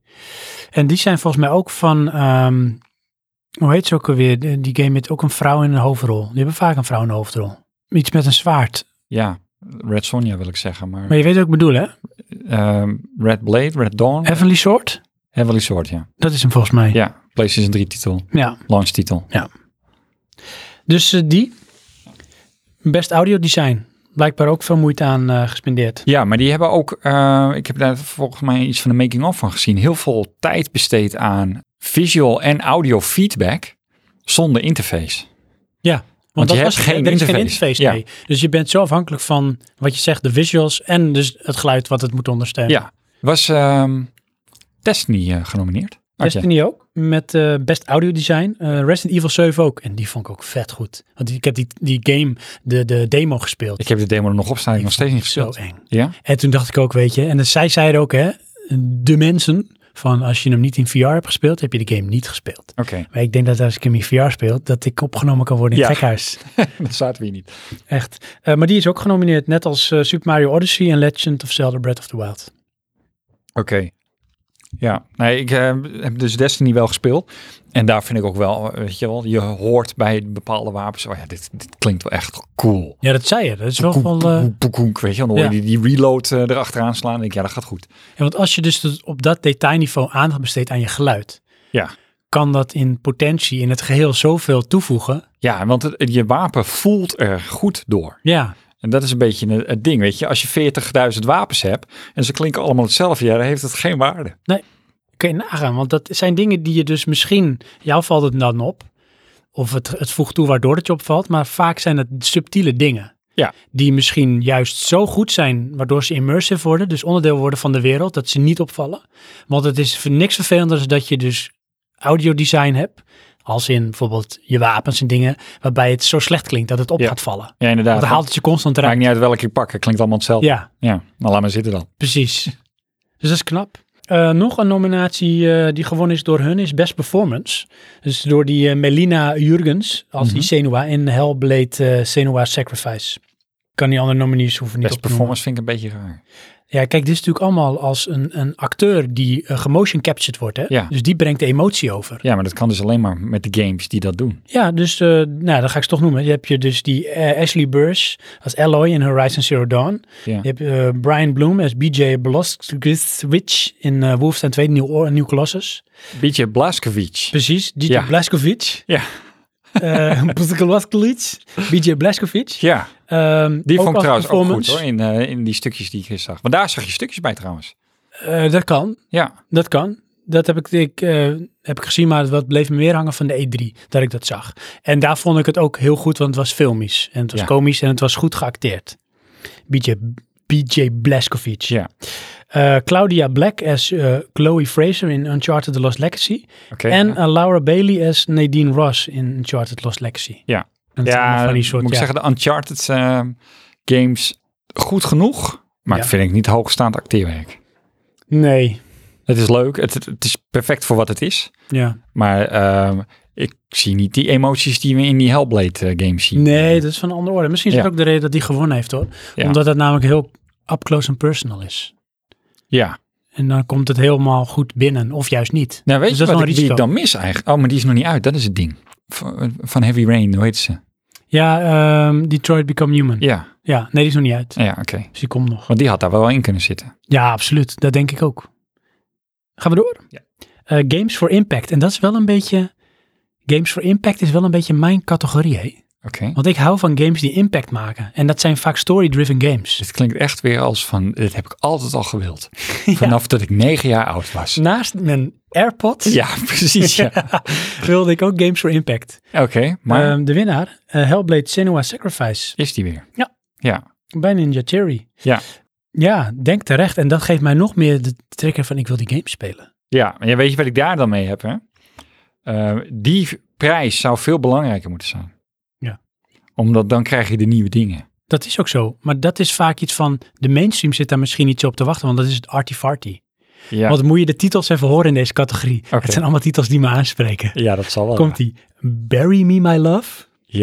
A: En die zijn volgens mij ook van, ehm, hoe heet ze ook alweer? De- Die game met ook een vrouw in een hoofdrol. Die hebben vaak een vrouw in een hoofdrol. Iets met een zwaard.
B: ja, Red Sonja wil ik zeggen. Maar
A: Maar je weet wat ik bedoel, hè?
B: ehm, Red Blade, Red Dawn,
A: Heavenly Sword?
B: Heavenly Sword, ja.
A: Dat is hem volgens mij.
B: Ja, PlayStation 3 titel,
A: ja.
B: launch titel.
A: Dus eh, die, best audio design. Blijkbaar ook veel moeite aan eh, gespendeerd.
B: Ja, maar die hebben ook, eh, ik heb daar volgens mij iets van de making-of van gezien, heel veel tijd besteed aan visual en audio feedback zonder interface.
A: Want,
B: Want je
A: dat
B: hebt
A: was
B: geen
A: er is geen
B: interface.
A: interface
B: Ja.
A: mee. Dus je bent zo afhankelijk van wat je zegt, de visuals en dus het geluid wat het moet ondersteunen.
B: Ja, was ehm Destiny eh, genomineerd. Artje.
A: Destiny ook, met eh, best audio design. Eh, Resident Evil 7 ook. En die vond ik ook vet goed. Want ik heb die, die game, de, de demo gespeeld.
B: Ik heb de demo er nog op staan, ik heb nog steeds niet
A: Zo
B: gespeeld.
A: eng.
B: Ja?
A: En toen dacht ik ook, weet je, en dat zij zeiden ook, hè, de mensen, van als je hem niet in VR hebt gespeeld, heb je de game niet gespeeld.
B: Oké,
A: Maar ik denk dat als ik hem in VR speel, dat ik opgenomen kan worden in
B: Ja.
A: het gekhuis.
B: (laughs) dat zaten we hier niet.
A: Echt. Eh, maar die is ook genomineerd, net als eh, Super Mario Odyssey en Legend of Zelda Breath of the Wild.
B: Oké. Ja, nee, ik eh, heb dus Destiny wel gespeeld. En daar vind ik ook wel, eh, weet je wel, je hoort bij bepaalde wapens, oh ja, dit, dit klinkt wel echt cool.
A: Ja, dat zei je. Dat is wel
B: Koek,
A: wel...
B: koek,
A: eh,
B: koek, koek, koek, weet je, dan hoor je
A: ja.
B: die, die reload eh, erachteraan slaan. En denk ik, ja, dat gaat goed.
A: Ja, want als je dus dat- op dat detailniveau aandacht besteedt aan je geluid,
B: Ja.
A: kan dat in potentie in het geheel zoveel toevoegen.
B: Ja, want het- je wapen voelt er goed door.
A: Ja,
B: En dat is een beetje het, het ding, weet je. Als je 40.000 wapens hebt en ze klinken allemaal hetzelfde, ja, dan heeft het geen waarde.
A: kun je nagaan. Want dat zijn dingen die je dus misschien, jou valt het dan op, of het, het voegt toe waardoor het je opvalt, maar vaak zijn het subtiele dingen.
B: Ja.
A: Die misschien juist zo goed zijn, waardoor ze immersive worden, dus onderdeel worden van de wereld, dat ze niet opvallen. Want het is voor niks vervelenders dat je dus audiodesign hebt, als in bijvoorbeeld je wapens en dingen, waarbij het zo slecht klinkt dat het op
B: Ja.
A: gaat vallen.
B: Ja, inderdaad.
A: Want dan haalt het je constant
B: Maakt
A: eruit.
B: niet uit welke ik pak, het klinkt allemaal hetzelfde.
A: Ja,
B: Ja, nou laat maar zitten dan.
A: precies. Dus dat is knap. Eh, nog een nominatie eh, die gewonnen is door hun is Best Performance. Dus door die eh, Melina Jurgens als die
B: Mhm.
A: Senua in Hellblade eh Senua Sacrifice. Kan die andere nominees hoeven niet
B: Best
A: op te noemen.
B: performance vind ik een beetje raar.
A: Ja, kijk, dit is natuurlijk allemaal als een, een acteur die eh, gemotion captured wordt. Hè?
B: Ja.
A: Dus die brengt de emotie over.
B: Ja, maar dat kan dus alleen maar met de games die dat doen.
A: Ja, dus eh, nou, dat ga ik ze toch noemen. Je hebt je dus die eh, Ashley Burse als Alloy in Horizon Zero Dawn.
B: Ja.
A: Je hebt eh, Brian Bloom als BJ Blazkowicz in eh, Wolfenstein 2 Nieuw, Or- Nieuw Colossus.
B: Beetje Blaskovic.
A: Precies, DJ
B: Ja.
A: Blazkowicz.
B: Ja.
A: Eh, (laughs) Blazkowicz. BJ Blazkowicz.
B: Ja,
A: Ehm,
B: die vond ik
A: als
B: trouwens ook goed
A: performance.
B: hoor, in, eh, in die stukjes die ik gisteren zag. Maar daar zag je stukjes bij trouwens.
A: Eh, dat kan,
B: Ja,
A: dat kan. Dat heb ik, ik, eh, heb ik gezien, maar wat bleef me meer hangen van de E3, dat ik dat zag. En daar vond ik het ook heel goed, want het was filmisch. En het was
B: Ja.
A: komisch en het was goed geacteerd. BJ, BJ Blazkowicz.
B: ja.
A: Eh, Claudia Black as eh, Chloe Fraser in Uncharted The Lost Legacy.
B: Oké.
A: en
B: ja.
A: eh, Laura Bailey as Nadine Ross in Uncharted Lost Legacy.
B: Ja.
A: En het zijn allemaal
B: Ja,
A: van die soort,
B: moet ik
A: ja.
B: zeggen, de Uncharted eh, games goed genoeg, maar
A: Ja.
B: vind ik niet hoogstaand acteerwerk.
A: Nee,
B: Het is leuk, het, het- het is perfect voor wat het is,
A: ja.
B: maar ehm, ik zie niet die emoties die we in die Hellblade eh, games zien.
A: Nee, dat is van een andere orde. Misschien is
B: Ja.
A: dat ook de reden dat die gewonnen heeft hoor.
B: Ja.
A: Omdat het namelijk heel up close and personal is.
B: Ja,
A: En dan komt het helemaal goed binnen, of juist niet.
B: nou weet
A: Dus dat is
B: je
A: wel een
B: wat ik, wie ik
A: risico.
B: dan mis eigenlijk? Oh, maar die is nog niet uit, dat is het ding. Van, van Heavy Rain, hoe heet ze?
A: Ja, ehm, Detroit Become Human.
B: Ja,
A: Ja, nee, die is nog niet uit.
B: Ja, oké.
A: Dus die komt nog.
B: Want die had daar wel in kunnen zitten.
A: Ja, absoluut. Dat denk ik ook. Gaan we door?
B: Ja.
A: Eh, games for Impact. En dat is wel een beetje... Games for Impact is wel een beetje mijn categorie, hè?
B: Oké.
A: Want ik hou van games die impact maken. En dat zijn vaak story-driven games.
B: Dit klinkt echt weer als van, dit heb ik altijd al
A: (laughs)
B: gewild. Vanaf dat ik negen jaar oud was.
A: Naast mijn AirPods (laughs)
B: Ja, precies. Ja.
A: wilde ik ook Games for Impact.
B: Oké, maar
A: Ehm, de winnaar, eh, Hellblade Senua Sacrifice
B: is die weer?
A: Ja.
B: Ja,
A: bij Ninja Theory.
B: Ja.
A: Ja, denk terecht. En dat geeft mij nog meer de trigger van ik wil die game spelen.
B: ja. En ja, weet je wat ik daar dan mee heb, hè? Eh, die prijs zou veel belangrijker moeten zijn.
A: Ja.
B: Omdat dan krijg je de nieuwe dingen.
A: Dat is ook zo. Maar dat is vaak iets van, de mainstream zit daar misschien niet zo op te wachten, want dat is het arty-farty.
B: Ja,
A: Want moet je de titels even horen in deze categorie.
B: Oké. Oh.
A: Het zijn allemaal titels die me aanspreken.
B: ja dat zal wel.
A: Komt die Bury Me My Love,
B: Ja,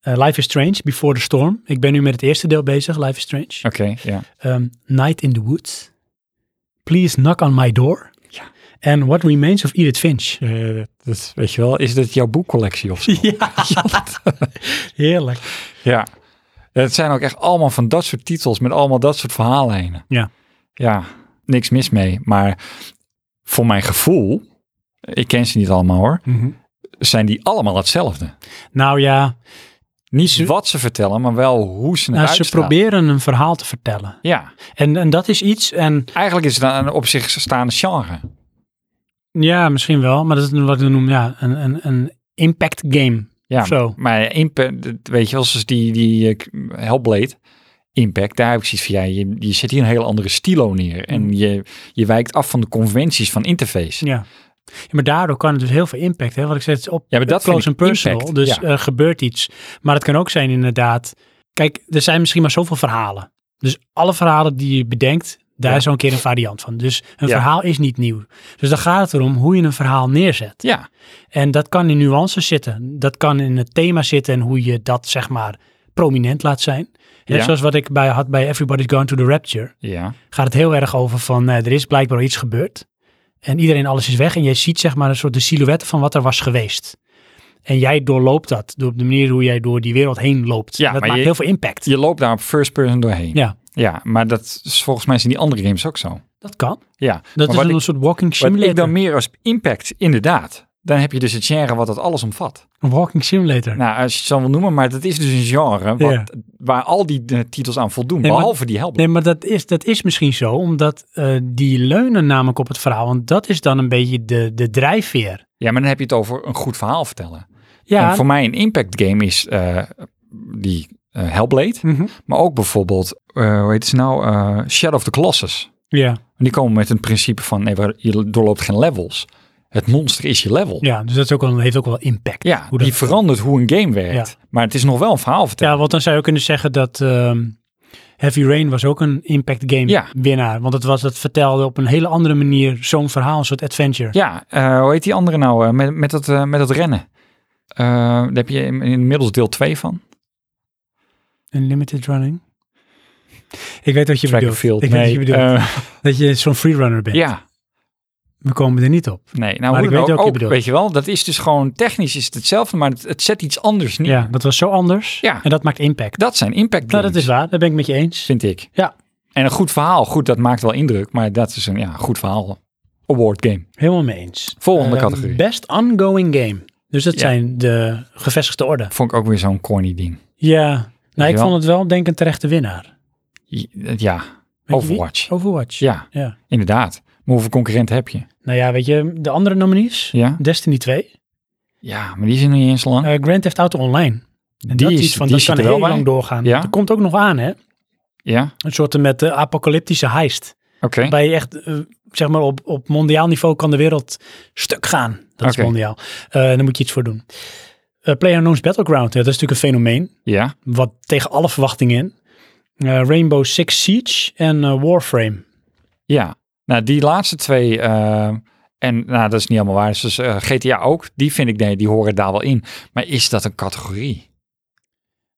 B: Ja,
A: eh, Life is Strange, Before the Storm. Ik ben nu met het eerste deel bezig, Life is Strange.
B: oké, ja.
A: Ehm, Night in the Woods. Please Knock on My Door.
B: Ja.
A: En What Remains of Edith Finch.
B: weet je wel, Eh, is dit jouw boekcollectie of zo?
A: (laughs) Ja, heerlijk.
B: Ja. Het zijn ook echt allemaal van dat soort titels met allemaal dat soort verhaallijnen.
A: Ja.
B: Ja, niks mis mee. Maar voor mijn gevoel, ik ken ze niet allemaal hoor, zijn die allemaal hetzelfde.
A: Nou ja,
B: Niet wat ze vertellen, maar wel hoe ze het
A: nou, ze
B: uitstralen.
A: proberen een verhaal te vertellen.
B: Ja,
A: En, en dat is iets, en
B: eigenlijk is het een op zich staande genre.
A: ja, misschien wel, maar dat is een- wat ik noem ja, een, een, een impact game.
B: Ja,
A: Zo.
B: maar Impact, dat- weet je wel, zoals die, die eh, k- Hellblade Impact, daar heb ik zoiets van, ja, je, je zet hier een hele andere stilo neer. En je, je wijkt af van de conventies van interface.
A: Mm. Ja. Ja, maar daardoor kan het dus heel veel impact hebben. Wat ik zei, het is op
B: Ja, maar dat
A: up close and
B: vind ik
A: personal.
B: impact,
A: Dus
B: ja.
A: er gebeurt iets. Maar het kan ook zijn inderdaad. Kijk, er zijn misschien maar zoveel verhalen. Dus alle verhalen die je bedenkt, daar
B: Ja.
A: is zo'n keer een variant van. Dus een
B: Ja.
A: verhaal is niet nieuw. Dus dan gaat het erom hoe je een verhaal neerzet.
B: Ja,
A: En dat kan in nuances zitten. Dat kan in het thema zitten en hoe je dat zeg maar prominent laat zijn. Net
B: Ja.
A: Zoals wat ik bij, had bij Everybody's Gone to the Rapture.
B: ja.
A: Gaat het heel erg over van eh, er is blijkbaar iets gebeurd. En iedereen alles is weg. En jij ziet zeg maar een soort de silhouetten van wat er was geweest. En jij doorloopt dat. Door op de manier hoe jij door die wereld heen loopt.
B: Ja,
A: dat
B: maar
A: maakt
B: je-
A: heel veel impact.
B: Je loopt daar op first person doorheen.
A: Ja,
B: Ja, maar dat is volgens mij zijn die andere games ook zo.
A: dat kan.
B: Ja,
A: Dat
B: maar
A: is
B: wat,
A: een
B: ik,
A: soort walking
B: wat ik
A: simulator.
B: dan meer als impact, inderdaad. Dan heb je dus het genre wat dat alles omvat.
A: Een walking simulator.
B: Nou, als je het zo wil noemen, maar dat is dus een genre wat,
A: Ja.
B: waar al die eh, titels aan voldoen.
A: Nee, maar-
B: behalve die Hellblade.
A: Nee, maar dat is, dat is misschien zo, omdat eh, die leunen namelijk op het verhaal. Want dat is dan een beetje de, de drijfveer.
B: Ja, maar dan heb je het over een goed verhaal vertellen.
A: Ja,
B: En voor mij een impact game is eh, die eh, Hellblade.
A: mhm.
B: Maar ook bijvoorbeeld, eh, hoe heet het nou? Eh, Shadow of the Colossus.
A: ja,
B: Die komen met een principe van, nee, waar- je doorloopt geen levels. Het monster is je level.
A: ja, dus dat is ook wel, heeft ook wel impact.
B: Ja,
A: hoe dat-
B: die verandert hoe een game werkt. Maar het is nog wel een verhaal vertellen.
A: Ja, want dan zou je kunnen zeggen dat ehm, Heavy Rain was ook een impact game
B: Ja.
A: winnaar. Want het was, dat vertelde op een hele andere manier zo'n verhaal, een soort adventure.
B: Ja, eh, hoe heet die andere nou? eh, met, met, dat, eh, met dat rennen. Eh, daar heb je in- inmiddels deel 2 van.
A: Een limited running. Ik weet wat je
B: Track and
A: bedoelt. (laughs)
B: Field.
A: Ik weet
B: nee,
A: wat je bedoelt.
B: eh,
A: dat je zo'n freerunner bent.
B: ja,
A: We komen er niet op.
B: nee. Nou,
A: Maar
B: hoe
A: ik
B: dan
A: weet
B: ook,
A: wat je
B: ook,
A: bedoelt.
B: weet je wel, dat is dus gewoon technisch is het hetzelfde, maar het, het zet iets anders neer.
A: Ja, dat was zo anders.
B: Ja.
A: En dat maakt impact.
B: Dat zijn impact
A: Nou,
B: games,
A: dat is waar. Daar ben ik met je eens.
B: vind ik.
A: Ja.
B: En een goed verhaal, goed, dat maakt wel indruk, maar dat is een ja, goed verhaal. Award game.
A: Helemaal mee eens.
B: Volgende
A: Eh,
B: categorie.
A: Best ongoing game. Dus dat
B: Ja.
A: zijn de gevestigde orde.
B: Vond ik ook weer zo'n corny ding.
A: Ja. Nou, ik
B: wel?
A: vond het wel denk ik een terechte winnaar.
B: Ja,
A: wie?
B: Overwatch.
A: Overwatch.
B: Ja,
A: Ja.
B: inderdaad. Maar hoeveel concurrenten heb je?
A: Nou ja, weet je, de andere nominees?
B: Ja,
A: Destiny 2.
B: ja maar die zijn nog niet eens lang.
A: Eh, Grand Theft Auto Online. En dat
B: is-
A: is iets van,
B: die
A: dat
B: zit
A: kan
B: er wel
A: heel
B: bij.
A: lang doorgaan.
B: Ja.
A: Dat komt ook nog aan, hè?
B: Ja,
A: Een soort met de apocalyptische heist.
B: oké.
A: Waarbij je echt, eh, zeg maar, op, op mondiaal niveau kan de wereld stuk gaan. Dat
B: Oké.
A: is mondiaal. Eh, en daar moet je iets voor doen. Eh PlayerUnknown's Battleground, ja, dat is natuurlijk een fenomeen.
B: Ja,
A: wat tegen alle verwachtingen in. Eh, Rainbow Six Siege en eh, Warframe.
B: ja. Nou, die laatste twee, eh, en nou, dat is niet helemaal waar. Dus eh, GTA ook, die vind ik, nee, die horen daar wel in. Maar is dat een categorie?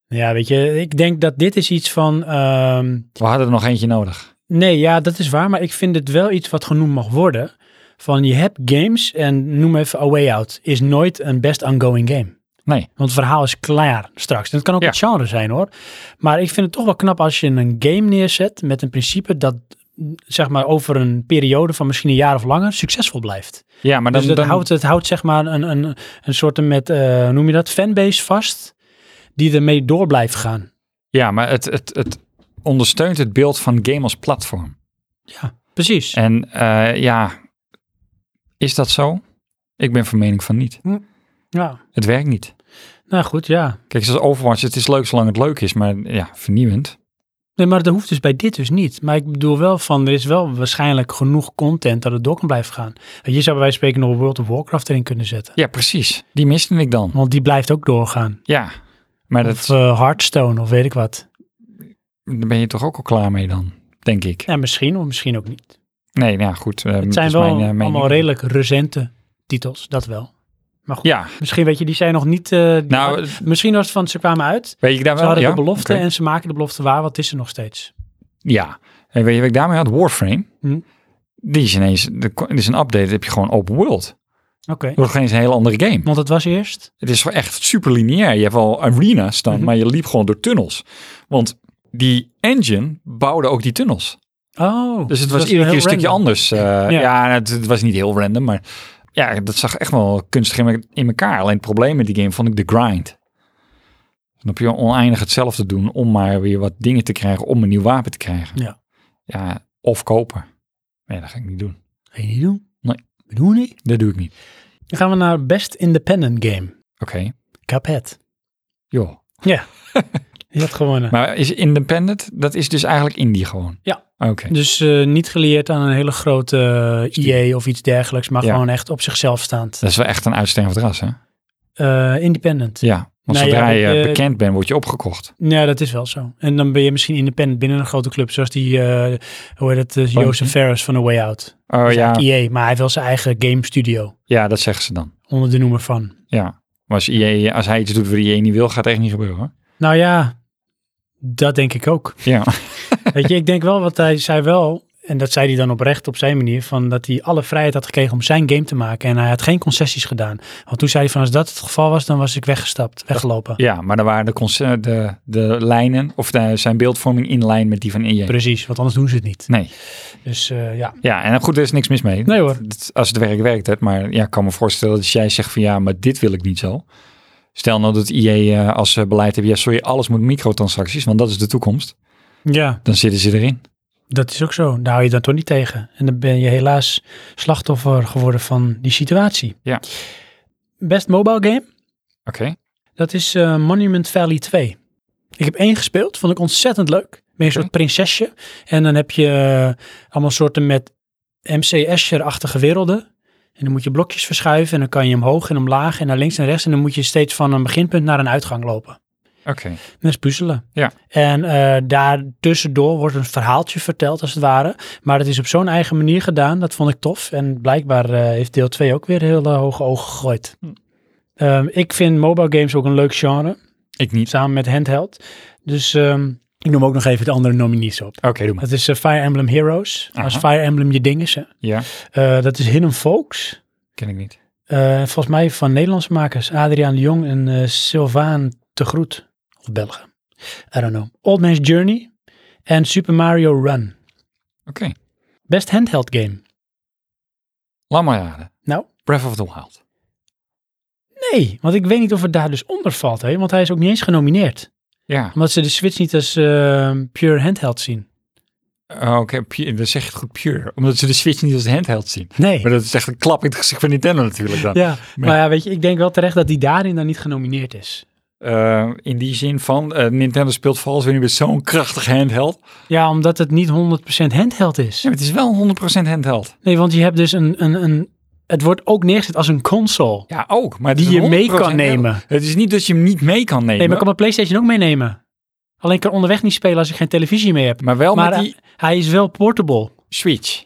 A: Ja, weet je, ik denk dat dit is iets van... ehm,
B: We hadden er nog eentje nodig.
A: nee, ja, dat is waar, maar ik vind het wel iets wat genoemd mag worden. Van je hebt games en noem even A Way Out. Is nooit een best ongoing game.
B: Nee.
A: Want het verhaal is klaar straks. En het kan ook
B: Ja.
A: het genre zijn hoor. Maar ik vind het toch wel knap als je een game neerzet met een principe dat mm, zeg maar over een periode van misschien een jaar of langer succesvol blijft.
B: Ja, maar dan,
A: dus dat
B: dan-
A: houdt, het houdt zeg maar een, een, een soort met, eh, hoe noem je dat, fanbase vast die ermee door blijft gaan.
B: ja, maar het, het, het ondersteunt het beeld van game als platform.
A: Ja, precies.
B: En eh, ja, is dat zo? Ik ben van mening van niet.
A: Ja,
B: Het werkt niet.
A: nou goed, ja.
B: Kijk, zoals Overwatch, het is leuk zolang het leuk is, maar ja, vernieuwend.
A: Nee, maar dat hoeft dus bij dit dus niet. Maar ik bedoel wel van, er is wel waarschijnlijk genoeg content dat het door kan blijven gaan. Je zou bij wijze van spreken nog World of Warcraft erin kunnen zetten.
B: Ja, precies. Die miste ik dan.
A: Want die blijft ook doorgaan.
B: Ja, maar dat,
A: Of eh, Hearthstone of weet ik wat.
B: daar ben je toch ook al klaar mee dan, denk ik.
A: Ja, misschien of misschien ook niet.
B: Nee, nou goed. eh,
A: Het
B: is
A: zijn wel
B: mijn, eh, mening.
A: allemaal redelijk recente titels, dat wel. Maar goed,
B: Ja,
A: misschien weet je, die zijn nog niet... eh, die-
B: nou,
A: misschien was het van, ze kwamen uit,
B: weet ik daar
A: ze
B: wel.
A: hadden
B: ja?
A: de belofte
B: Oké.
A: en ze maken de belofte waar, wat is er nog steeds?
B: Ja, en weet je wat ik daarmee had? Warframe.
A: Hm.
B: Die is ineens, de- dit is een update, dan heb je gewoon open world. Het
A: Oké,
B: wordt geen een hele andere game.
A: want het was eerst...
B: Het is gewoon echt super lineair. Je hebt wel arenas dan,
A: Mhm.
B: maar je liep gewoon door tunnels. Want die engine bouwde ook die tunnels.
A: Oh,
B: Dus het
A: dat
B: was iedere keer
A: heel
B: een stukje
A: random.
B: anders. Eh, ja, het, het was niet heel random, maar ja, dat zag echt wel kunstig in, me- in elkaar. Alleen het probleem met die game vond ik de grind. Dan heb je oneindig hetzelfde doen om maar weer wat dingen te krijgen, om een nieuw wapen te krijgen.
A: Ja.
B: Ja, of kopen. Nee, dat ga ik niet doen.
A: Ga je niet doen?
B: Nee.
A: We doen niet.
B: Dat doe ik niet.
A: Dan gaan we naar Best Independent Game.
B: Oké,
A: Cuphead.
B: joh.
A: Die had gewonnen.
B: Maar is independent, dat is dus eigenlijk indie gewoon?
A: Ja.
B: Oké.
A: Dus eh, niet geleerd aan een hele grote IE of iets dergelijks, maar
B: Ja.
A: gewoon echt op zichzelf staand.
B: Dat is wel echt een uitstervend ras, hè?
A: Eh, independent.
B: Ja. Want
A: Nou
B: zodra
A: ja,
B: je
A: ik, eh,
B: bekend bent, word je opgekocht.
A: Ja, dat is wel zo. En dan ben je misschien independent binnen een grote club, zoals die, eh, hoe heet het, eh,
B: Bungie?
A: Joseph Ferris van The Way Out.
B: Oh ja,
A: IE, maar hij heeft wel zijn eigen game studio,
B: ja, dat zeggen ze dan.
A: onder de noemer van.
B: Ja. Maar als, EA, als hij iets doet waar IE niet wil, gaat het echt niet gebeuren. (laughs) hoor.
A: Nou ja, dat denk ik
B: (laughs)
A: ook.
B: Ja.
A: Weet je, ik denk wel wat hij zei wel, en dat zei hij dan oprecht op zijn manier, van dat hij alle vrijheid had gekregen om zijn game te maken en hij had geen concessies gedaan. Want toen zei hij van als dat het geval was, dan was ik weggestapt, weggelopen.
B: ja, maar dan waren de, conce- de, de lijnen, of de- zijn beeldvorming in lijn met die van IE.
A: Precies, want anders doen ze het niet.
B: Nee.
A: Dus eh, ja.
B: Ja, en goed, er is niks mis mee.
A: Nee hoor.
B: Dat- Als het werk werkt, hè. maar ja, ik kan me voorstellen dat als jij zegt van ja, maar dit wil ik niet zo. Stel nou dat IE eh, als ze beleid hebben, ja sorry, alles moet microtransacties, want dat is de toekomst.
A: Ja,
B: Dan zitten ze erin.
A: dat is ook zo. Daar hou je dan toch niet tegen. En dan ben je helaas slachtoffer geworden van die situatie.
B: Ja.
A: Best mobile game,
B: Oké.
A: dat is eh, Monument Valley 2. Ik heb één gespeeld, vond ik ontzettend leuk. Ben je een soort
B: Mhm.
A: prinsesje. En dan heb je eh, allemaal soorten met MC Escher-achtige werelden. En dan moet je blokjes verschuiven en dan kan je omhoog en omlaag en naar links en rechts. En dan moet je steeds van een beginpunt naar een uitgang lopen.
B: Oké.
A: Dat is puzzelen.
B: Ja.
A: En eh daartussendoor wordt een verhaaltje verteld, als het ware. Maar het is op zo'n eigen manier gedaan. Dat vond ik tof. En blijkbaar eh, heeft deel 2 ook weer heel eh, hoge ogen gegooid.
B: Hm.
A: Ehm, ik vind mobile games ook een leuk genre.
B: Ik niet.
A: Samen met handheld. Dus ehm, ik noem ook nog even de andere nominees op.
B: Oké, doe maar.
A: Dat is eh, Fire Emblem Heroes. Als
B: Aha.
A: Fire Emblem je ding is. Hè.
B: Ja,
A: Eh, dat is Hidden Folks.
B: ken ik niet.
A: Eh, volgens mij van Nederlandse makers. Adriaan de Jong en eh, Sylvaan de Groet. Of Belgen. I don't know. Old Man's Journey en Super Mario Run.
B: Oké.
A: Best handheld game.
B: Laat maar raden.
A: Nou?
B: Breath of the Wild.
A: Nee, want ik weet niet of het daar dus onder valt. Hè? Want hij is ook niet eens genomineerd.
B: Ja.
A: Omdat ze de Switch niet als eh, pure handheld zien.
B: Oh, Oké, pu- dan zeg je het goed pure. Omdat ze de Switch niet als handheld zien.
A: Nee.
B: Maar dat is echt een klap in het gezicht van Nintendo natuurlijk dan.
A: Ja, maar ja, weet je, ik denk wel terecht dat die daarin dan niet genomineerd is.
B: Eh, in die zin van, eh, Nintendo speelt vals weer met zo'n krachtig handheld. Ja,
A: Ja, omdat het niet 100% handheld is.
B: maar het is wel 100% handheld.
A: Nee, want je hebt dus een, een, een... Het wordt ook neergezet als een console.
B: Ja, ook. Maar het
A: Die
B: is
A: je mee
B: 100%
A: kan nemen.
B: handheld. Het is niet dat je hem niet mee kan nemen.
A: Nee, maar ik kan mijn PlayStation ook meenemen. Alleen ik kan onderweg niet spelen als ik geen televisie mee heb.
B: Maar wel
A: maar eh,
B: met
A: hij-
B: die
A: hij is wel portable.
B: Switch.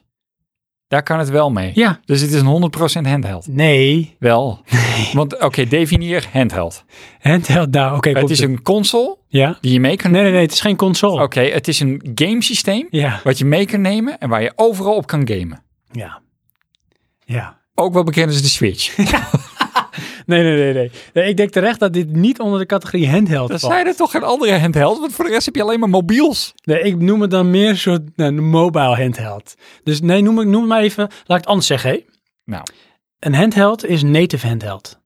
B: Daar kan het wel mee.
A: Ja.
B: Dus het is een 100% handheld.
A: Nee.
B: Wel. Want oké, definieer handheld.
A: Handheld, nou, oké.
B: Het
A: komt
B: is
A: ie.
B: een Oh. console
A: Ja?
B: die je mee kan
A: Nee,
B: nemen.
A: nee, nee, het is geen console.
B: Oké, het is een gamesysteem
A: Ja.
B: wat je mee kan nemen en waar je overal op kan gamen.
A: Ja. Ja.
B: (laughs) Ook wel bekend als de Switch.
A: Nee, nee, nee, nee, Nee, Ik denk terecht dat dit niet onder de categorie handheld
B: Dan
A: valt.
B: zijn er toch geen andere handheld, want voor de rest heb je alleen maar mobiels.
A: Nee, ik noem het dan meer een soort nou, een mobile handheld. Dus nee, noem, het- noem het maar even, laat ik het anders zeggen. Hè?
B: Nou.
A: Een handheld is native handheld.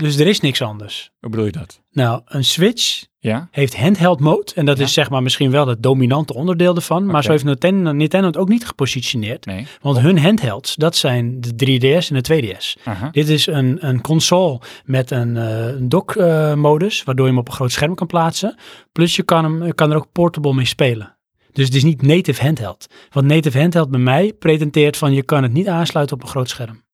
A: dus er is niks anders.
B: Hoe bedoel je dat?
A: Nou, een Switch
B: Ja?
A: heeft handheld mode. En dat is zeg maar misschien wel het dominante onderdeel ervan. Maar
B: Oké.
A: zo heeft Nintendo, Nintendo het ook niet gepositioneerd.
B: Nee.
A: Want hun handhelds, dat zijn de 3DS en de 2DS.
B: Aha.
A: Dit is een, een console met een, eh, een dock-modus, waardoor je hem op een groot scherm kan plaatsen. Plus je kan, hem, je kan er ook portable mee spelen. Dus het is niet native handheld. Want native handheld bij mij pretenteert van je kan het niet aansluiten op een groot scherm.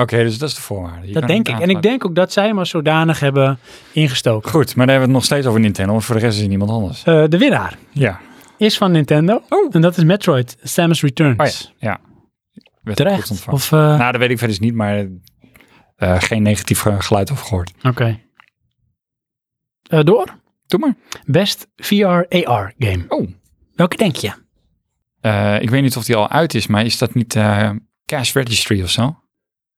B: Oké, dus dat is de voorwaarde.
A: dat
B: Je kan het
A: denk ik. En ik
B: aansluiten.
A: denk ook dat zij hem als zodanig hebben ingestoken.
B: Goed, maar daar hebben we het nog steeds over Nintendo, want voor de rest is er niemand anders.
A: Eh, de winnaar
B: Ja.
A: is van Nintendo.
B: Oh.
A: En dat is Metroid Samus Returns.
B: Oh ja. ja. Werd goed
A: Terecht.
B: ontvangen.
A: Of, eh,
B: Nou, dat weet ik verder dus niet, maar eh, geen negatief eh, geluid over gehoord.
A: Oké. Eh, door.
B: Doe maar.
A: Best VR-AR game.
B: Oh.
A: Welke denk je?
B: Eh, ik weet niet of die al uit is, maar is dat niet eh, Cash Registry of zo?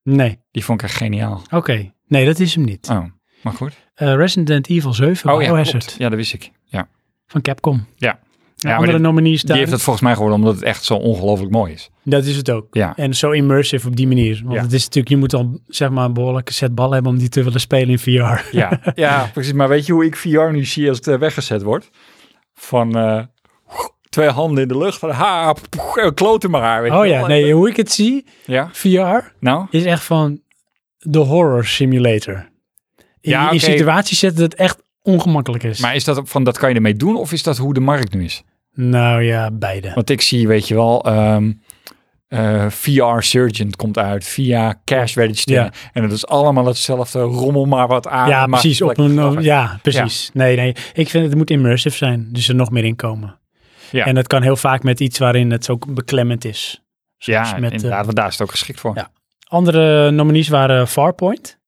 A: Nee.
B: Die vond ik echt geniaal.
A: Oké, nee, dat is hem niet.
B: Oh, maar goed.
A: Eh, Resident Evil 7,
B: Oh ja,
A: Biohazard,
B: klopt. ja, dat wist ik. Ja.
A: van Capcom.
B: Ja.
A: Een
B: maar
A: andere
B: dit-
A: nominee is
B: Die
A: daar.
B: heeft dat volgens mij geworden omdat het echt zo ongelooflijk mooi is.
A: Dat is het ook.
B: Ja.
A: En zo immersive op die manier. Want
B: Ja.
A: het is natuurlijk, je moet al zeg maar een behoorlijke set ballen hebben om die te willen spelen in VR.
B: Ja, (laughs) ja precies. Maar weet je hoe ik VR nu zie als het eh, weggezet wordt? Van eh, twee handen in de lucht. Van, ha, poeh, kloten maar haar. weet je
A: (laughs) oh
B: wel.
A: ja, nee, hoe ik het zie,
B: Ja,
A: VR
B: nou?
A: is echt van de horror simulator. In,
B: Ja,
A: in
B: oké.
A: situaties zetten dat het echt ongemakkelijk is.
B: Maar is dat ook van, dat kan je ermee doen? Of is dat hoe de markt nu is?
A: Nou ja, beide.
B: Want ik zie, weet je wel, ehm, eh, VR Surgeon komt uit via Cash Register.
A: Ja.
B: En dat is allemaal hetzelfde, rommel maar wat aan.
A: ja,
B: maar
A: precies. Op
B: gelijk-
A: een, ja, precies. Nee, nee. Ik vind het moet immersive zijn. Dus er nog meer in komen.
B: Ja.
A: En dat kan heel vaak met iets waarin het ook beklemmend is. Zoals
B: Ja,
A: met, eh,
B: inderdaad, want daar is het ook geschikt voor.
A: Ja. eh, andere nominees waren Farpoint.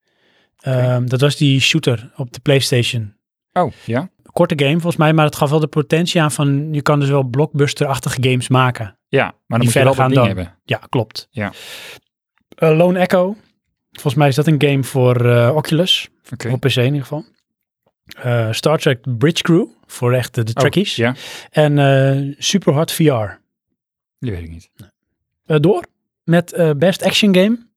A: Ehm, dat was die shooter op de PlayStation.
B: Oh, ja?
A: Korte game volgens mij, maar het gaf wel de potentie aan van je kan dus wel blockbuster-achtige games maken.
B: Ja, maar dan
A: Die
B: moet je wel dat
A: verder
B: ding
A: gaan
B: hebben.
A: Ja, klopt.
B: Ja.
A: Eh, Lone Echo. Volgens mij is dat een game voor eh, Oculus.
B: Oké.
A: Op PC in ieder geval. Eh, Star Trek Bridge Crew voor echt eh, de, de
B: Oh,
A: trekkies.
B: Ja,
A: En eh Super Hard VR.
B: die weet ik niet.
A: Eh, door met eh, Best Action Game.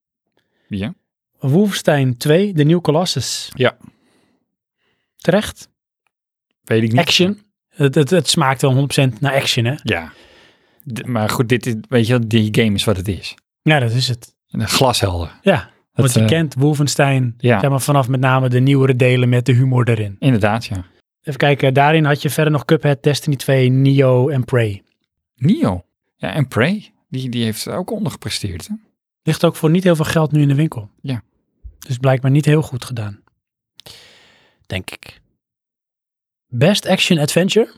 B: Ja.
A: Wolfenstein 2, The New Colossus.
B: Ja.
A: Terecht.
B: Weet ik niet.
A: Action. Het, het, het smaakt wel 100% naar action, hè?
B: Ja. D- maar goed, dit is, weet je, wel, die game is wat het is.
A: Ja, dat is het.
B: Een glashelder.
A: Ja, want je
B: eh,
A: kent Wolfenstein
B: ja.
A: zeg maar, vanaf met name de nieuwere delen met de humor erin.
B: Inderdaad, ja.
A: Even kijken, daarin had je verder nog Cuphead, Destiny 2, Nio en Prey.
B: Nio. Ja, en Prey. Die, die heeft ook ondergepresteerd. Hè?
A: Ligt ook voor niet heel veel geld nu in de winkel.
B: Ja.
A: Dus blijkbaar niet heel goed gedaan. Denk ik. Best Action Adventure?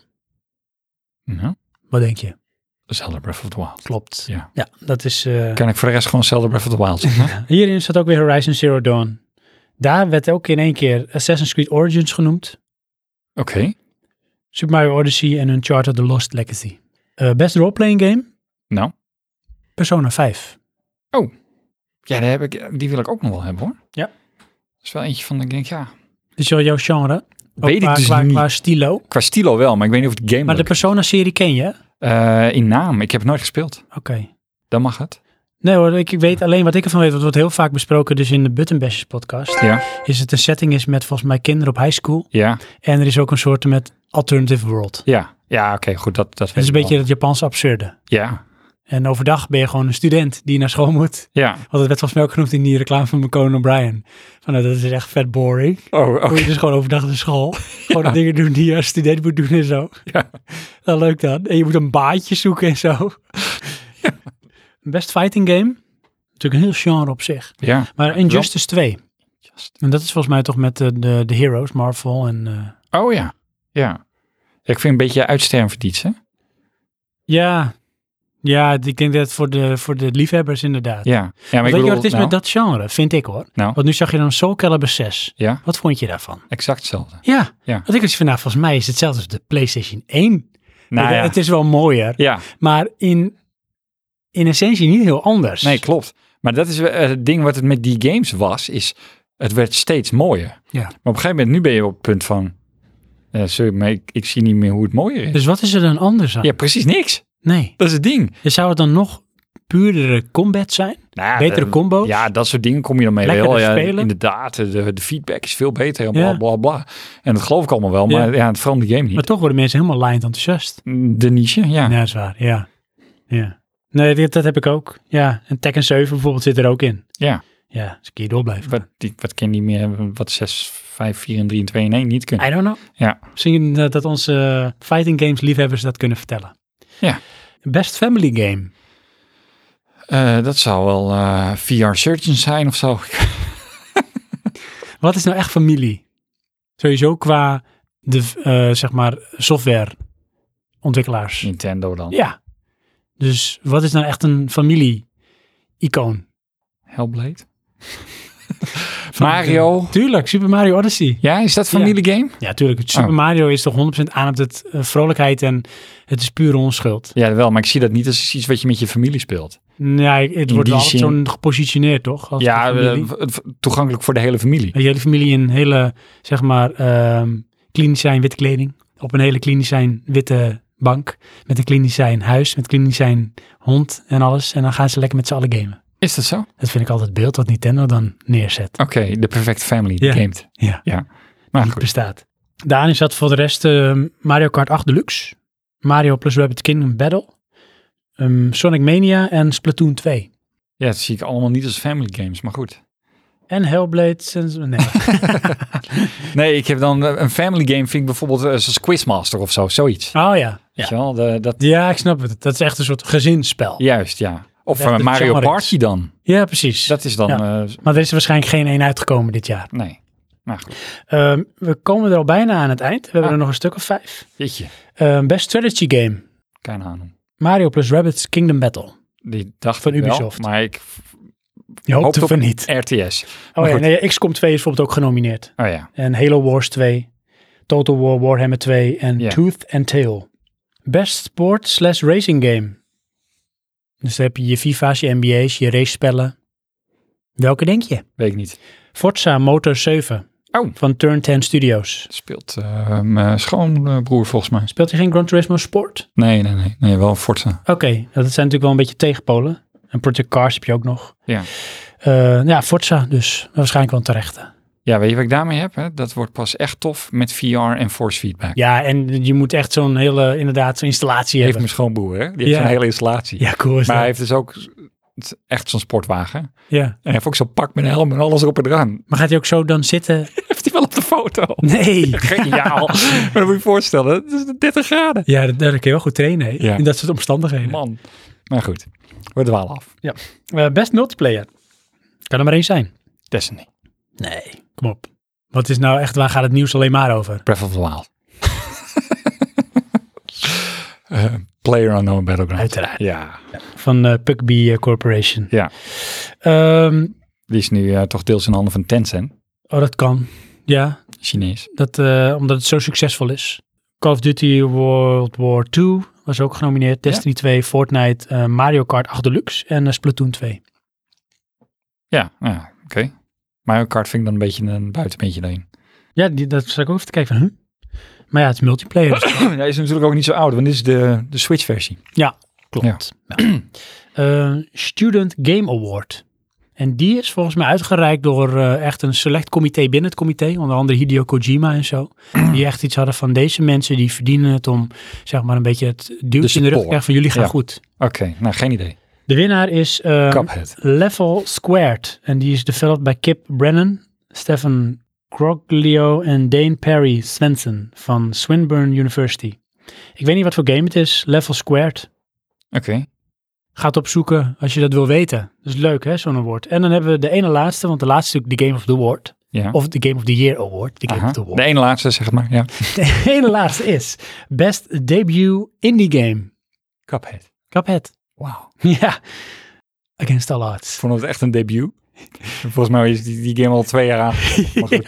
B: Nou,
A: Wat denk je?
B: Zelda Breath of the Wild.
A: Klopt.
B: Ja.
A: Ja, dat is... eh,
B: Kan ik voor de rest gewoon Zelda Breath of the Wild zeggen?
A: Hierin zat ook weer Horizon Zero Dawn. Daar werd ook in één keer Assassin's Creed Origins genoemd.
B: (laughs) Oké.
A: Super Mario Odyssey en Uncharted The Lost Legacy. Eh, best roleplaying game?
B: Nou.
A: Persona 5.
B: Ja, daar heb ik, die wil ik ook nog wel hebben hoor.
A: Ja.
B: Dat is wel eentje van, ik denk, ja.
A: Dus wel jouw genre. Ook
B: Weet ik
A: qua,
B: dus
A: qua,
B: niet.
A: qua stilo.
B: Qua stilo wel, maar ik weet niet of het game
A: Maar de
B: leuk is.
A: Persona-serie ken je? hè? Oké.
B: Eh, In naam, ik heb het nooit gespeeld. Dan mag het.
A: Nee hoor, ik, ik weet alleen wat ik ervan weet. want Het wordt heel vaak besproken dus in de Buttonbashers podcast.
B: Ja.
A: Is het een setting is met volgens mij kinderen op high school.
B: Ja,
A: En er is ook een soort met alternative world.
B: ja. Ja, oké, goed, dat, dat
A: Het is
B: weet
A: een
B: ik
A: beetje
B: wel.
A: dat Japanse absurde.
B: Ja,
A: En overdag ben je gewoon een student die naar school moet.
B: ja.
A: Want het werd volgens mij ook genoemd in die reclame van Conan O'Brien. Van nou, dat is echt vet boring.
B: Oh, oké.
A: Moet je dus gewoon overdag naar
B: (laughs)
A: school. (laughs) Gewoon de dingen doen die je als student moet doen en zo.
B: Ja.
A: (laughs) Nou, leuk dan. En je moet een baantje zoeken en zo.
B: (laughs)
A: Best fighting game. Natuurlijk een heel genre op zich.
B: Ja.
A: Maar Injustice 2.
B: Just-
A: En dat is volgens mij toch met eh, de, de heroes, Marvel en... eh,
B: Oh ja, ja. Ik vind een beetje uitsterven verdient, hè?
A: ja, ja, ik denk dat het voor de, voor de liefhebbers inderdaad.
B: Ja. ja maar
A: Weet
B: ik
A: je
B: bedoel,
A: wat het is
B: nou,
A: met dat genre, vind ik hoor.
B: Nou.
A: Want nu zag je dan Soul Calibur 6.
B: Ja,
A: Wat vond je daarvan?
B: exact hetzelfde.
A: Ja,
B: Ja.
A: want ik was vandaag nou, volgens mij is hetzelfde als de PlayStation 1.
B: Nou
A: Het-
B: ja.
A: Het is wel mooier,
B: ja,
A: maar in, in essentie niet heel anders.
B: nee, klopt. Maar dat is eh, het ding wat het met die games was, is het werd steeds mooier.
A: Ja.
B: Maar op een gegeven moment, nu ben je op het punt van, eh, sorry, maar ik, ik zie niet meer hoe het mooier is.
A: Dus wat is er dan anders aan?
B: Ja, precies niks.
A: Nee.
B: Dat is het ding.
A: Dus zou het dan nog puurdere combat zijn?
B: Nou ja,
A: Betere
B: eh,
A: combo's?
B: Ja, dat soort dingen kom je dan mee.
A: Lekkerder
B: wel. Ja,
A: spelen?
B: Inderdaad, de, de feedback is veel beter. Bla,
A: Ja.
B: bla, bla. En dat geloof ik allemaal wel,
A: Ja.
B: maar ja, het verandert de game
A: Maar
B: niet.
A: toch worden mensen helemaal lined enthousiast.
B: De niche,
A: Ja,
B: ja.
A: dat is waar. Ja. ja. Nee, dit, dat heb ik ook. Ja, en Tekken 7 bijvoorbeeld zit er ook in.
B: Ja.
A: Ja, als ik hier door blijf.
B: Wat, die, wat ken die meer, wat 6, 5, 4 en 3 en 2 en 1 niet kunnen.
A: I don't know.
B: Ja.
A: Misschien dat, dat onze eh, fighting games liefhebbers dat kunnen vertellen.
B: Ja.
A: Best family game.
B: Eh, dat zou wel eh, VR Surgeon zijn of zo.
A: Wat is nou echt familie? Sowieso qua de, eh, zeg maar, softwareontwikkelaars.
B: Nintendo dan.
A: Ja. Dus wat is nou echt een familie-icoon? (laughs)
B: Hellblade. Mario.
A: Tuurlijk, Super Mario Odyssey.
B: Ja, is dat familiegame?
A: Ja, tuurlijk. Het Super
B: Oh.
A: Mario is toch 100% aan op het eh, vrolijkheid en het is pure onschuld.
B: Ja, wel, maar ik zie dat niet als iets wat je met je familie speelt.
A: Nee, het wordt
B: die
A: wel altijd
B: zin-
A: zo'n gepositioneerd, toch? Als
B: ja,
A: de familie.
B: eh, v- v- toegankelijk voor de hele familie.
A: Dat je hele familie in hele, zeg maar, ehm klinisch zijn witte kleding. Op een hele klinisch zijn witte bank. Met een klinisch zijn huis, met klinisch zijn hond en alles. En dan gaan ze lekker met z'n allen gamen.
B: Is dat zo?
A: Dat vind ik altijd het beeld wat Nintendo dan neerzet.
B: Oké, de perfecte family die
A: Ja.
B: gamet.
A: Ja.
B: ja. Maar
A: niet
B: goed.
A: bestaat. Daarin zat voor de rest ehm, Mario Kart 8 Deluxe. Mario plus Rabbit Kingdom Battle. ehm, Sonic Mania en Splatoon 2.
B: Ja, dat zie ik allemaal niet als family games, maar goed.
A: En Hellblade. en-
B: (laughs)
A: Nee.
B: Nee, ik heb dan eh, een family game, vind ik bijvoorbeeld eh, zoals Quizmaster of zo, zoiets.
A: oh ja.
B: Weet
A: ja.
B: je wel, de- dat,
A: Ja, ik snap het. Dat is echt een soort gezinsspel.
B: juist, ja. Of
A: Echt
B: eh,
A: een
B: Mario
A: genre.
B: Party dan.
A: Ja, precies.
B: Dat is dan, eh,
A: Maar er is er waarschijnlijk geen één uitgekomen dit jaar.
B: nee. Maar goed,
A: Ehm, we komen er al bijna aan het eind. We hebben
B: Ah.
A: er nog een stuk of vijf.
B: jeetje,
A: Ehm, best strategy game.
B: keine ahnung.
A: Mario plus Rabbids Kingdom Battle.
B: Die dacht
A: Van
B: ik wel,
A: Ubisoft.
B: maar ik
A: Je hoopt
B: Hoopt op-
A: ervan niet.
B: RTS.
A: Oh ja,
B: goed.
A: nee, XCOM 2 is bijvoorbeeld ook genomineerd.
B: Oh ja,
A: En Halo Wars 2. Total War Warhammer 2 en
B: Ja.
A: Tooth and Tail. Best sport slash racing game. Dus dan heb je je FIFA's, je NBA's, je racespellen. Welke denk je?
B: weet ik niet.
A: Forza Motor 7
B: Oh.
A: van Turn 10 Studios.
B: Speelt eh, mijn schoonbroer volgens mij.
A: Speelt hij geen Gran Turismo Sport?
B: Nee, nee, nee. Nee, wel Forza.
A: Oké, nou, dat zijn natuurlijk wel een beetje tegenpolen. En Project Cars heb je ook nog.
B: Ja.
A: Eh, ja, Forza dus. Waarschijnlijk wel een terechte.
B: Ja, weet je wat ik daarmee heb? Hè? Dat wordt pas echt tof met VR en force feedback.
A: Ja, en je moet echt zo'n hele, inderdaad, zo'n installatie
B: heeft
A: hebben.
B: mijn schoonbroer, hè? Die heeft
A: Ja.
B: zo'n hele installatie.
A: Ja, cool is
B: Maar hij
A: dat.
B: heeft dus ook z- echt zo'n sportwagen. En
A: Ja.
B: hij heeft ook zo'n pak met een helm en alles erop en eraan. (laughs)
A: Maar gaat hij ook zo dan zitten?
B: Heeft hij wel op de foto?
A: (laughs) Nee.
B: Geniaal. (laughs) maar dan moet je je voorstellen, het is 30 graden.
A: Ja, dat, daar kun je wel goed trainen, hè?
B: Ja.
A: In dat soort omstandigheden.
B: Man. Maar goed, we dwalen af.
A: Eh, best multiplayer. Kan er maar één zijn.
B: Destiny.
A: Nee. Kom op. Wat is nou echt, waar gaat het nieuws alleen maar over?
B: Breath of the Wild. (laughs) Eh, Player Unknown Battleground.
A: Uiteraard.
B: Ja,
A: Van eh Pugby eh, Corporation.
B: Ja.
A: Ehm,
B: die is nu eh, toch deels in handen van Tencent,
A: oh, dat kan. Ja,
B: Chinees.
A: Dat, eh, omdat het zo succesvol is. Call of Duty World War II was ook genomineerd. Destiny 2, Fortnite, eh, Mario Kart 8 Deluxe en eh, Splatoon 2.
B: Ja, ja oké. Mario Kart vind ik dan een beetje een buitenbeentje daarin.
A: Ja, die, dat zat ik ook even te kijken van, huh? Maar ja, het is multiplayer. dus-
B: (laughs) Hij is natuurlijk ook niet zo oud, want dit is de, de Switch versie.
A: ja, klopt. Ja. (clears throat) Eh, Student Game Award. En die is volgens mij uitgereikt door eh, echt een select comité binnen het comité. Onder andere Hideo Kojima en zo. Die echt iets hadden van deze mensen die verdienen het om zeg maar een beetje het duwtje in de rug te
B: support.
A: krijgen van jullie gaan
B: Ja.
A: goed.
B: Oké, nou geen idee.
A: De winnaar is eh,
B: Cuphead.
A: Level Squared. En die is developed bij Kip Brennan, Stefan Croglio en Dane Perry Svensson van Swinburne University. Ik weet niet wat voor game het is. Level Squared.
B: Oké.
A: Ga het opzoeken als je dat wil weten. Dat is leuk hè, zo'n award. En dan hebben we de ene laatste, want de laatste is natuurlijk de Game of the Award.
B: Ja.
A: Of de Game of the Year Award. De Game
B: Aha.
A: of the
B: De
A: Award. (laughs)
B: ene laatste, zeg maar. Ja.
A: De ene laatste is Best Debut Indie Game.
B: Cuphead.
A: Cuphead. (laughs)
B: Wauw.
A: Ja. Against all odds.
B: Ik vond het echt een debuut. (laughs) Volgens mij is die, die game al twee jaar aan. (laughs) Maar goed.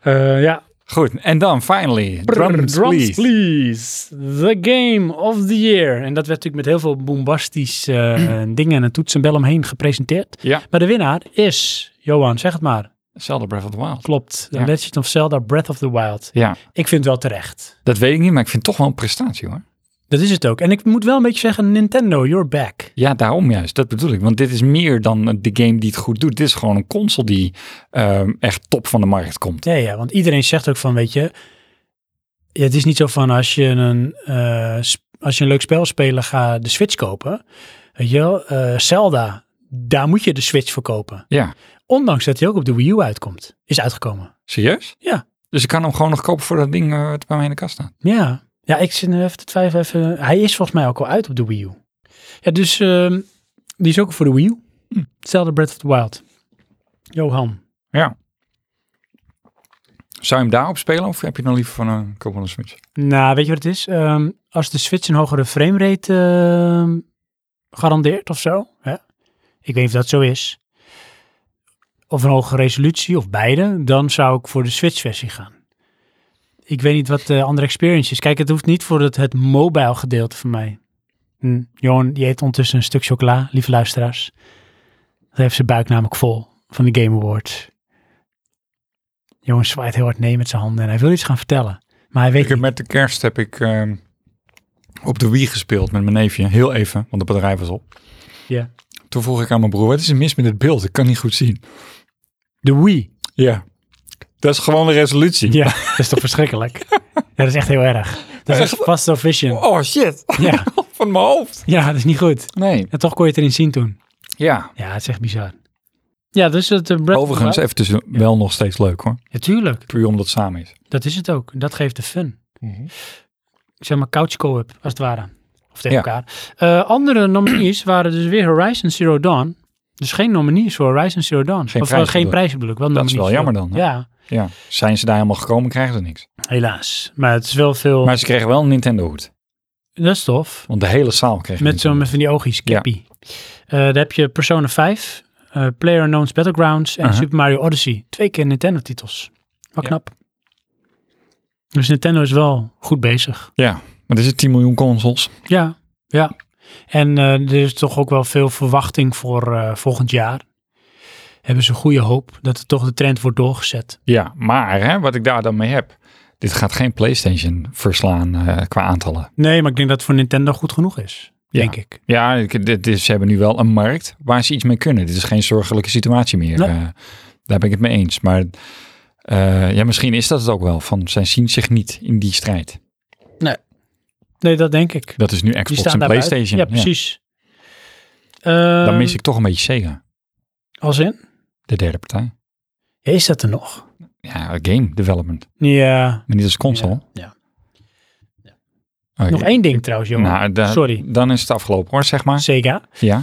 A: Eh, ja,
B: goed, en dan finally.
A: Drums,
B: Drums, please.
A: please. The game of the year. En dat werd natuurlijk met heel
B: (clears throat)
A: veel bombastische eh, dingen en een toetsenbel omheen gepresenteerd.
B: Ja.
A: Maar de winnaar is Johan, zeg het maar.
B: Zelda Breath of the Wild.
A: Klopt. The
B: Ja.
A: Legend of Zelda Breath of the Wild.
B: Ja,
A: Ik vind het wel terecht.
B: dat weet ik niet, maar ik vind het toch wel een prestatie hoor.
A: Dat is het ook. En ik moet wel een beetje zeggen, Nintendo, you're back.
B: Ja, daarom juist. Dat bedoel ik. Want dit is meer dan de game die het goed doet. Dit is gewoon een console die ehm, echt top van de markt komt.
A: Ja, ja, want iedereen zegt ook van, weet je, ja, het is niet zo van als je een, eh, sp- als je een leuk spel spelen gaat de Switch kopen. Weet je wel, eh, Zelda, daar moet je de Switch voor kopen.
B: Ja,
A: Ondanks dat hij ook op de Wii U uitkomt, is uitgekomen.
B: serieus?
A: Ja.
B: Dus ik kan hem gewoon nog kopen voor dat ding eh, wat bij mij in de kast staat.
A: Ja, ja ik zit nu even te twijfelen. Even. Hij is volgens mij ook al uit op de Wii U. Ja, dus ehm, die is ook voor de Wii U. Zelda Breath of the Wild. Johan.
B: Ja. Zou je hem daarop spelen of heb je dan liever van een koop van een Switch?
A: Nou, weet je wat het is? Ehm, als de Switch een hogere framerate ehm garandeert of zo. Hè? Ik weet niet of dat zo is. Of een hogere resolutie of beide. Dan zou ik voor de Switch versie gaan. Ik weet niet wat de andere experience is. Kijk, het hoeft niet voor het, het mobile gedeelte van mij. Hm, Johan, die eet ondertussen een stuk chocola, lieve luisteraars. Dat heeft zijn buik namelijk vol van de Game Awards. Johan zwaait heel hard nee met zijn handen en hij wil iets gaan vertellen. Maar hij weet
B: Ik heb met de kerst heb ik ehm, op de Wii gespeeld met mijn neefje. Heel even, want het bedrijf was op.
A: Ja.
B: Toen vroeg ik aan mijn broer, wat is er mis met het beeld? Ik kan niet goed zien.
A: De Wii.
B: Ja. Dat is gewoon de resolutie.
A: Ja, (laughs) dat is toch (laughs) verschrikkelijk? Ja, dat is echt heel erg. Dat is echt fast of vision.
B: Oh shit, (laughs)
A: Ja,
B: van mijn hoofd.
A: ja, dat is niet goed.
B: Nee.
A: En toch kon je het erin zien toen.
B: Ja.
A: Ja, het is echt bizar. Ja, dus het... eh, Breath of the
B: Overigens,
A: Wild-
B: even tussen, wel nog steeds leuk hoor.
A: Ja, tuurlijk.
B: Puur omdat het samen is.
A: Dat is het ook. Dat geeft de fun.
B: Mhm.
A: Ik zeg maar couch co-op, als het ware. Of tegen
B: Ja.
A: elkaar. Eh, andere nominees waren dus weer Horizon Zero Dawn. Dus geen nominees voor Horizon Zero Dawn.
B: Geen
A: of wel
B: prijzen
A: geen
B: bedoel-
A: prijzen bedoel ik. Wel
B: Dat is wel
A: nominees.
B: jammer dan, hè?
A: Ja,
B: Ja. Zijn ze daar helemaal gekomen, krijgen ze niks.
A: helaas. Maar het is wel veel...
B: Maar ze kregen wel een Nintendo hoed.
A: Dat is tof.
B: Want de hele zaal kreeg een
A: Met zo'n
B: Nintendo.
A: met van die oogjes,
B: Ja.
A: Kippy. Eh, daar heb je Persona 5, eh Player Unknown's Battlegrounds en
B: Aha.
A: Super Mario Odyssey. Twee keer Nintendo titels. Wat
B: Uh-huh. Ja.
A: knap. Dus Nintendo is wel goed bezig.
B: Ja, maar er zitten 10 miljoen consoles.
A: Ja, ja. En eh, er is toch ook wel veel verwachting voor eh, volgend jaar. Hebben ze goede hoop dat er toch de trend wordt doorgezet.
B: Ja, maar hè, wat ik daar dan mee heb. Dit gaat geen PlayStation verslaan eh, qua aantallen.
A: Nee, maar ik denk dat het voor Nintendo goed genoeg is.
B: Ja.
A: Denk ik.
B: Ja, ik- dit is, ze hebben nu wel een markt waar ze iets mee kunnen. Dit is geen zorgelijke situatie meer.
A: Nee.
B: Eh, daar ben ik het mee eens. Maar eh, ja, misschien is dat het ook wel. Van, zij zien zich niet in die strijd.
A: Nee, dat denk ik.
B: Dat is nu
A: Die
B: Xbox
A: staan
B: en
A: daar buiten.
B: PlayStation.
A: Ja, precies.
B: Dan
A: Ehm,
B: mis ik toch een beetje Sega,
A: Als in?
B: de derde partij.
A: Ja, Is dat er nog?
B: Ja, game development.
A: Ja.
B: Maar niet als console.
A: Ja.
B: Oké.
A: Nog één ding trouwens, jongen.
B: Nou, da-
A: Sorry.
B: Dan is het afgelopen hoor, zeg maar.
A: Sega.
B: Ja.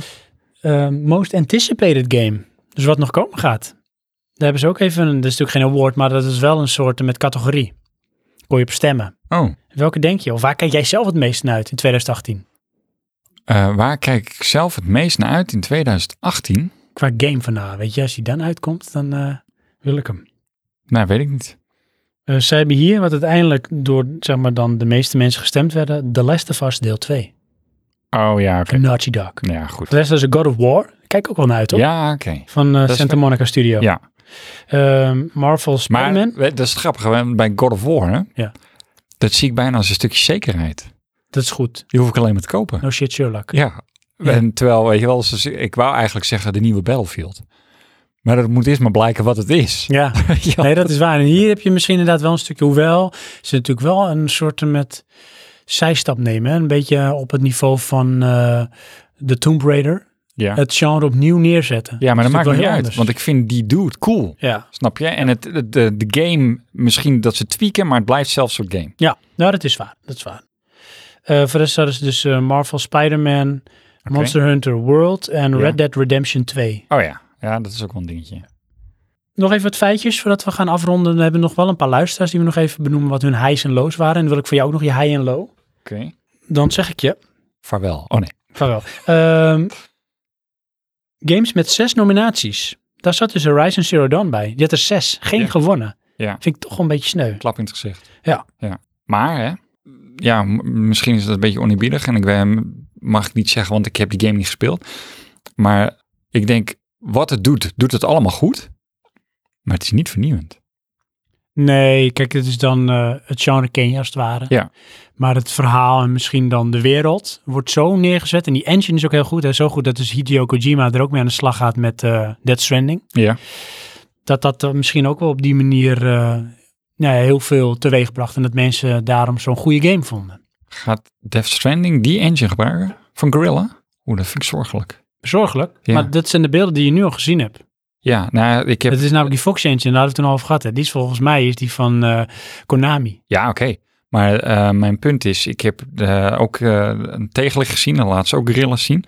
A: Eh, most anticipated game. Dus wat nog komen gaat. Daar hebben ze ook even, een- dat is natuurlijk geen award, maar dat is wel een soort met categorie. Kon je op stemmen.
B: Oh.
A: Welke denk je? Of waar kijk jij zelf het meest naar uit in 2018?
B: Eh, waar kijk ik zelf het meest naar uit in 2018?
A: Qua game van, nou, weet je, als die dan uitkomt, dan eh, wil ik hem.
B: Nou, weet ik niet.
A: Eh, zij hebben hier, wat uiteindelijk door, zeg maar, dan de meeste mensen gestemd werden, The Last of Us deel 2.
B: Oh ja, oké.
A: Van Naughty Dog.
B: Ja, goed.
A: The Last of Us God of War. Kijk ook wel naar uit, toch?
B: Ja, oké.
A: Van eh,
B: is
A: Santa
B: wel-
A: Monica Studio.
B: Ja.
A: Ehm, Marvel
B: Maar
A: Spider-Man.
B: we- dat is grappig, want bij God of War, hè?
A: Ja.
B: Dat zie ik bijna als een stukje zekerheid.
A: Dat is goed.
B: Die hoef ik alleen maar te kopen.
A: No shit Sherlock.
B: Ja.
A: Ja.
B: En terwijl, weet je wel, ze- ze- ik wou eigenlijk zeggen de nieuwe Battlefield. Maar dat moet eerst maar blijken wat het
A: (laughs)
B: is.
A: Ja,
B: (laughs) Ja.
A: nee, dat is waar. En hier heb je misschien inderdaad wel een stukje, hoewel ze natuurlijk wel een soort met zijstap nemen. hè. Een beetje op het niveau van eh, de Tomb Raider.
B: Ja.
A: Het genre opnieuw neerzetten.
B: ja, maar dat
A: natuurlijk
B: maakt
A: wel
B: niet
A: heel
B: uit.
A: anders.
B: Want ik vind die dude cool.
A: Ja.
B: Snap je? En het, het- de, de game, misschien dat ze tweaken, maar het blijft zelfs soort game.
A: ja, nou dat is waar. Dat is waar. Eh, voor de rest hadden ze dus eh, Marvel Spider-Man, Monster Hunter World en
B: Ja.
A: Red Dead Redemption 2.
B: Oh ja. Ja, dat is ook wel een dingetje.
A: Nog even wat feitjes voordat we gaan afronden. We hebben nog wel een paar luisteraars die we nog even benoemen wat hun highs en lows waren. En dan wil ik voor jou ook nog je high en low.
B: Oké.
A: Dan zeg ik je,
B: Vaarwel. Oh nee.
A: vaarwel. Ehm, games met zes nominaties. Daar zat dus Horizon Zero Dawn bij. Die had er zes. Geen
B: Ja.
A: gewonnen.
B: Ja.
A: Vind ik toch een beetje sneu.
B: klap in het gezicht.
A: Ja.
B: ja. Maar hè, ja, m- misschien is dat een beetje oneerbiedig en ik ben, mag ik niet zeggen, want ik heb die game niet gespeeld. Maar ik denk wat het doet, doet het allemaal goed. Maar het is niet vernieuwend.
A: Nee, kijk, het is dan eh, het genre ken je als het ware.
B: Ja.
A: Maar het verhaal en misschien dan de wereld wordt zo neergezet. En die engine is ook heel goed. Hè? Zo goed dat dus Hideo Kojima er ook mee aan de slag gaat met eh Death Stranding.
B: Ja.
A: Dat dat eh, misschien ook wel op die manier eh, nou ja, heel veel teweeg bracht. En dat mensen daarom zo'n goede game vonden.
B: Gaat Death Stranding die engine gebruiken van Gorilla? Oeh, dat vind ik zorgelijk.
A: Zorgelijk.
B: Ja.
A: Maar dat zijn de beelden die je nu al gezien hebt.
B: Ja, nou, ik heb...
A: Het is namelijk die Fox Engine, daar hadden we het toen al over gehad. Hè? Die is volgens mij is die van eh, Konami.
B: Ja, oké. Maar eh, mijn punt is, ik heb eh, ook eh, een tegenlig gezien en laatst ook Gorilla's zien.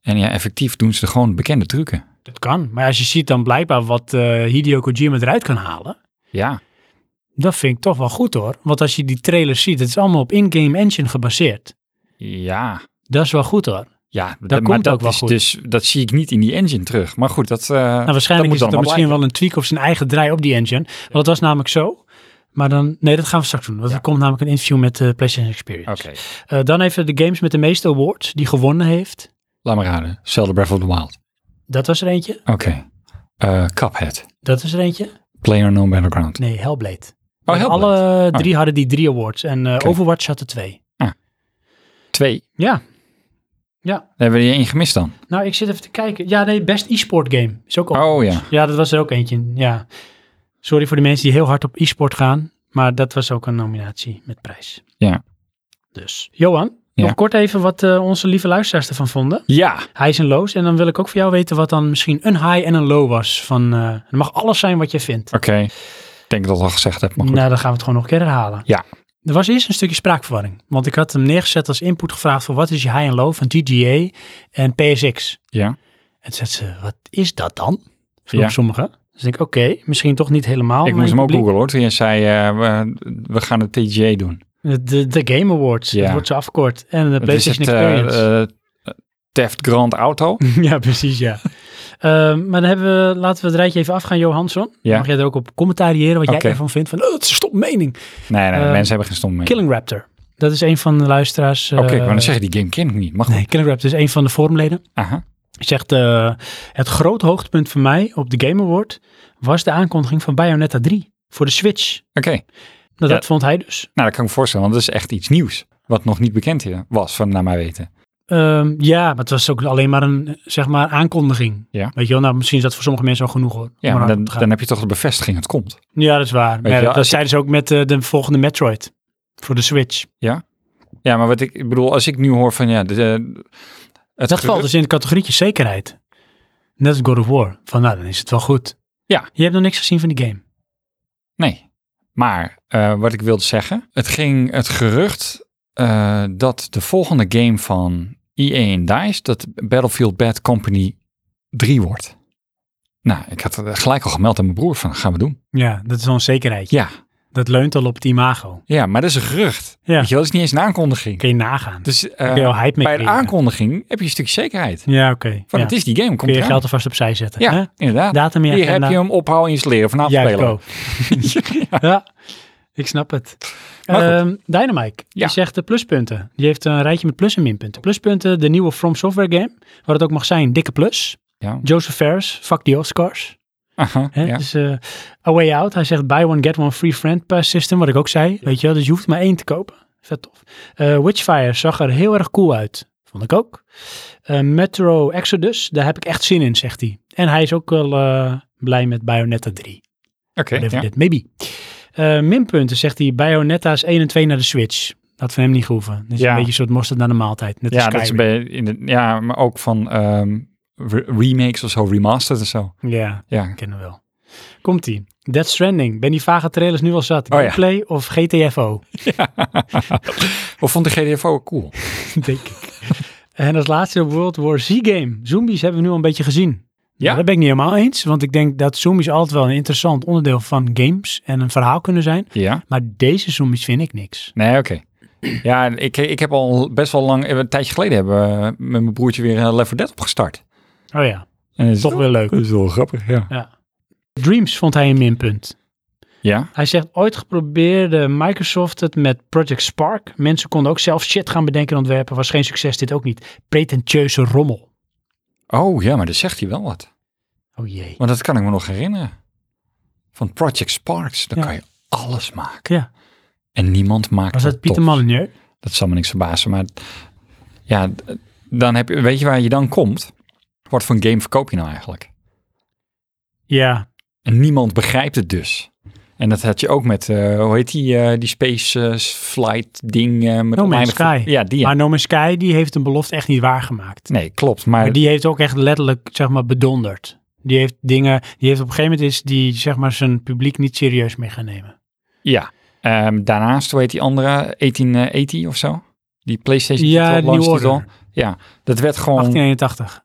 B: En ja, effectief doen ze er gewoon bekende trucken.
A: Dat kan. Maar als je ziet dan blijkbaar wat eh Hideo Kojima eruit kan halen.
B: Ja,
A: Dat vind ik toch wel goed hoor. Want als je die trailers ziet, het is allemaal op in-game engine gebaseerd.
B: ja,
A: Dat is wel goed hoor.
B: ja. Dat,
A: komt
B: maar dat
A: ook wel
B: is
A: goed.
B: Dus, dat zie ik niet in die engine terug. Maar goed, dat, eh
A: Nou, waarschijnlijk
B: dat
A: is
B: moet
A: het
B: dan
A: dan
B: wel
A: misschien wel een tweak of zijn eigen draai op die engine. Want dat was namelijk zo. Maar dan, nee, dat gaan we straks doen. Want
B: Ja.
A: er komt namelijk een interview met de PlayStation Experience.
B: blijken. Oké,
A: Eh, dan even de games met de meeste awards die gewonnen heeft.
B: laat maar raden. Zelda Breath of the Wild.
A: Dat was er eentje.
B: Oké. Eh, Cuphead.
A: Dat was er eentje.
B: Player No Battleground.
A: Nee, Hellblade.
B: Oh,
A: Want
B: Hellblade.
A: Alle
B: ja.
A: drie hadden die drie awards. En eh,
B: Oké.
A: Overwatch had er twee.
B: Twee.
A: Ja.
B: Dan hebben we die één gemist dan.
A: Nou, ik zit even te kijken. Ja, nee, best e-sport game. Is ook op.
B: Oh ja.
A: Ja, dat was er ook eentje. Ja. Sorry voor de mensen die heel hard op e-sport gaan. Maar dat was ook een nominatie met prijs.
B: Ja.
A: Dus, Johan,
B: Ja.
A: nog kort even wat eh, onze lieve luisteraars ervan vonden.
B: Ja.
A: Highs en lows. En dan wil ik ook voor jou weten wat dan misschien een high en een low was. Van, eh, het mag alles zijn wat je vindt.
B: Oké. Ik denk dat ik dat al gezegd heb, maar goed.
A: Nou, dan gaan we het gewoon nog een keer herhalen.
B: Ja.
A: Er was eerst een stukje spraakverwarring. Want ik had hem neergezet als input gevraagd voor wat is je high en low van TGA en PSX.
B: Ja.
A: En toen zei ze, wat is dat dan? Vroeg
B: Ja.
A: sommigen. Dus ik denk, oké, misschien toch niet helemaal.
B: Ik moest hem
A: mijn
B: ook
A: publiek.
B: googlen hoor. Toen jij zei, eh, we, we gaan de TGA doen.
A: De, de Game Awards,
B: Ja.
A: dat wordt zo afgekort. En de
B: Wat is
A: PlayStation
B: het, eh,
A: Experience.
B: eh, Theft Grand Auto.
A: (laughs) ja, precies, ja. Ehm, maar dan hebben we, laten we het rijtje even afgaan, Johansson.
B: Ja.
A: Mag jij er ook op commentariëren wat
B: Oké.
A: jij ervan vindt? Van, oh, het is een stom mening.
B: Nee, nee,
A: Eh,
B: mensen hebben geen stom mee.
A: Killing Raptor. Dat is een van de luisteraars.
B: Oké, maar
A: eh,
B: dan zeg je, die game ken ik niet. Mag
A: Nee, Killing Raptor is een van de forumleden.
B: Aha.
A: zegt eh, het groot hoogtepunt voor mij op de Game Award was de aankondiging van Bayonetta 3 voor de Switch.
B: Oké,
A: Nou, dat
B: Ja.
A: vond hij dus.
B: nou dat kan ik me voorstellen, want dat is echt iets nieuws. Wat nog niet bekend hier was, van naar mijn weten.
A: Ehm, ja, maar het was ook alleen maar een eh, zeg maar, aankondiging.
B: Ja.
A: Weet je wel, nou, misschien is dat voor sommige mensen al genoeg hoor. om
B: Ja, maar
A: eraan
B: dan,
A: te gaan.
B: dan heb je toch de bevestiging, het komt.
A: ja, dat is waar.
B: je
A: Ja,
B: wel,
A: dat
B: als je-
A: zeiden ze ook met eh, de volgende Metroid voor de Switch.
B: Ja, maar wat ik, ik bedoel, als ik nu hoor van, ja, de, de-
A: Dat
B: het
A: valt
B: gerucht-
A: dus in het categorietje zekerheid. Net als God of War. Van nou, dan is het wel goed.
B: Ja.
A: Je hebt nog niks gezien van die game. dus-
B: Nee. Maar eh, wat ik wilde zeggen, het ging het gerucht eh, dat de volgende game van EA en DICE, dat Battlefield Bad Company 3 wordt. Nou, ik had er gelijk al gemeld aan mijn broer van, gaan we doen.
A: Ja, dat is wel een zekerheid.
B: Ja,
A: Dat leunt al op het imago.
B: ja maar dat is een gerucht.
A: Ja.
B: Weet je, wel, dat is niet eens een aankondiging.
A: Kun je nagaan.
B: Dus eh,
A: Kun je al hype mee
B: bij de
A: creëren.
B: aankondiging heb je een stukje zekerheid.
A: Ja, oké.
B: Van,
A: Ja.
B: het is die game, komt
A: Kun je
B: eraan.
A: geld alvast opzij zetten.
B: Ja,
A: hè?
B: inderdaad.
A: Datum in
B: Hier heb
A: agenda.
B: je hem ophouden installeren, vanavond
A: Ja,
B: spelen.
A: go. (laughs) ja. ik snap het.
B: Maar goed.
A: Ehm, Dynamite,
B: Ja.
A: die zegt de pluspunten. Die heeft een rijtje met plus en minpunten. Pluspunten, de nieuwe From Software game. Wat het ook mag zijn, dikke plus.
B: Ja.
A: Joseph Ferris, fuck the Oscars.
B: Aha,
A: Hè?
B: ja.
A: Dus, eh, A Way Out, hij zegt buy one, get one free friend pass system. Wat ik ook zei, weet je wel. Dus je hoeft maar één te kopen. Vet tof. Eh, Witchfire zag er heel erg cool uit. Vond ik ook. Eh, Metro Exodus, daar heb ik echt zin in, zegt hij. En hij is ook wel eh, blij met Bayonetta 3
B: Oké,
A: whatever
B: ja.
A: that may be. Eh, minpunten zegt hij, Bayonetta's 1 en 2 naar de Switch. Dat van hem niet hoeven. Dat is
B: Ja.
A: een beetje een soort mosterd naar de maaltijd. Net als
B: Ja, dat is
A: Skyrim.
B: bij, in de- ja, maar ook van ehm, re- remakes of zo, remastered en zo.
A: Ja,
B: Ja,
A: kennen we wel. Komt-ie. Death Stranding. Ben die vage trailers nu al zat?
B: Oh ja.
A: Gameplay of GTFO?
B: of vond de GDFO ook cool?
A: (laughs) Denk ik. En als laatste World War Z game. Zombies hebben we nu al een beetje gezien.
B: Ja.
A: Ja. Dat ben ik niet helemaal eens. Want ik denk dat zombies altijd wel een interessant onderdeel van games en een verhaal kunnen zijn.
B: Ja,
A: Maar deze zombies vind ik niks.
B: nee, oké. Ja, ik, ik heb al best wel lang, een tijdje geleden hebben we met mijn broertje weer een Level Dead opgestart.
A: Oh ja,
B: En dat is
A: toch wel leuk.
B: is wel grappig, ja.
A: Dreams vond hij een minpunt.
B: Ja,
A: Hij zegt, ooit geprobeerde Microsoft het met Project Spark. Mensen konden ook zelf shit gaan bedenken en ontwerpen. Was geen succes, dit ook niet. Pretentieuze rommel.
B: oh ja, maar dat zegt hij wel wat.
A: Oh jee.
B: Want dat kan ik me nog herinneren. Van Project Sparks, daar
A: Ja.
B: kan je alles maken.
A: Ja.
B: En niemand maakt
A: Was
B: dat
A: dat Pieter
B: top.
A: Molyneux?
B: Dat zal me niks verbazen. Maar ja, d- dan heb je, weet je waar je dan komt? Wat voor een game verkoop je nou eigenlijk?
A: Ja.
B: En niemand begrijpt het dus. En dat had je ook met, eh, hoe heet die, eh, die Space eh, Flight ding? eh, met
A: No Man's
B: oneindig ver-
A: Sky.
B: Ja, die. ja.
A: Maar No Man's Sky, die heeft een belofte echt niet waargemaakt.
B: nee, klopt. Maar,
A: Maar die heeft ook echt letterlijk, zeg maar, bedonderd. Die heeft dingen, die heeft op een gegeven moment is die, zeg maar, zijn publiek niet serieus mee gaan nemen.
B: ja. Ehm, daarnaast, hoe heet die andere? 1880 of zo? Die PlayStation
A: Ja,
B: titel,
A: New
B: launchtitel.
A: Order.
B: Ja, dat werd gewoon
A: 1881,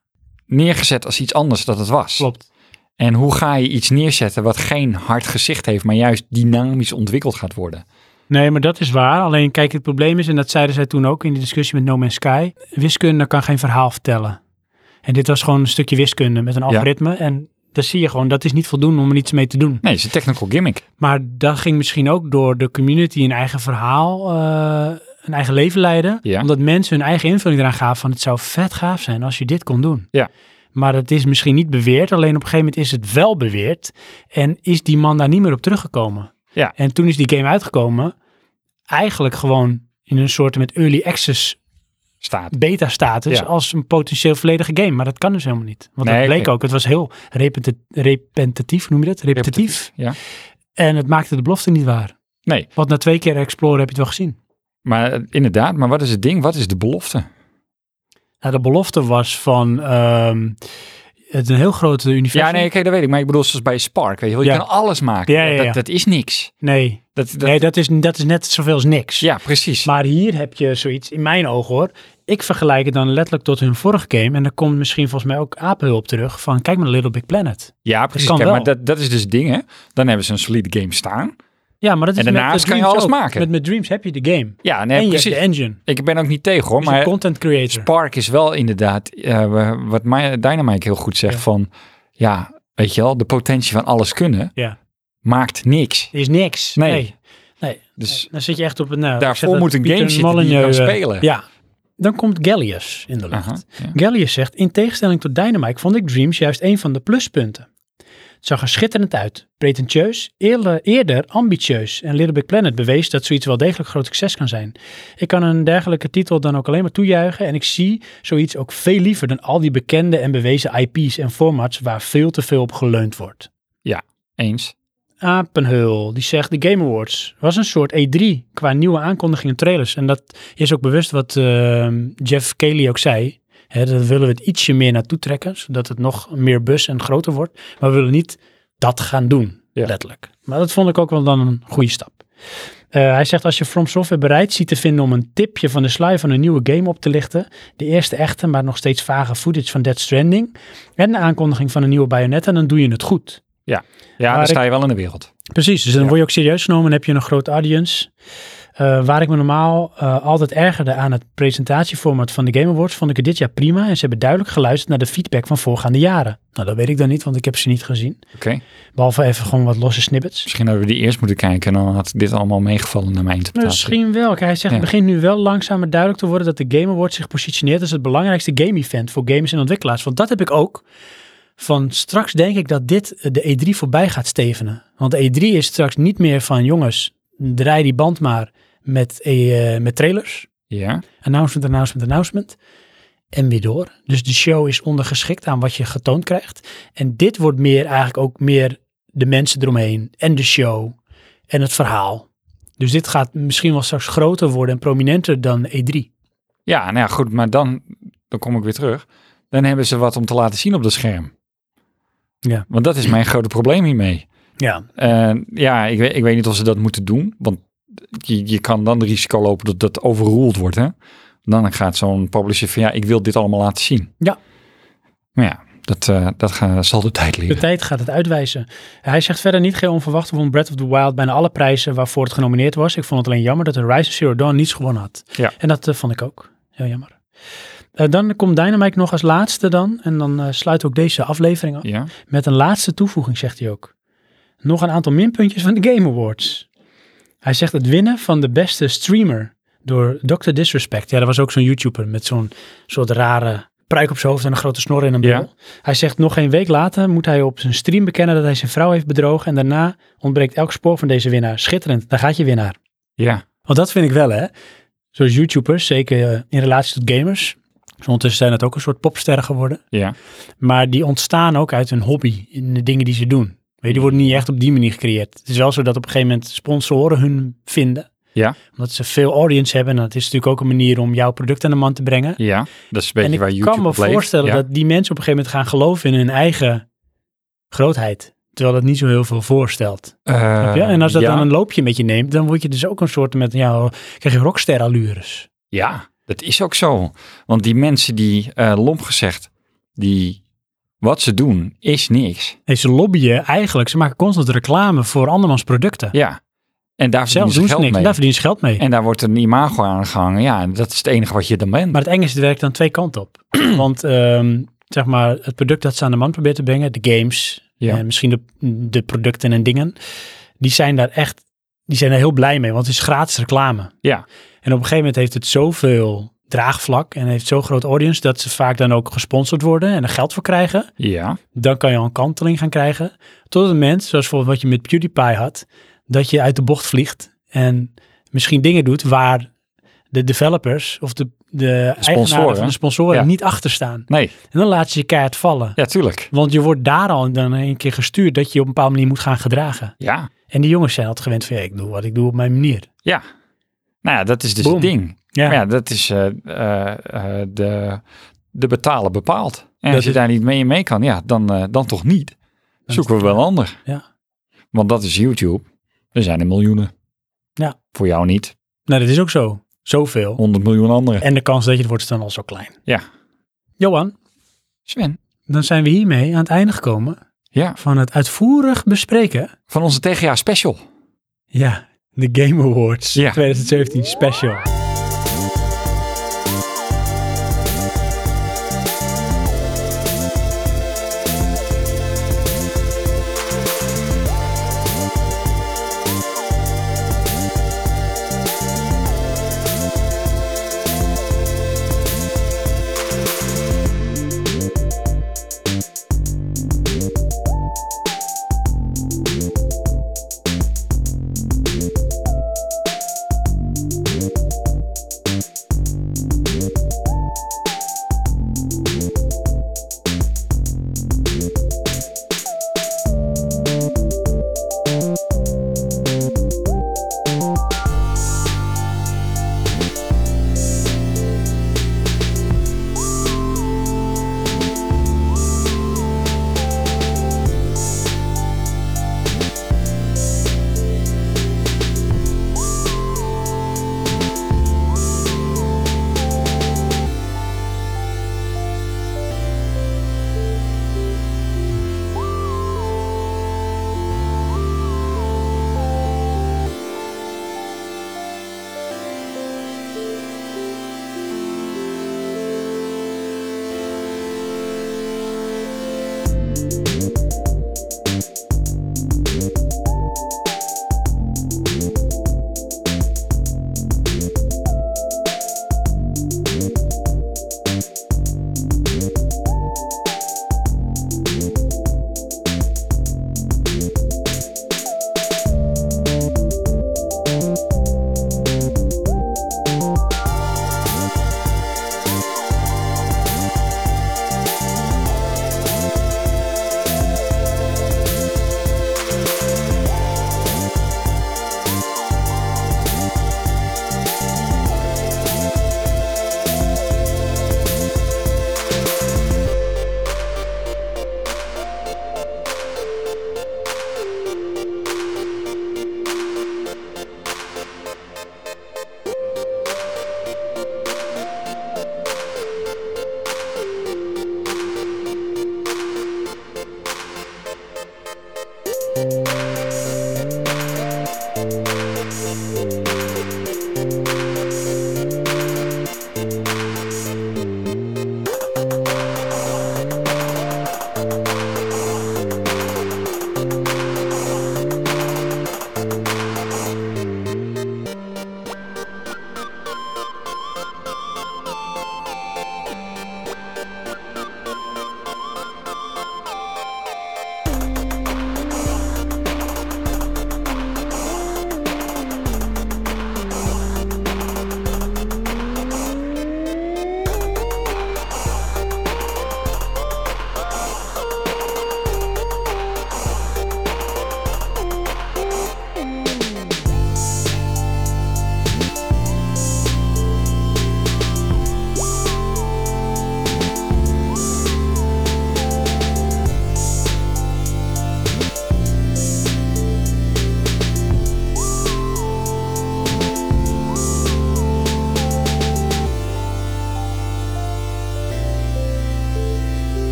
B: neergezet als iets anders dat het was.
A: klopt.
B: En hoe ga je iets neerzetten wat geen hard gezicht heeft, maar juist dynamisch ontwikkeld gaat worden?
A: Nee, maar dat is waar. Alleen kijk, het probleem is, en dat zeiden zij toen ook in die discussie met No Man's Sky, wiskunde kan geen verhaal vertellen. En dit was gewoon een stukje wiskunde met een algoritme. En daar zie je gewoon, dat is niet voldoende om er iets mee te doen.
B: Nee, het is een technical gimmick.
A: Maar dat ging misschien ook door de community een eigen verhaal, eh, een eigen leven leiden.
B: Ja.
A: Omdat mensen hun eigen invulling eraan gaven van het zou vet gaaf zijn als je dit kon doen.
B: Ja.
A: Maar dat is misschien niet beweerd, alleen op een gegeven moment is het wel beweerd. En is die man daar niet meer op teruggekomen.
B: Ja.
A: En toen is die game uitgekomen, eigenlijk gewoon in een soort met early access
B: Staat.
A: beta status
B: Ja.
A: als een potentieel volledige game. Maar dat kan dus helemaal niet. Want
B: Nee,
A: dat bleek
B: oké.
A: ook, het was heel repeti- repetitief, noem je dat? repetitief.
B: Ja.
A: En het maakte de belofte niet waar.
B: Nee.
A: Want na twee keer exploren heb je het wel gezien.
B: Maar eh, inderdaad, maar wat is het ding? Wat is de belofte?
A: Nou, de belofte was van ehm, het is een heel grote universum.
B: Ja, nee, kijk, dat weet ik. Maar ik bedoel, zoals bij Spark, weet je wel. Je
A: Ja.
B: kan alles maken.
A: Ja, ja, ja.
B: Dat, dat is niks.
A: Nee,
B: Dat, dat,
A: nee, dat, is, dat is net zoveel als niks.
B: Ja, precies.
A: Maar hier heb je zoiets, in mijn ogen hoor. Ik vergelijk het dan letterlijk tot hun vorige game. En dan komt misschien volgens mij ook Apenhulp terug. Van kijk maar Little Big Planet.
B: ja, precies.
A: kan
B: Kijk,
A: wel.
B: maar dat, dat is dus dingen. Dan hebben ze een solide game staan.
A: Ja, maar dat is
B: En
A: met
B: daarnaast
A: de
B: kan je
A: Dreams
B: alles
A: ook.
B: maken.
A: Met, met Dreams heb je de game.
B: Ja, nee,
A: en je hebt
B: precies.
A: de engine.
B: Ik ben ook niet tegen, hoor.
A: Dus maar,
B: Maar
A: content creator.
B: Spark is wel inderdaad, eh, wat My- Dynamite heel goed zegt,
A: Ja.
B: van ja, weet je wel, de potentie van alles kunnen
A: Ja.
B: maakt niks.
A: Is niks.
B: Nee.
A: nee.
B: Dus
A: Dan zit je echt op een... Nou,
B: Daarvoor
A: ik zeg dat
B: moet een
A: Pieter
B: game zitten die je
A: Molyneux,
B: kan
A: eh,
B: spelen.
A: Ja. Dan komt Gallius in de lucht.
B: aha, ja.
A: Gallius zegt, in tegenstelling tot Dynamite vond ik Dreams juist een van de pluspunten. Het zag er schitterend uit, pretentieus, eerder, eerder ambitieus en Little Big Planet bewees dat zoiets wel degelijk groot succes kan zijn. Ik kan een dergelijke titel dan ook alleen maar toejuichen en ik zie zoiets ook veel liever dan al die bekende en bewezen IP's en formats waar veel te veel op geleund wordt.
B: eens.
A: Apenheul, die zegt de Game Awards was een soort E3 qua nieuwe aankondigingen en trailers. En dat is ook bewust wat ehm, Jeff Kelly ook zei. Hè, daar willen we het ietsje meer naartoe trekken, zodat het nog meer bus en groter wordt. Maar we willen niet dat gaan doen,
B: Ja.
A: letterlijk. Maar dat vond ik ook wel dan een goede stap. Eh, hij zegt, als je From Software bereid ziet te vinden om een tipje van de sluier van een nieuwe game op te lichten, de eerste echte, maar nog steeds vage footage van Dead Stranding en de aankondiging van een nieuwe Bayonetta, dan doe je het goed.
B: Ja, dan
A: Maar
B: sta je wel in de wereld.
A: Precies, dus dan
B: Ja.
A: word je ook serieus genomen en heb je een grote audience. Eh, waar ik me normaal eh, altijd ergerde aan het presentatieformat van de Game Awards, vond ik het dit jaar prima. En ze hebben duidelijk geluisterd naar de feedback van voorgaande jaren. Nou, dat weet ik dan niet, want ik heb ze niet gezien.
B: Oké,
A: Behalve even gewoon wat losse snippets.
B: misschien dat we die eerst moeten kijken en dan had dit allemaal meegevallen naar mijn interpretatie.
A: Misschien wel. Kijk, hij zegt, het
B: Ja.
A: begint nu wel langzamer duidelijk te worden dat de Game Awards zich positioneert als het belangrijkste game-event voor gamers en ontwikkelaars. Want dat heb ik ook. Van straks denk ik dat dit eh, de E3 voorbij gaat stevenen. Want de E3 is straks niet meer van, jongens, draai die band maar met, eh, met trailers.
B: Ja,
A: Announcement, announcement, announcement. En weer door. Dus de show is ondergeschikt aan wat je getoond krijgt. En dit wordt meer eigenlijk ook meer de mensen eromheen en de show en het verhaal. Dus dit gaat misschien wel straks groter worden en prominenter dan E E3.
B: ja nou ja, goed, maar dan, dan kom ik weer terug. Dan hebben ze wat om te laten zien op dat scherm.
A: Ja.
B: Want dat is mijn grote probleem hiermee.
A: Ja,
B: Eh, ja, ik weet, ik weet niet of ze dat moeten doen. Want je, je kan dan het risico lopen dat dat overruled wordt. Hè? Dan gaat zo'n publisher van ja, ik wil dit allemaal laten zien.
A: Ja.
B: Maar ja, dat, eh, dat ga- zal de tijd
A: de (laughs)
B: leren.
A: tijd gaat het uitwijzen. Hij zegt verder niet geheel onverwacht won Breath of the Wild bijna alle prijzen waarvoor het genomineerd was. Ik vond het alleen jammer dat Horizon Zero Dawn niets gewonnen had.
B: Ja.
A: En dat eh, vond ik ook. Heel jammer. Eh, dan komt Dynamite nog als laatste dan. En dan eh, sluit ook deze aflevering af.
B: Ja,
A: Met een laatste toevoeging, zegt hij ook. Nog een aantal minpuntjes van de Game Awards. Hij zegt het winnen van de beste streamer door Dr. Disrespect. Ja, dat was ook zo'n YouTuber met zo'n soort rare pruik op zijn hoofd en een grote snor in een bril.
B: Ja.
A: Hij zegt nog geen week later moet hij op zijn stream bekennen dat hij zijn vrouw heeft bedrogen. En daarna ontbreekt elk spoor van deze winnaar. Schitterend, daar gaat je winnaar.
B: Ja.
A: Want dat vind ik wel, hè. Zoals YouTubers, zeker eh, in relatie tot gamers. Dus ondertussen zijn het ook een soort popsterren geworden.
B: Ja.
A: Maar die ontstaan ook uit hun hobby, in de dingen die ze doen. Weet je, die worden niet echt op die manier gecreëerd. Het is wel zo dat op een gegeven moment sponsoren hun vinden.
B: Ja.
A: Omdat ze veel audience hebben. En dat is natuurlijk ook een manier om jouw product aan de man te brengen.
B: Ja. Dat is een beetje
A: en
B: waar
A: ik
B: YouTube
A: kan me
B: op leeft.
A: voorstellen
B: Ja.
A: dat die mensen op een gegeven moment gaan geloven in hun eigen grootheid. Terwijl dat niet zo heel veel voorstelt.
B: Eh,
A: Snap je? En als dat
B: ja.
A: dan een loopje met je neemt, dan word je dus ook een soort met, ja, krijg je rockster allures.
B: Ja, dat is ook zo. Want die mensen die, eh lomp gezegd, die, wat ze doen is niks.
A: En ze lobbyen eigenlijk, ze maken constant reclame voor andermans producten.
B: Ja. En daar
A: Zelf
B: verdienen ze
A: doen ze
B: geld
A: niks,
B: mee.
A: daar verdienen ze geld mee.
B: En daar wordt een imago aan gehangen. Ja, en dat is het enige wat je dan bent.
A: Maar het enge is, het werkt dan twee kanten op. (clears throat) Want ehm, zeg maar, het product dat ze aan de man probeert te brengen, de games,
B: Ja.
A: en misschien de, de producten en dingen, die zijn daar echt, die zijn er heel blij mee, want het is gratis reclame.
B: Ja.
A: En op een gegeven moment heeft het zoveel draagvlak en heeft zo'n groot audience dat ze vaak dan ook gesponsord worden en er geld voor krijgen.
B: ja.
A: dan kan je al een kanteling gaan krijgen. Tot het moment, zoals bijvoorbeeld wat je met PewDiePie had, dat je uit de bocht vliegt en misschien dingen doet waar de developers of de, de eigenaren van
B: Sponsoren.
A: de sponsoren
B: Ja.
A: niet achter staan.
B: Nee.
A: En dan laat ze je keihard vallen.
B: Ja, tuurlijk.
A: Want je wordt daar al dan een keer gestuurd dat je je op een bepaalde manier moet gaan gedragen.
B: Ja.
A: En die jongens zijn altijd gewend van, ja, ik doe wat ik doe op mijn manier.
B: Ja. Nou ja, dat is dus
A: Boom.
B: het ding.
A: Ja,
B: Maar ja, dat is eh, eh, eh, de, de betalen bepaalt. En
A: Dat
B: als je
A: is-
B: daar niet mee, mee kan, ja, dan, eh, dan toch niet.
A: is
B: Zoeken we wel een ander.
A: Ja.
B: Want dat is YouTube. Er zijn er miljoenen.
A: Ja.
B: Voor jou niet.
A: nou dat is ook zo. Zoveel.
B: 100 miljoen anderen.
A: En de kans dat je het wordt is dan al zo klein.
B: Ja.
A: Johan,
B: Sven.
A: dan zijn we hiermee aan het einde gekomen
B: Ja.
A: van het uitvoerig bespreken
B: Van onze TGA special.
A: Ja, de Game Awards
B: Ja.
A: 2017 special.